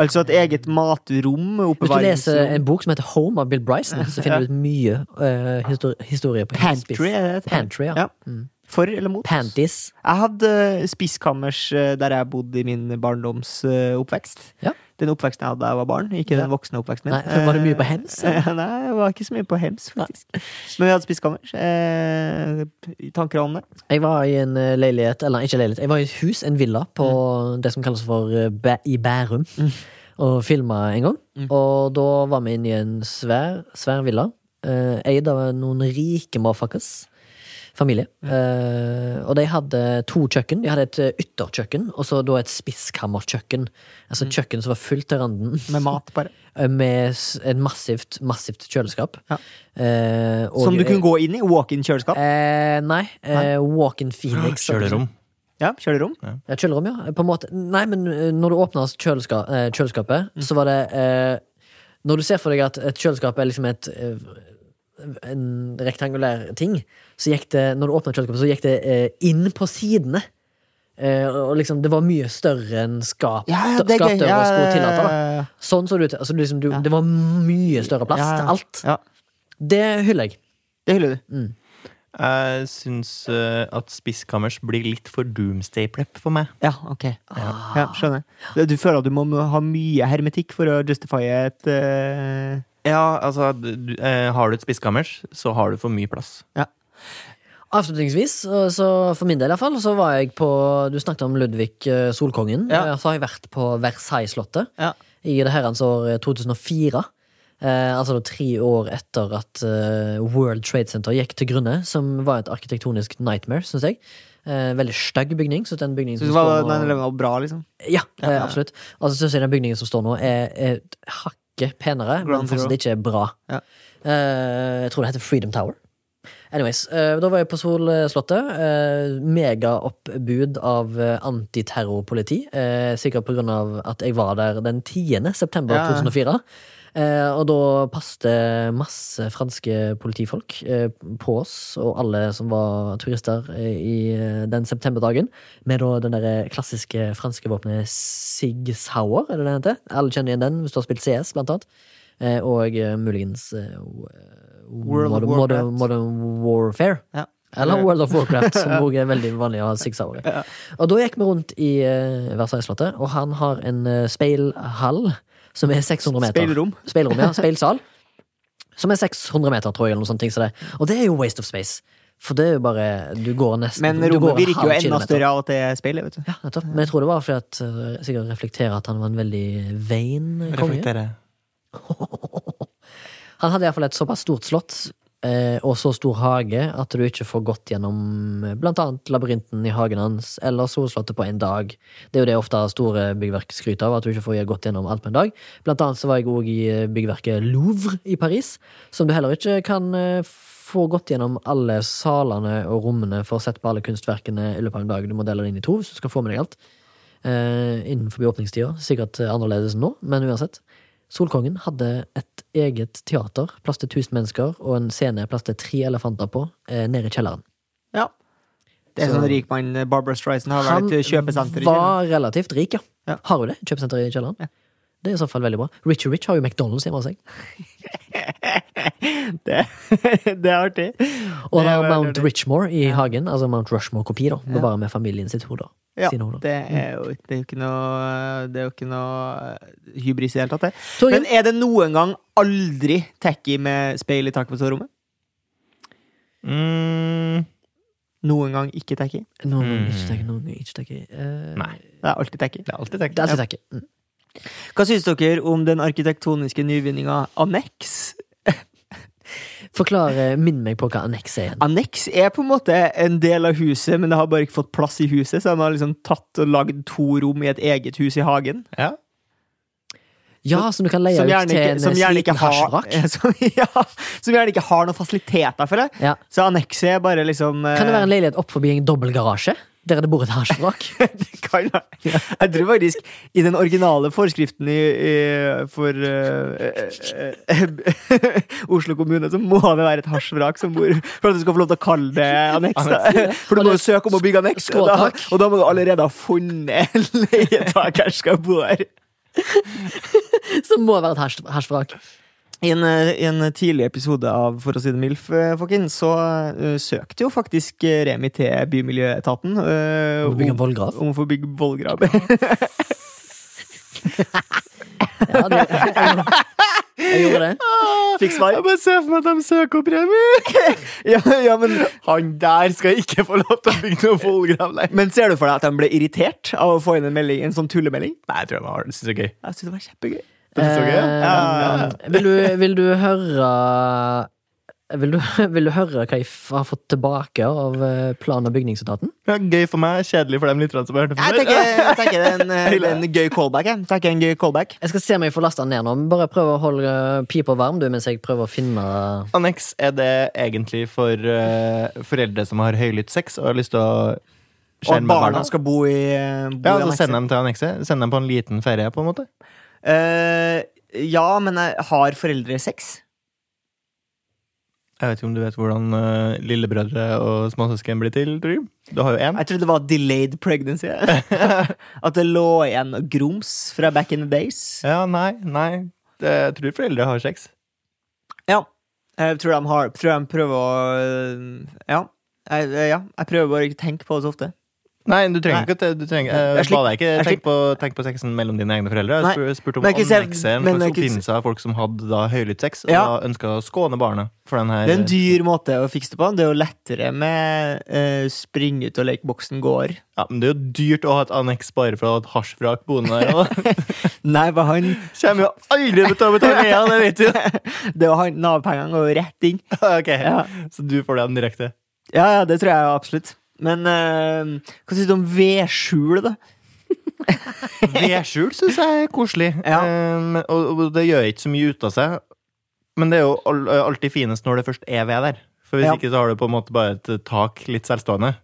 [SPEAKER 2] Altså et eget matrom.
[SPEAKER 1] Eh, Hvis du leser eh,
[SPEAKER 2] Oppbevaringsrom.
[SPEAKER 1] en bok som heter Home av Bill Bryson, så finner du ut mye eh, histor historie på helt spiss.
[SPEAKER 2] Pantry, eh. er det det?
[SPEAKER 1] Pantry, ja. Mm.
[SPEAKER 2] Ja. For eller mot?
[SPEAKER 1] Panties.
[SPEAKER 2] Jeg hadde spiskammers eh, der jeg bodde i min barndoms eh, oppvekst.
[SPEAKER 1] Ja.
[SPEAKER 2] Den oppveksten jeg hadde da jeg var barn, ikke
[SPEAKER 1] Ja.
[SPEAKER 2] den voksne oppveksten min.
[SPEAKER 1] Nei, var det mye på hems?
[SPEAKER 2] Eh, Nei, jeg var ikke så mye på hems, faktisk. Men vi hadde spiskammers. Eh, tanker om det?
[SPEAKER 1] Jeg var i en eh, leilighet, eller ikke leilighet, jeg var i et hus, en villa, på
[SPEAKER 2] Mm.
[SPEAKER 1] det som kalles for eh, Bæ i Bærum. Og filma en gang.
[SPEAKER 2] Mm.
[SPEAKER 1] Og da var vi inne i en svær, svær villa. eh, eid av noen rike motherfuckers. Familie. Eh, og de hadde to kjøkken. De hadde et eh, ytterkjøkken og så da et spiskammerkjøkken. Altså
[SPEAKER 2] Mm.
[SPEAKER 1] et kjøkken som var fullt til randen
[SPEAKER 2] Med mat, bare.
[SPEAKER 1] eh, med s- et massivt, massivt kjøleskap.
[SPEAKER 2] Ja.
[SPEAKER 1] Eh, og-
[SPEAKER 2] Som du kunne gå inn i. Walk-in-kjøleskap.
[SPEAKER 1] Eh, nei. Eh, Walk-in Phoenix.
[SPEAKER 3] Kjølerom.
[SPEAKER 2] Ja, kjølerom.
[SPEAKER 1] Ja, kjølerom, ja. På en måte. Nei, men eh, når du åpner kjøleska eh, kjøleskapet,
[SPEAKER 2] Mm.
[SPEAKER 1] så var det eh, Når du ser for deg at et kjøleskap er liksom et eh, en rektangulær ting, så gikk det når du åpnet kjøleskapet, så gikk det eh, inn på sidene. Eh, og liksom, det var mye større enn skap, skapdøra skulle tillate. Da. Sånn så det ut. Altså, liksom, du,
[SPEAKER 2] Ja.
[SPEAKER 1] Det var mye større plass
[SPEAKER 2] Ja, ja.
[SPEAKER 1] til alt.
[SPEAKER 2] Ja,
[SPEAKER 1] Det hyller jeg.
[SPEAKER 2] det hyller du.
[SPEAKER 3] Jeg syns eh, at spiskammers blir litt for doomsday prep for meg.
[SPEAKER 2] Ja, ok. Ja, skjønner. Du føler at du må ha mye hermetikk for å justifye et eh,
[SPEAKER 3] Ja, altså, du, du, eh, har du et spiskammers, så har du for mye plass.
[SPEAKER 1] Avslutningsvis, og så for min del i hvert fall, så var jeg på Du snakket om Ludvig eh, Solkongen.
[SPEAKER 2] Ja.
[SPEAKER 1] Eh, Så har jeg vært på Versailles-slottet
[SPEAKER 2] Ja.
[SPEAKER 1] i det herrens år 2004. Eh, altså da tre år etter at eh, World Trade Center gikk til grunne, som var et arkitektonisk nightmare, syns jeg. Eh, veldig stygg bygning. Så den bygningen
[SPEAKER 2] Så
[SPEAKER 1] som
[SPEAKER 2] det
[SPEAKER 1] står
[SPEAKER 2] var
[SPEAKER 1] nå-
[SPEAKER 2] 9-11 var bra, liksom?
[SPEAKER 1] Ja,
[SPEAKER 2] Ja, ja.
[SPEAKER 1] eh, absolutt. Og så syns jeg den bygningen som står nå, er, er et hakket penere,
[SPEAKER 2] Ground
[SPEAKER 1] men fortsatt
[SPEAKER 2] Zero.
[SPEAKER 1] ikke bra.
[SPEAKER 2] Ja.
[SPEAKER 1] Eh, jeg tror det heter Freedom Tower. Anyways, eh, da var jeg på Solslottet. Eh, Megaoppbud av eh, antiterrorpoliti. Eh, sikkert på grunn av at jeg var der den 10. september
[SPEAKER 2] Ja.
[SPEAKER 1] 2004. Eh, og da passte masse franske politifolk eh, på oss og alle som var turister eh, i eh, den septemberdagen, med da den der klassiske franske våpenet Sig Sauer, er det det heter? Alle kjenner igjen den hvis du har spilt CS, blant annet. Eh, og eh, muligens eh,
[SPEAKER 2] World of
[SPEAKER 1] Modern, Modern,
[SPEAKER 2] Warcraft.
[SPEAKER 1] Modern Warfare.
[SPEAKER 2] Ja.
[SPEAKER 1] Eller World of Warcraft, som også er veldig vanlig å ha six hour i. Og da gikk vi rundt i eh, Versailles-slottet, og han har en eh, speilhall som er 600 meter.
[SPEAKER 2] Speilrom.
[SPEAKER 1] Speilrom, ja. Speilsal. Som er 600 meter, tror jeg, eller noe sånt. ting som det. Og det er jo waste of space. For det er jo bare Du går nesten
[SPEAKER 2] Men
[SPEAKER 1] du går
[SPEAKER 2] rommet
[SPEAKER 1] en
[SPEAKER 2] virker
[SPEAKER 1] halv
[SPEAKER 2] jo enda
[SPEAKER 1] kilometer.
[SPEAKER 2] større av at det er speil. vet du.
[SPEAKER 1] Ja, nettopp. Men jeg tror det var fordi at eh, sikkert reflekterer at han var en veldig vein konge.
[SPEAKER 3] Reflektere.
[SPEAKER 1] Han hadde iallfall et såpass stort slott eh, og så stor hage at du ikke får gått gjennom eh, blant annet labyrinten i hagen hans eller Solslottet på en dag. Det er jo det ofte store byggverk skryter av, at du ikke får gått gjennom alt på en dag. Blant annet så var jeg òg i eh, byggverket Louvre i Paris, som du heller ikke kan eh, få gått gjennom alle salene og rommene for å sette på alle kunstverkene i løpet av en dag. Du må dele det inn i to hvis du skal få med deg alt. Eh, innenfor åpningstida. Sikkert eh, annerledes enn nå, men uansett. Solkongen hadde et eget teater, plass til 1000 mennesker, og en scene plass til tre elefanter på, eh, nede i kjelleren.
[SPEAKER 2] Ja. Det er
[SPEAKER 1] Så-
[SPEAKER 2] sånn rik mann Barbara Streisand har
[SPEAKER 1] Han
[SPEAKER 2] vært et kjøpesenter i
[SPEAKER 1] var relativt rik, ja.
[SPEAKER 2] Ja.
[SPEAKER 1] Har hun det? Kjøpesenter i kjelleren? Det er i så fall veldig bra. Richie Rich har jo McDonald's hjemme hos seg.
[SPEAKER 2] kjelleren. Det, det er artig.
[SPEAKER 1] Og
[SPEAKER 2] Det
[SPEAKER 1] det
[SPEAKER 2] er
[SPEAKER 1] er
[SPEAKER 2] veldig
[SPEAKER 1] Mount
[SPEAKER 2] artig.
[SPEAKER 1] Richmore i hagen, altså Mount Rushmore-kopi, da. Men bare med familien sitt hode.
[SPEAKER 2] Ja,
[SPEAKER 1] Sine hoder.
[SPEAKER 2] det er jo det er jo ikke noe Det er jo ikke noe hybris i det hele tatt. Det.
[SPEAKER 1] Torgeir?
[SPEAKER 2] Men er det noen gang aldri tacky med speil i taket på soverommet?
[SPEAKER 3] Mm,
[SPEAKER 2] Noen gang ikke tacky?
[SPEAKER 1] Noen
[SPEAKER 3] Mm.
[SPEAKER 1] ganger ikke takke, noen ganger ikke takke. Eh,
[SPEAKER 3] nei.
[SPEAKER 2] Det er alltid tacky.
[SPEAKER 3] Det er alltid tenkt.
[SPEAKER 1] det er alltid takke. Mm.
[SPEAKER 2] Hva syns dere om den arkitektoniske nyvinninga anneks?
[SPEAKER 1] Forklar, eh, minn meg på hva annekset er igjen.
[SPEAKER 2] Anneks er på en måte en del av huset, men det har bare ikke fått plass i huset, så de har liksom tatt og lagd to rom i et eget hus i hagen.
[SPEAKER 3] Ja.
[SPEAKER 1] Ja, som du kan leie
[SPEAKER 2] Som
[SPEAKER 1] ut
[SPEAKER 2] gjerne
[SPEAKER 1] til
[SPEAKER 2] ikke,
[SPEAKER 1] en
[SPEAKER 2] som gjerne ikke
[SPEAKER 1] sliten
[SPEAKER 2] har
[SPEAKER 1] hasjvrak.
[SPEAKER 2] som, ja, som gjerne ikke har noen fasiliteter, føler jeg.
[SPEAKER 1] Ja.
[SPEAKER 2] Så annekset er bare liksom
[SPEAKER 1] Kan det være en leilighet opp forbi en dobbeltgarasje? Der det bor et hasjvrak?
[SPEAKER 2] Kan være. Jeg tror faktisk i den originale forskriften i, i, for eh, eh, eh, Oslo kommune, så må det være et hasjvrak som bor for at du skal få lov til å kalle det anneks. Da. For du må jo søke om å bygge anneks, og da,
[SPEAKER 1] Skråtak.
[SPEAKER 2] og da må du allerede ha funnet en leietaker som skal bo der.
[SPEAKER 1] Som må være et hasj- hasjvrak.
[SPEAKER 2] I en, eh, i en tidlig episode av For å si det MILF, eh, folkens, så eh, søkte jo faktisk eh, Remi til Bymiljøetaten eh,
[SPEAKER 1] Om å bygge en
[SPEAKER 2] om-
[SPEAKER 1] vollgrav.
[SPEAKER 2] om å få bygge vollgrav.
[SPEAKER 1] Ja, det, jeg, gjorde det.
[SPEAKER 2] Fikk svar.
[SPEAKER 3] Ah, Jeg bare ser for meg at de søker premie!
[SPEAKER 2] Ja, ja, men,
[SPEAKER 3] Han der skal ikke få lov til å bygge noe vollgrav, nei.
[SPEAKER 2] men ser du for deg at de ble irritert av å få inn en, melding, en sånn tullemelding?
[SPEAKER 3] Nei, jeg tror de har det. Syns det er gøy.
[SPEAKER 2] Jeg synes det var kjempegøy.
[SPEAKER 3] Det synes jeg er gøy.
[SPEAKER 2] Ja,
[SPEAKER 1] Eh, vil, du, vil du høre vil du, vil du høre hva jeg f- har fått tilbake av eh, plan- og bygningsetaten?
[SPEAKER 3] Ja, Gøy for meg, kjedelig for dem lytterne som hørte
[SPEAKER 2] Jeg tenker, jeg tenker det, er en, eh, det er en gøy callback. Jeg. Jeg tenker en gøy callback.
[SPEAKER 1] Jeg skal se om jeg får lasta den ned nå. men Bare prøv å holde eh, pipa varm du, mens jeg prøver å finne
[SPEAKER 3] Anneks er det egentlig for eh, foreldre som har høylytt sex og har lyst til å
[SPEAKER 2] Og at
[SPEAKER 3] skjerme
[SPEAKER 2] barna
[SPEAKER 3] barna.
[SPEAKER 2] skal bo i, eh, bo
[SPEAKER 3] Ja,
[SPEAKER 2] i
[SPEAKER 3] så
[SPEAKER 2] annekset.
[SPEAKER 3] send dem til annekset. Send dem på en liten ferie, på en måte.
[SPEAKER 2] Eh, ja, men eh, har foreldre sex?
[SPEAKER 3] Jeg vet ikke om du vet hvordan eh, lillebrødre og småsøsken blir til, tror du? Du har jo én.
[SPEAKER 2] Jeg trodde det var delayed pregnancy. At det lå igjen grums fra back in the days.
[SPEAKER 3] Ja, nei, nei. Det, jeg tror foreldre har sex.
[SPEAKER 2] Ja. Jeg tror de, har, tror de prøver å eh, Ja. Jeg, eh, ja. jeg prøver bare ikke å tenke på det så ofte.
[SPEAKER 3] Nei, du trenger
[SPEAKER 2] Nei.
[SPEAKER 3] ikke at- du trenger, eh,
[SPEAKER 2] Jeg slipper-
[SPEAKER 3] ba deg ikke
[SPEAKER 2] jeg
[SPEAKER 3] tenk på, tenk på sexen mellom dine egne foreldre.
[SPEAKER 2] Nei,
[SPEAKER 3] Jeg spur- spurte om
[SPEAKER 2] men jeg kunne se-
[SPEAKER 3] annekset, en
[SPEAKER 2] men
[SPEAKER 3] slags
[SPEAKER 2] jeg kunne se-
[SPEAKER 3] oppfinnelse av folk som hadde da høylytt sex, og
[SPEAKER 2] Ja.
[SPEAKER 3] da ønska å skåne barnet for den her
[SPEAKER 2] Det er en dyr måte å fikse det på. Det er jo lettere med eh, spring ut og leke boksen går.
[SPEAKER 3] Ja, men det er jo dyrt å ha et anneks bare for å ha et hasjvrak boende der. Og
[SPEAKER 2] Nei, for han
[SPEAKER 3] kommer jo aldri til å betale igjen, det vet du.
[SPEAKER 2] Det er jo han Nav-pengene går jo rett inn.
[SPEAKER 3] Ok,
[SPEAKER 2] Ja.
[SPEAKER 3] Så du får dem direkte.
[SPEAKER 2] Ja, ja, det tror jeg absolutt. Men eh, hva syns du om vedskjul, da?
[SPEAKER 3] Vedskjul syns jeg er koselig,
[SPEAKER 2] Ja.
[SPEAKER 3] Ehm, og, og det gjør ikke så mye ut av seg. Men det er jo all, alltid finest når det først er ved der. For hvis
[SPEAKER 2] Ja.
[SPEAKER 3] ikke så har du på en måte bare et eh, tak litt selvstående.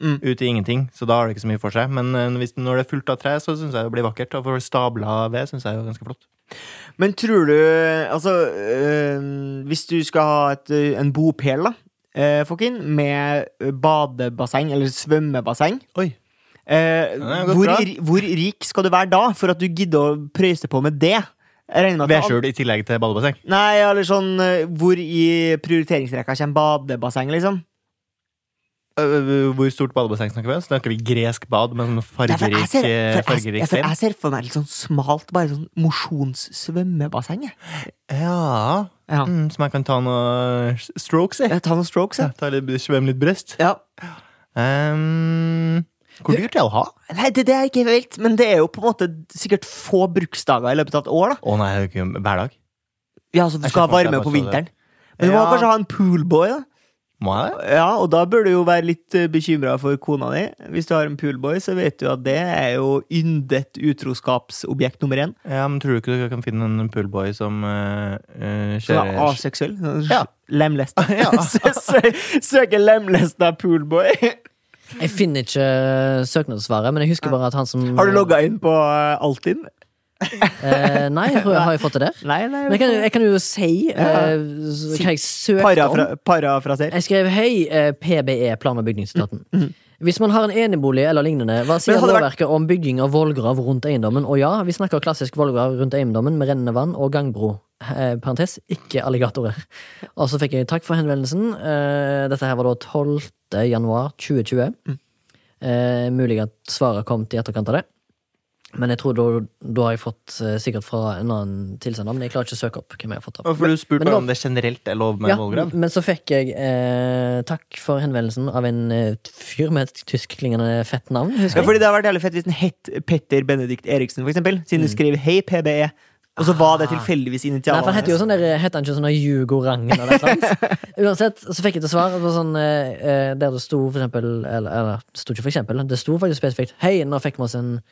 [SPEAKER 2] Mm.
[SPEAKER 3] Ut i ingenting, så da har det ikke så mye for seg. Men eh, hvis, når det er fullt av tre, så syns jeg det blir vakkert. Og for stabla ved syns jeg er jo ganske flott.
[SPEAKER 2] Men tror du Altså, øh, hvis du skal ha et, øh, en bopel, da, øh, Fokin, med øh, badebasseng eller svømmebasseng
[SPEAKER 3] Oi.
[SPEAKER 2] eh,
[SPEAKER 3] har gått
[SPEAKER 2] hvor,
[SPEAKER 3] bra.
[SPEAKER 2] ri- hvor rik skal du være da for at du gidder å prøyse på med det? Jeg regner med at
[SPEAKER 3] Vedskjul i tillegg til badebasseng.
[SPEAKER 2] Nei, eller sånn øh, Hvor i prioriteringsrekka kommer badebasseng, liksom?
[SPEAKER 3] Øh, Hvor stort badebasseng snakker vi om? Snakker vi gresk bad med sånn
[SPEAKER 2] Ja, for jeg
[SPEAKER 3] fargerik,
[SPEAKER 2] ser,
[SPEAKER 3] eh,
[SPEAKER 2] for jeg,
[SPEAKER 3] fargerik
[SPEAKER 2] ja, for
[SPEAKER 3] stein?
[SPEAKER 2] jeg ser for meg litt sånn smalt, bare sånn mosjonssvømmebasseng. jeg.
[SPEAKER 3] Ja.
[SPEAKER 2] Ja.
[SPEAKER 3] Mm, som jeg kan ta noen strokes i.
[SPEAKER 2] Jeg tar noen strokes, jeg.
[SPEAKER 3] Ta litt, svømme litt bryst.
[SPEAKER 2] Ja.
[SPEAKER 3] Ehm, hvor dyrt er det å ha?
[SPEAKER 2] Nei, det, det er ikke helt, men det er jo på en måte sikkert få bruksdager i løpet av et år. da
[SPEAKER 3] Å nei, det er jo ikke hver dag.
[SPEAKER 2] Ja, altså Du
[SPEAKER 3] Jeg
[SPEAKER 2] skal ha
[SPEAKER 3] ser for meg
[SPEAKER 2] varme
[SPEAKER 3] bare
[SPEAKER 2] på
[SPEAKER 3] så det.
[SPEAKER 2] vinteren. Men du må
[SPEAKER 3] Ja.
[SPEAKER 2] kanskje ha en poolboy, da.
[SPEAKER 3] Må jeg det?
[SPEAKER 2] Ja, og da bør du jo være litt bekymra for kona di. Hvis du har en poolboy, så vet du at det er jo yndet utroskapsobjekt nummer én.
[SPEAKER 3] Ja, men tror du ikke du kan finne en poolboy som eh, eh,
[SPEAKER 2] Som er
[SPEAKER 3] kjører
[SPEAKER 2] aseksuell.
[SPEAKER 3] Ja.
[SPEAKER 2] Lemlesta.
[SPEAKER 3] Ja.
[SPEAKER 2] Sø- sø- Søker lemlesta poolboy.
[SPEAKER 1] Jeg finner ikke søknadssvaret, men jeg husker bare at han som
[SPEAKER 3] Mm.
[SPEAKER 2] Har du logga inn på eh, Altinn?
[SPEAKER 1] Eh, nei, jeg tror jeg har jeg fått det der?
[SPEAKER 2] Nei, nei.
[SPEAKER 1] Men jeg kan, jeg kan jo si eh, s- hva jeg søkte om.
[SPEAKER 2] Parafra parafraser.
[SPEAKER 1] Jeg skrev hei, eh, PBE, plan- og bygningsetaten. Hvis man har en enebolig eller lignende, hva sier
[SPEAKER 2] Mm, Men hadde det vært-
[SPEAKER 1] lovverket om bygging av vollgrav rundt eiendommen? Og ja, vi snakker klassisk vollgrav rundt eiendommen med rennende vann og gangbro. Eh, parentes, ikke alligatorer. Og så fikk jeg takk for henvendelsen. Eh, dette her var da 12. januar 2020.
[SPEAKER 2] Mm.
[SPEAKER 1] Eh, mulig at svaret kom til etterkant av det. Men jeg tror da, da har jeg fått eh, sikkert fra en annen tilsender, men jeg klarer ikke å søke opp hvem jeg har fått av.
[SPEAKER 3] Og For du
[SPEAKER 1] Men
[SPEAKER 3] spurte
[SPEAKER 1] det
[SPEAKER 3] bare
[SPEAKER 1] var-
[SPEAKER 3] om det generelt er lov med
[SPEAKER 1] Ja,
[SPEAKER 3] vollgrav.
[SPEAKER 1] men så fikk jeg eh, takk for henvendelsen av en eh, fyr med et tyskklingende fett navn.
[SPEAKER 2] Ja,
[SPEAKER 1] Husker jeg.
[SPEAKER 2] fordi det har vært jævlig fett hvis den het Petter Benedikt Eriksen, for eksempel. Siden
[SPEAKER 3] Mm.
[SPEAKER 2] du skrev 'Hei, PBE', og så var det tilfeldigvis
[SPEAKER 1] Ah. Nei, for
[SPEAKER 2] initialene
[SPEAKER 1] han heter jo sånn der, heter han ikke sånn der Hugo Rangen eller noe sånt? Uansett, så fikk jeg til svar at det var sånn, eh, eh, der det sto for eksempel Eller, eller det sto ikke for eksempel, det sto faktisk spesifikt Hei, nå fikk vi oss en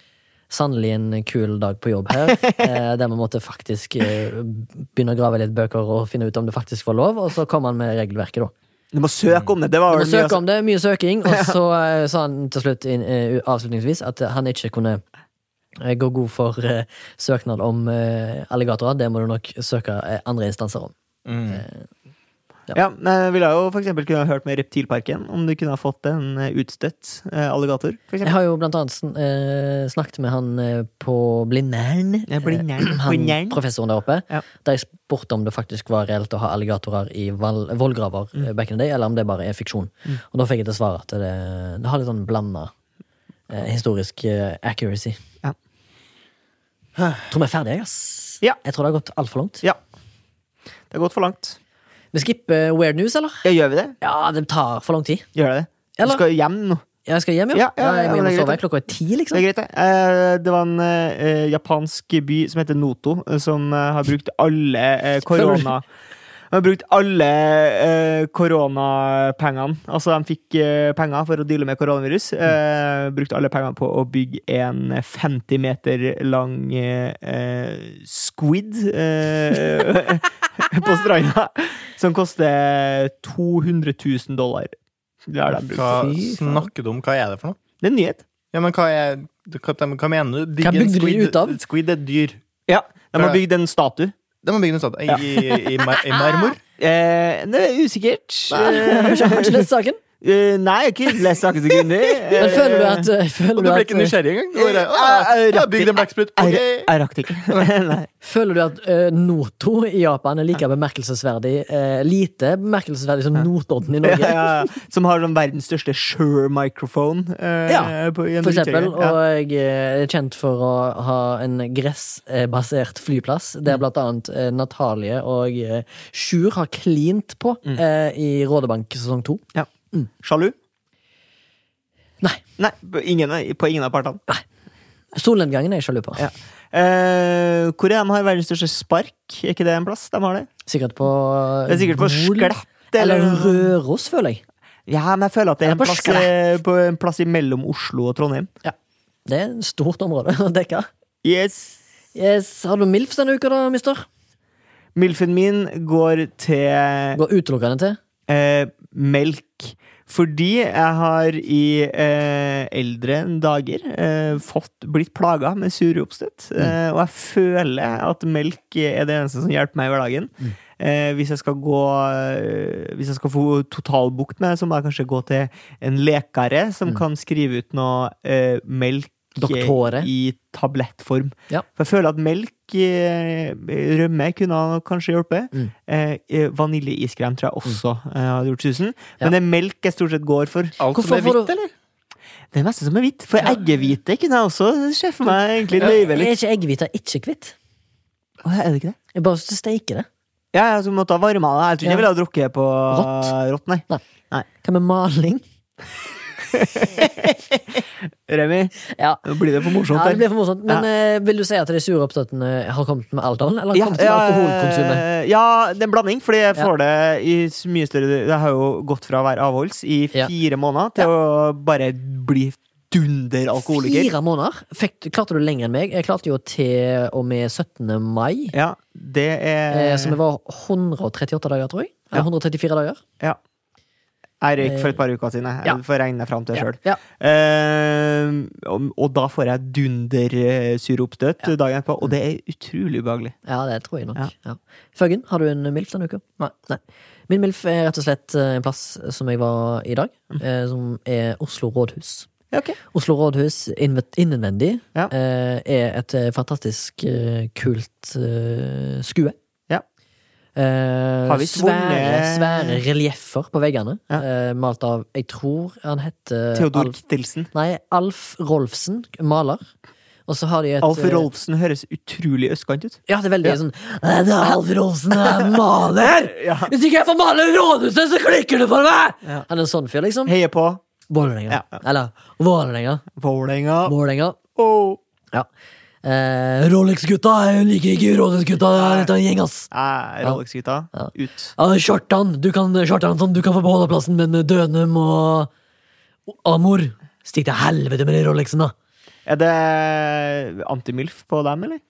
[SPEAKER 1] sannelig en kul dag på jobb her, eh, der vi måtte faktisk eh, begynne å grave i litt bøker og finne ut om det faktisk var lov, og så kom han med regelverket, da.
[SPEAKER 2] Du må søke om det! Det var
[SPEAKER 1] Du må
[SPEAKER 2] vel mye
[SPEAKER 1] søke
[SPEAKER 2] å-
[SPEAKER 1] om det, mye søking, og så eh, sa han til slutt inn, eh, avslutningsvis at eh, han ikke kunne eh, gå god for eh, søknad om eh, alligatorer. Det må du nok søke eh, andre instanser om.
[SPEAKER 3] Mm.
[SPEAKER 2] Ja, men jeg ville jo for eksempel kunne ha hørt med Reptilparken om du kunne ha fått en eh, utstøtt eh, alligator, for
[SPEAKER 1] Jeg
[SPEAKER 2] eksempel.
[SPEAKER 1] har jo blant annet sn eh, snakket med han eh, på Blindern.
[SPEAKER 2] Ja, Blindern.
[SPEAKER 1] Eh, Han
[SPEAKER 2] Blindern.
[SPEAKER 1] professoren der oppe.
[SPEAKER 2] Ja.
[SPEAKER 1] Der jeg spurte om det faktisk var reelt å ha alligatorer i val- vollgraver
[SPEAKER 2] Mm.
[SPEAKER 1] eh, back in the day, eller om det bare er fiksjon. Og da fikk jeg til svar at det, det har litt sånn blanda eh, historisk eh, accuracy.
[SPEAKER 2] Ja.
[SPEAKER 1] Tror vi er ferdige, ass.
[SPEAKER 2] Ja.
[SPEAKER 1] Jeg tror det har gått altfor langt.
[SPEAKER 2] Ja. Det har gått for langt.
[SPEAKER 1] Vi skipper eh, Weird News, eller?
[SPEAKER 2] Ja, gjør vi det?
[SPEAKER 1] Ja, det tar for lang tid.
[SPEAKER 2] Gjør det det? Du
[SPEAKER 1] Eller-
[SPEAKER 2] skal hjem nå.
[SPEAKER 1] Jeg skal hjem, jo.
[SPEAKER 2] Ja, ja, ja,
[SPEAKER 1] jeg
[SPEAKER 2] men
[SPEAKER 1] må
[SPEAKER 2] det er
[SPEAKER 1] sove.
[SPEAKER 2] greit,
[SPEAKER 1] Klokka er ti,
[SPEAKER 2] Det
[SPEAKER 1] liksom.
[SPEAKER 2] er greit, det. Eh, Det var en eh, japansk by som heter Noto, eh, som eh, har brukt alle eh, korona... De har brukt alle eh, koronapengene. Altså, de fikk eh, penger for å deale med koronavirus. Eh, brukt alle pengene på å bygge en 50 meter lang eh, eh, squid eh, på stranda. Som koster 200 000 dollar. Det har de
[SPEAKER 3] Hva
[SPEAKER 2] brukt.
[SPEAKER 1] Fy faen.
[SPEAKER 3] snakker du om? Hva er det for noe?
[SPEAKER 2] Det er en nyhet.
[SPEAKER 3] Ja, men hva, er, hva, hva mener du? Bygg
[SPEAKER 1] Hva
[SPEAKER 3] en
[SPEAKER 1] bygger de
[SPEAKER 3] squid-
[SPEAKER 1] ut av?
[SPEAKER 3] Squid er et dyr.
[SPEAKER 2] Ja, De har
[SPEAKER 3] Ja.
[SPEAKER 2] bygd en statue.
[SPEAKER 3] Det må bygge noe sånt. I, i, i, mar- I marmor.
[SPEAKER 2] Eh, det er usikkert.
[SPEAKER 1] Har ikke- har ikke lest saken?
[SPEAKER 2] Eh, eh, nei, jeg har ikke lest saken så grundig.
[SPEAKER 1] Men
[SPEAKER 2] Eh,
[SPEAKER 1] føler du at eh, føler
[SPEAKER 3] Og
[SPEAKER 1] du
[SPEAKER 3] du ble
[SPEAKER 1] at,
[SPEAKER 3] ikke nysgjerrig engang? Du bare,
[SPEAKER 2] Eh,
[SPEAKER 3] «Å,
[SPEAKER 2] eh,
[SPEAKER 3] Jeg bygde en blacksprut.
[SPEAKER 2] Jeg,
[SPEAKER 3] Ok.
[SPEAKER 2] jeg rakk det ikke. nei.
[SPEAKER 1] føler du at eh, Noto i Japan er like bemerkelsesverdig eh, Lite bemerkelsesverdig som Notodden i
[SPEAKER 2] Ja,
[SPEAKER 1] Norge?
[SPEAKER 2] ja, ja. Som har sånn verdens største Shure-mikrofon. Eh,
[SPEAKER 1] Ja,
[SPEAKER 2] på- i en
[SPEAKER 1] For eksempel,
[SPEAKER 2] utkjøring.
[SPEAKER 1] og jeg eh, er kjent for å ha en gressbasert flyplass,
[SPEAKER 2] Mm.
[SPEAKER 1] der blant annet eh, Natalie og eh, Sjur har klint på
[SPEAKER 2] Mm.
[SPEAKER 1] eh, i Rådebank sesong to.
[SPEAKER 2] ja. Ja. Sjalu?
[SPEAKER 1] Nei,
[SPEAKER 2] Nei, på ingen, på ingen av partene.
[SPEAKER 1] solnedgangen er jeg sjalu på.
[SPEAKER 2] Ja. Eh, hvor er de har verdens største spark? Er ikke det en plass de har det?
[SPEAKER 1] Sikkert på
[SPEAKER 2] Det er sikkert på
[SPEAKER 1] Gol,
[SPEAKER 2] Sklett
[SPEAKER 1] Eller
[SPEAKER 2] eller
[SPEAKER 1] Røros, føler jeg.
[SPEAKER 2] Ja, men jeg føler at det er
[SPEAKER 1] Eller
[SPEAKER 2] en
[SPEAKER 1] på
[SPEAKER 2] plass, eh, på en plass imellom Oslo og Trondheim.
[SPEAKER 1] Ja. Det er et stort område å dekke.
[SPEAKER 2] Yes.
[SPEAKER 1] Yes, Har du MILF denne uka, da, mister?
[SPEAKER 2] Milfen min går til
[SPEAKER 1] Går utelukkende til
[SPEAKER 2] eh, melk. Fordi jeg har i eh, eldre dager eh, fått, blitt plaga med sure oppstøt. Eh, og jeg føler at melk er det eneste som hjelper meg i hverdagen. Eh, hvis, jeg skal gå, eh, hvis jeg skal få totalbukt med det, så må jeg kanskje gå til en lekare som kan skrive ut noe eh, melk
[SPEAKER 1] Doktore.
[SPEAKER 2] i tablettform.
[SPEAKER 1] Ja.
[SPEAKER 2] For jeg føler at melk, eh, rømme kunne han kanskje hjulpet.
[SPEAKER 1] Mm.
[SPEAKER 2] Eh, eh, Vaniljeiskrem tror jeg også eh, hadde gjort susen. Men det er melk jeg stort sett går for.
[SPEAKER 3] Alt som
[SPEAKER 1] Hvorfor
[SPEAKER 3] er
[SPEAKER 1] får du-
[SPEAKER 3] hvitt, eller?
[SPEAKER 2] Det er meste som er hvitt. For eggehvite kunne jeg også se for meg egentlig løyve
[SPEAKER 1] Er
[SPEAKER 2] litt.
[SPEAKER 1] ikke eggehvita ikke kvitt?
[SPEAKER 2] Å, er det ikke det?
[SPEAKER 1] Jeg bare steiker det.
[SPEAKER 2] Ja, ja, så måtte jeg varme det. Jeg tror ikke jeg ville ha drukket på
[SPEAKER 1] Rått.
[SPEAKER 2] rått, nei.
[SPEAKER 1] Hva med maling?
[SPEAKER 2] Remi,
[SPEAKER 1] Ja.
[SPEAKER 2] nå blir det for morsomt.
[SPEAKER 1] Ja, det
[SPEAKER 2] her.
[SPEAKER 1] blir for morsomt. Men eh, vil du si at de sure oppstøtene har kommet med alderen? Eller har kommet med alkoholkonsumet?
[SPEAKER 2] eh, ja, det er en blanding, fordi jeg får det i s- mye større Jeg har jo gått fra å være avholds i
[SPEAKER 1] Ja.
[SPEAKER 2] fire måneder til å bare bli dunder alkoholiker.
[SPEAKER 1] Fire måneder? Fikk, klarte du lenger enn meg? Jeg klarte jo til og med 17. mai.
[SPEAKER 2] Ja, det er
[SPEAKER 1] Eh, som jeg var 138 dager, tror jeg. Eller 134 dager.
[SPEAKER 2] Ja. Jeg røyk for et par uker siden.
[SPEAKER 1] Eh.
[SPEAKER 2] jeg.
[SPEAKER 1] Ja.
[SPEAKER 2] Jeg får regne det fram til sjøl.
[SPEAKER 1] Ja.
[SPEAKER 2] og, og da får jeg dundersure oppstøt dagen etterpå, og det
[SPEAKER 1] Mm.
[SPEAKER 2] er utrolig ubehagelig.
[SPEAKER 1] Ja, det tror jeg nok.
[SPEAKER 2] Ja.
[SPEAKER 1] Ja. Føggen, har du en MILF denne uka?
[SPEAKER 3] Nei.
[SPEAKER 1] Min MILF er rett og slett eh, en plass som jeg var i dag,
[SPEAKER 2] Mm.
[SPEAKER 1] eh, som er Oslo rådhus.
[SPEAKER 2] Ja, ok.
[SPEAKER 1] Oslo rådhus innve- innvendig
[SPEAKER 2] Ja.
[SPEAKER 1] eh, er et eh, fantastisk eh, kult eh, skue.
[SPEAKER 2] Ja.
[SPEAKER 1] Eh,
[SPEAKER 2] Har vi
[SPEAKER 1] svære,
[SPEAKER 2] svunnet-
[SPEAKER 1] svære relieffer på veggene,
[SPEAKER 2] Ja.
[SPEAKER 1] eh, malt av Jeg tror han heter
[SPEAKER 2] Theodor
[SPEAKER 1] Alf,
[SPEAKER 2] Kittelsen.
[SPEAKER 1] Nei, Alf Rolfsen, maler. Og så har de et
[SPEAKER 2] Alf
[SPEAKER 1] eh,
[SPEAKER 2] Rolfsen høres utrolig østkant ut.
[SPEAKER 1] Ja, det er veldig sånn «Nei, Det er Alf Rolfsen, jeg er maler!
[SPEAKER 2] Ja.
[SPEAKER 1] Hvis ikke jeg får male rådhuset, så klikker det for meg!
[SPEAKER 2] Ja.
[SPEAKER 1] Han er en sånn fyr, liksom.
[SPEAKER 2] Heier på
[SPEAKER 1] Vålerenga.
[SPEAKER 2] Ja.
[SPEAKER 1] Eller Vålerenga.
[SPEAKER 2] Vålerenga.
[SPEAKER 1] Vålerenga.
[SPEAKER 2] Åh.
[SPEAKER 1] Ja. Eh, Rolex-gutta jeg liker ikke Rolex-gutta. Det er litt av en gjeng, ass.
[SPEAKER 2] Nei, Rolex-gutta.
[SPEAKER 1] Ja.
[SPEAKER 2] Ut.
[SPEAKER 1] Ja, Kjartan, du kan, Kjartan sånn, du kan få beholde plassen, men Dønum og Amor Stikk til helvete med de Rolexen, da.
[SPEAKER 2] Er det antimilf på dem, eller?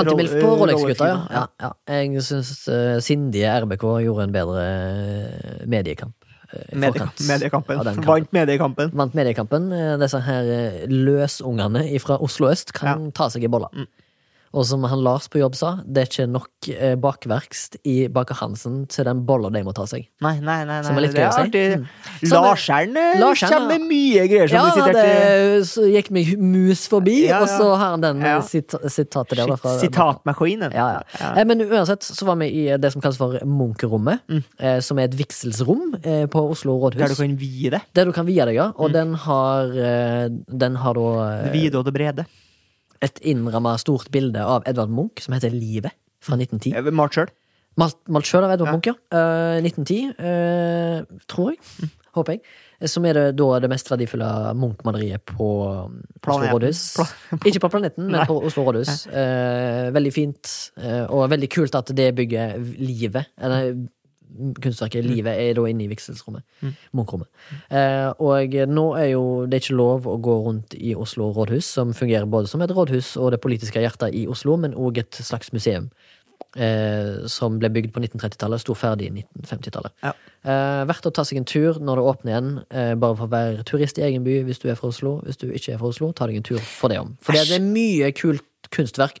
[SPEAKER 1] Antimilf på
[SPEAKER 2] Roll-
[SPEAKER 1] Rolex-gutta, ja.
[SPEAKER 2] Rolex-gutta,
[SPEAKER 1] ja, ja. Jeg syns eh, sindige RBK gjorde en bedre eh, mediekamp. eh, i
[SPEAKER 2] Medie
[SPEAKER 1] forkant
[SPEAKER 2] mediekampen.
[SPEAKER 1] av den kampen.
[SPEAKER 2] Vant mediekampen.
[SPEAKER 1] Vant mediekampen. Eh, Disse her eh, løsungene fra Oslo øst kan ta seg i bolla.
[SPEAKER 2] Mm.
[SPEAKER 1] Og som han Lars på jobb sa, det er ikke nok eh, bakverkst i Baker Hansen til den bolla de må ta seg.
[SPEAKER 2] Nei, nei, nei.
[SPEAKER 1] Som er
[SPEAKER 2] nei
[SPEAKER 1] litt
[SPEAKER 2] det er
[SPEAKER 1] gøy å si.
[SPEAKER 2] artig.
[SPEAKER 1] Som er-
[SPEAKER 2] Larseren eh,
[SPEAKER 1] Larseren, ja.
[SPEAKER 2] kommer med mye greier som
[SPEAKER 1] Ja,
[SPEAKER 2] blir sitert.
[SPEAKER 1] det
[SPEAKER 2] i-
[SPEAKER 1] så gikk meg mus forbi,
[SPEAKER 2] Ja, ja.
[SPEAKER 1] og så har han den eh,
[SPEAKER 2] Ja.
[SPEAKER 1] sita sitatet der. da, fra-
[SPEAKER 2] Shit, Sitatmaskinen.
[SPEAKER 1] Ja, ja. Eh, Men uansett så var vi i eh, det som kalles for munkerommet, eh, som er et vigselsrom eh, på Oslo
[SPEAKER 2] Mm. Der du
[SPEAKER 1] rådhus.
[SPEAKER 2] kan Mm. vie det.
[SPEAKER 1] Der du kan vie deg, ja. Og den har eh, Den har da eh,
[SPEAKER 2] Vide og det brede.
[SPEAKER 1] et innramma stort bilde av Edvard Munch som heter Livet, fra 1910.
[SPEAKER 2] Eh, Malt sjøl.
[SPEAKER 1] Malt, malt sjøl av Edvard
[SPEAKER 2] Ja.
[SPEAKER 1] Munch, ja. Eh, 1910, eh, tror jeg. Håper jeg. Eh, Som er det, da det mest verdifulle Munch-maleriet på um, Oslo
[SPEAKER 2] Planeten.
[SPEAKER 1] Rådhus.
[SPEAKER 2] Pla-
[SPEAKER 1] Ikke på planeten, men på Oslo Rådhus. Eh, veldig fint, eh, og veldig kult at det bygger livet. Eller mm, kunstverket Livet er da inne i vigselsrommet. Munch-rommet. Eh, og nå er jo det er ikke lov å gå rundt i Oslo rådhus, som fungerer både som et rådhus og det politiske hjertet i Oslo, men òg et slags museum. Eh, som ble bygd på 1930-tallet, sto ferdig i 1950-tallet.
[SPEAKER 2] Ja.
[SPEAKER 1] Eh, verdt å ta seg en tur når det åpner igjen, eh, bare for å være turist i egen by hvis du er fra Oslo. Hvis du ikke er fra Oslo, ta deg en tur for det om. For det det er mye kult kunstverk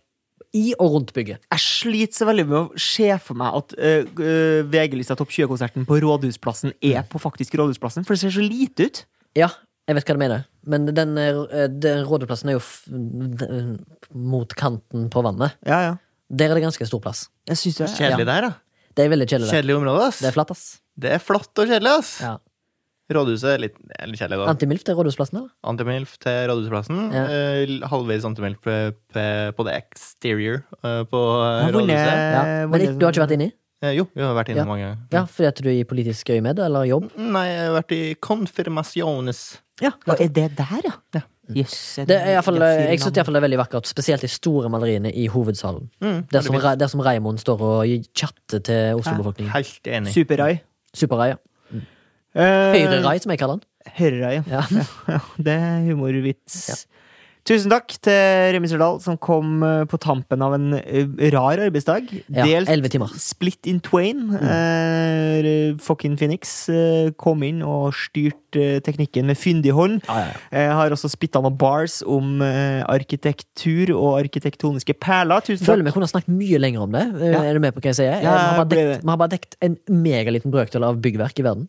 [SPEAKER 1] i og rundt bygget.
[SPEAKER 2] Jeg sliter så veldig med å se for meg at eh, eh, VG-lista Topp 20-konserten på Rådhusplassen er på faktisk Rådhusplassen, for det ser så lite ut.
[SPEAKER 1] Ja, jeg vet hva du mener. Men den, eh, den rådeplassen er jo f d- mot kanten på vannet.
[SPEAKER 2] Ja, ja.
[SPEAKER 1] Der er det ganske stor plass.
[SPEAKER 2] Jeg synes det er
[SPEAKER 3] Kjedelig
[SPEAKER 2] Ja.
[SPEAKER 3] der, da.
[SPEAKER 1] Det er veldig kjedelig. der.
[SPEAKER 3] Kjedelig område, ass.
[SPEAKER 1] Det er flatt, ass.
[SPEAKER 3] Det er flatt og kjedelig, ass.
[SPEAKER 1] Ja.
[SPEAKER 3] Rådhuset er litt, er litt kjedelig, da.
[SPEAKER 1] Antimilf til Rådhusplassen, eller?
[SPEAKER 3] Antimilf til Rådhusplassen.
[SPEAKER 1] Ja.
[SPEAKER 3] eh, halvveis antimilf på, på det exterior eh, på eh,
[SPEAKER 2] Jeg har
[SPEAKER 3] Rådhuset.
[SPEAKER 1] Ja.
[SPEAKER 2] vunnet-
[SPEAKER 1] Men ikke, du har ikke
[SPEAKER 2] vunnet-
[SPEAKER 1] vært inni?
[SPEAKER 3] Eh, jo, vi har vært
[SPEAKER 1] Ja.
[SPEAKER 3] innom mange ganger.
[SPEAKER 1] Ja, fordi at du er i politisk øyemed, eller jobb?
[SPEAKER 3] Nei, jeg har vært i Confirmaciones.
[SPEAKER 1] Ja,
[SPEAKER 2] Og er det der, ja? Jøss. er
[SPEAKER 1] Det er i hvert fall,
[SPEAKER 2] fire
[SPEAKER 1] jeg syns
[SPEAKER 2] navn.
[SPEAKER 1] iallfall det er veldig vakkert, spesielt de store maleriene i hovedsalen.
[SPEAKER 3] Mm,
[SPEAKER 1] Der som,
[SPEAKER 3] veldig
[SPEAKER 1] Ra- der som Raymond står og chatter til
[SPEAKER 3] fint.
[SPEAKER 1] Oslo-befolkningen.
[SPEAKER 3] Helt enig.
[SPEAKER 2] Super-Rai.
[SPEAKER 1] Super-Rai, ja.
[SPEAKER 2] Eh,
[SPEAKER 1] Høyre-Rai, som jeg kaller den.
[SPEAKER 2] Høyre-Rai,
[SPEAKER 1] Ja.
[SPEAKER 2] ja. ja. Det er humorvits. Tusen takk til Remi Sørdal, som kom eh, på tampen av en eh, rar arbeidsdag.
[SPEAKER 1] Ja, elleve timer.
[SPEAKER 2] Split in Twain. Eh, fucking Phoenix eh, kom inn og styrte eh, teknikken med fyndig hånd.
[SPEAKER 1] Ja, ja, ja.
[SPEAKER 2] Eh, har også spytta noen bars om eh, arkitektur og arkitektoniske perler. Tusen
[SPEAKER 1] Føler vi
[SPEAKER 2] takk.
[SPEAKER 1] kunne ha snakket mye lenger om det. Eh,
[SPEAKER 2] Ja.
[SPEAKER 1] Er du med på hva jeg sier? Eh,
[SPEAKER 2] Ja,
[SPEAKER 1] vi, har bare
[SPEAKER 2] blir
[SPEAKER 1] dekt,
[SPEAKER 2] det.
[SPEAKER 1] vi har bare dekt en megaliten brøkdel av byggverk i verden.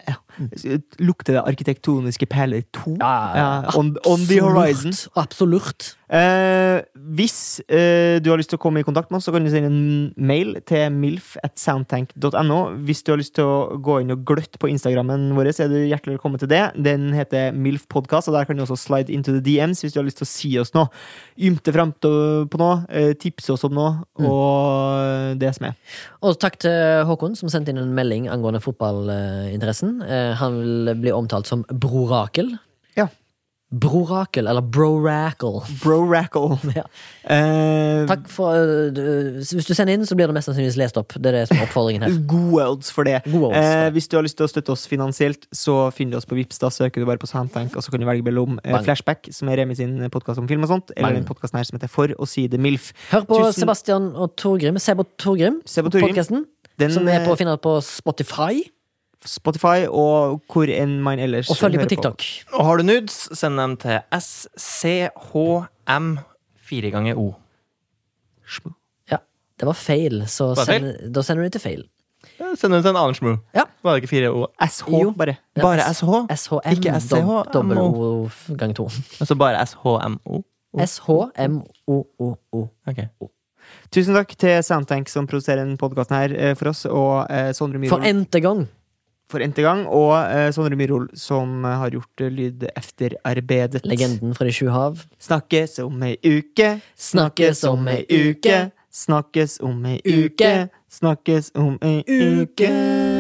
[SPEAKER 2] Lukter det arkitektoniske perler 2?
[SPEAKER 1] Ja,
[SPEAKER 2] on, on the horizon.
[SPEAKER 1] Absolutt.
[SPEAKER 2] Eh, hvis eh, du har lyst til å komme i kontakt med oss, så kan du sende en mail til milf at soundtank.no. Hvis du har lyst til å gå inn og gløtte på Instagrammen vår, så er du hjertelig velkommen til det. Den heter milfpodkast, og der kan du også slide into the DMs hvis du har lyst til å si oss noe. Ymte fremte på noe, eh, tipse oss om noe,
[SPEAKER 1] Mm.
[SPEAKER 2] og det som er.
[SPEAKER 1] Og takk til Håkon, som sendte inn en melding angående fotballinteressen. Eh, Han vil bli omtalt som Brorakel.
[SPEAKER 2] Ja.
[SPEAKER 1] Brorakel, eller Brorakel.
[SPEAKER 2] Bro Rackle.
[SPEAKER 1] Ja.
[SPEAKER 2] Eh,
[SPEAKER 1] Takk for eh, du- Hvis du sender inn, så blir det mest sannsynligvis lest opp. Det er det som er oppfordringen
[SPEAKER 2] Mm.
[SPEAKER 1] her.
[SPEAKER 2] Gode odds for det.
[SPEAKER 1] Gode odds for
[SPEAKER 2] eh,
[SPEAKER 1] det.
[SPEAKER 2] hvis du har lyst til å støtte oss finansielt, så finner du oss på Vipps. Da søker du bare på Soundtank, og så kan du velge mellom eh,
[SPEAKER 1] Bang.
[SPEAKER 2] Flashback, som er Remi sin podkast om film og sånt, eller
[SPEAKER 1] Bang.
[SPEAKER 2] den podkasten her som heter For å si det milf.
[SPEAKER 1] Hør på
[SPEAKER 2] Tusen-
[SPEAKER 1] Sebastian og Torgrim. Se på Torgrim.
[SPEAKER 2] Se på Torgrim.
[SPEAKER 1] Podcasten,
[SPEAKER 2] Den,
[SPEAKER 1] som er på å
[SPEAKER 2] eh,
[SPEAKER 1] finne på Spotify.
[SPEAKER 2] Spotify og hvor enn man ellers
[SPEAKER 1] Og følg dem
[SPEAKER 2] hører
[SPEAKER 1] på TikTok.
[SPEAKER 3] Og har du nudes, send dem til SCHM fire ganger O.
[SPEAKER 2] Schmo.
[SPEAKER 1] Ja, det var feil, så
[SPEAKER 3] Var det
[SPEAKER 1] send, da sender du det til feil.
[SPEAKER 3] Eh, Send dem til en annen smule.
[SPEAKER 1] Ja.
[SPEAKER 3] Var det ikke fire O?
[SPEAKER 2] SH,
[SPEAKER 1] Jo.
[SPEAKER 2] bare.
[SPEAKER 1] Ja,
[SPEAKER 3] Bare
[SPEAKER 1] S-
[SPEAKER 3] SH?
[SPEAKER 1] SHM.
[SPEAKER 3] Ikke SCH,
[SPEAKER 1] dob- dobbel O gang to.
[SPEAKER 3] Altså bare SHMO?
[SPEAKER 1] SHMOOO.
[SPEAKER 3] Ok.
[SPEAKER 2] Tusen takk til Soundtank, som produserer denne podkasten her eh, for oss, og eh, Sondre
[SPEAKER 1] For
[SPEAKER 2] Myhrvold
[SPEAKER 1] n-te gang.
[SPEAKER 2] for n-te gang, og eh, Sondre Myhrvold, som eh, har gjort eh, lyd efter arbeidet.
[SPEAKER 1] Legenden fra De sju hav.
[SPEAKER 2] Snakkes om ei uke, snakkes om ei uke, snakkes om ei uke, snakkes om ei uke.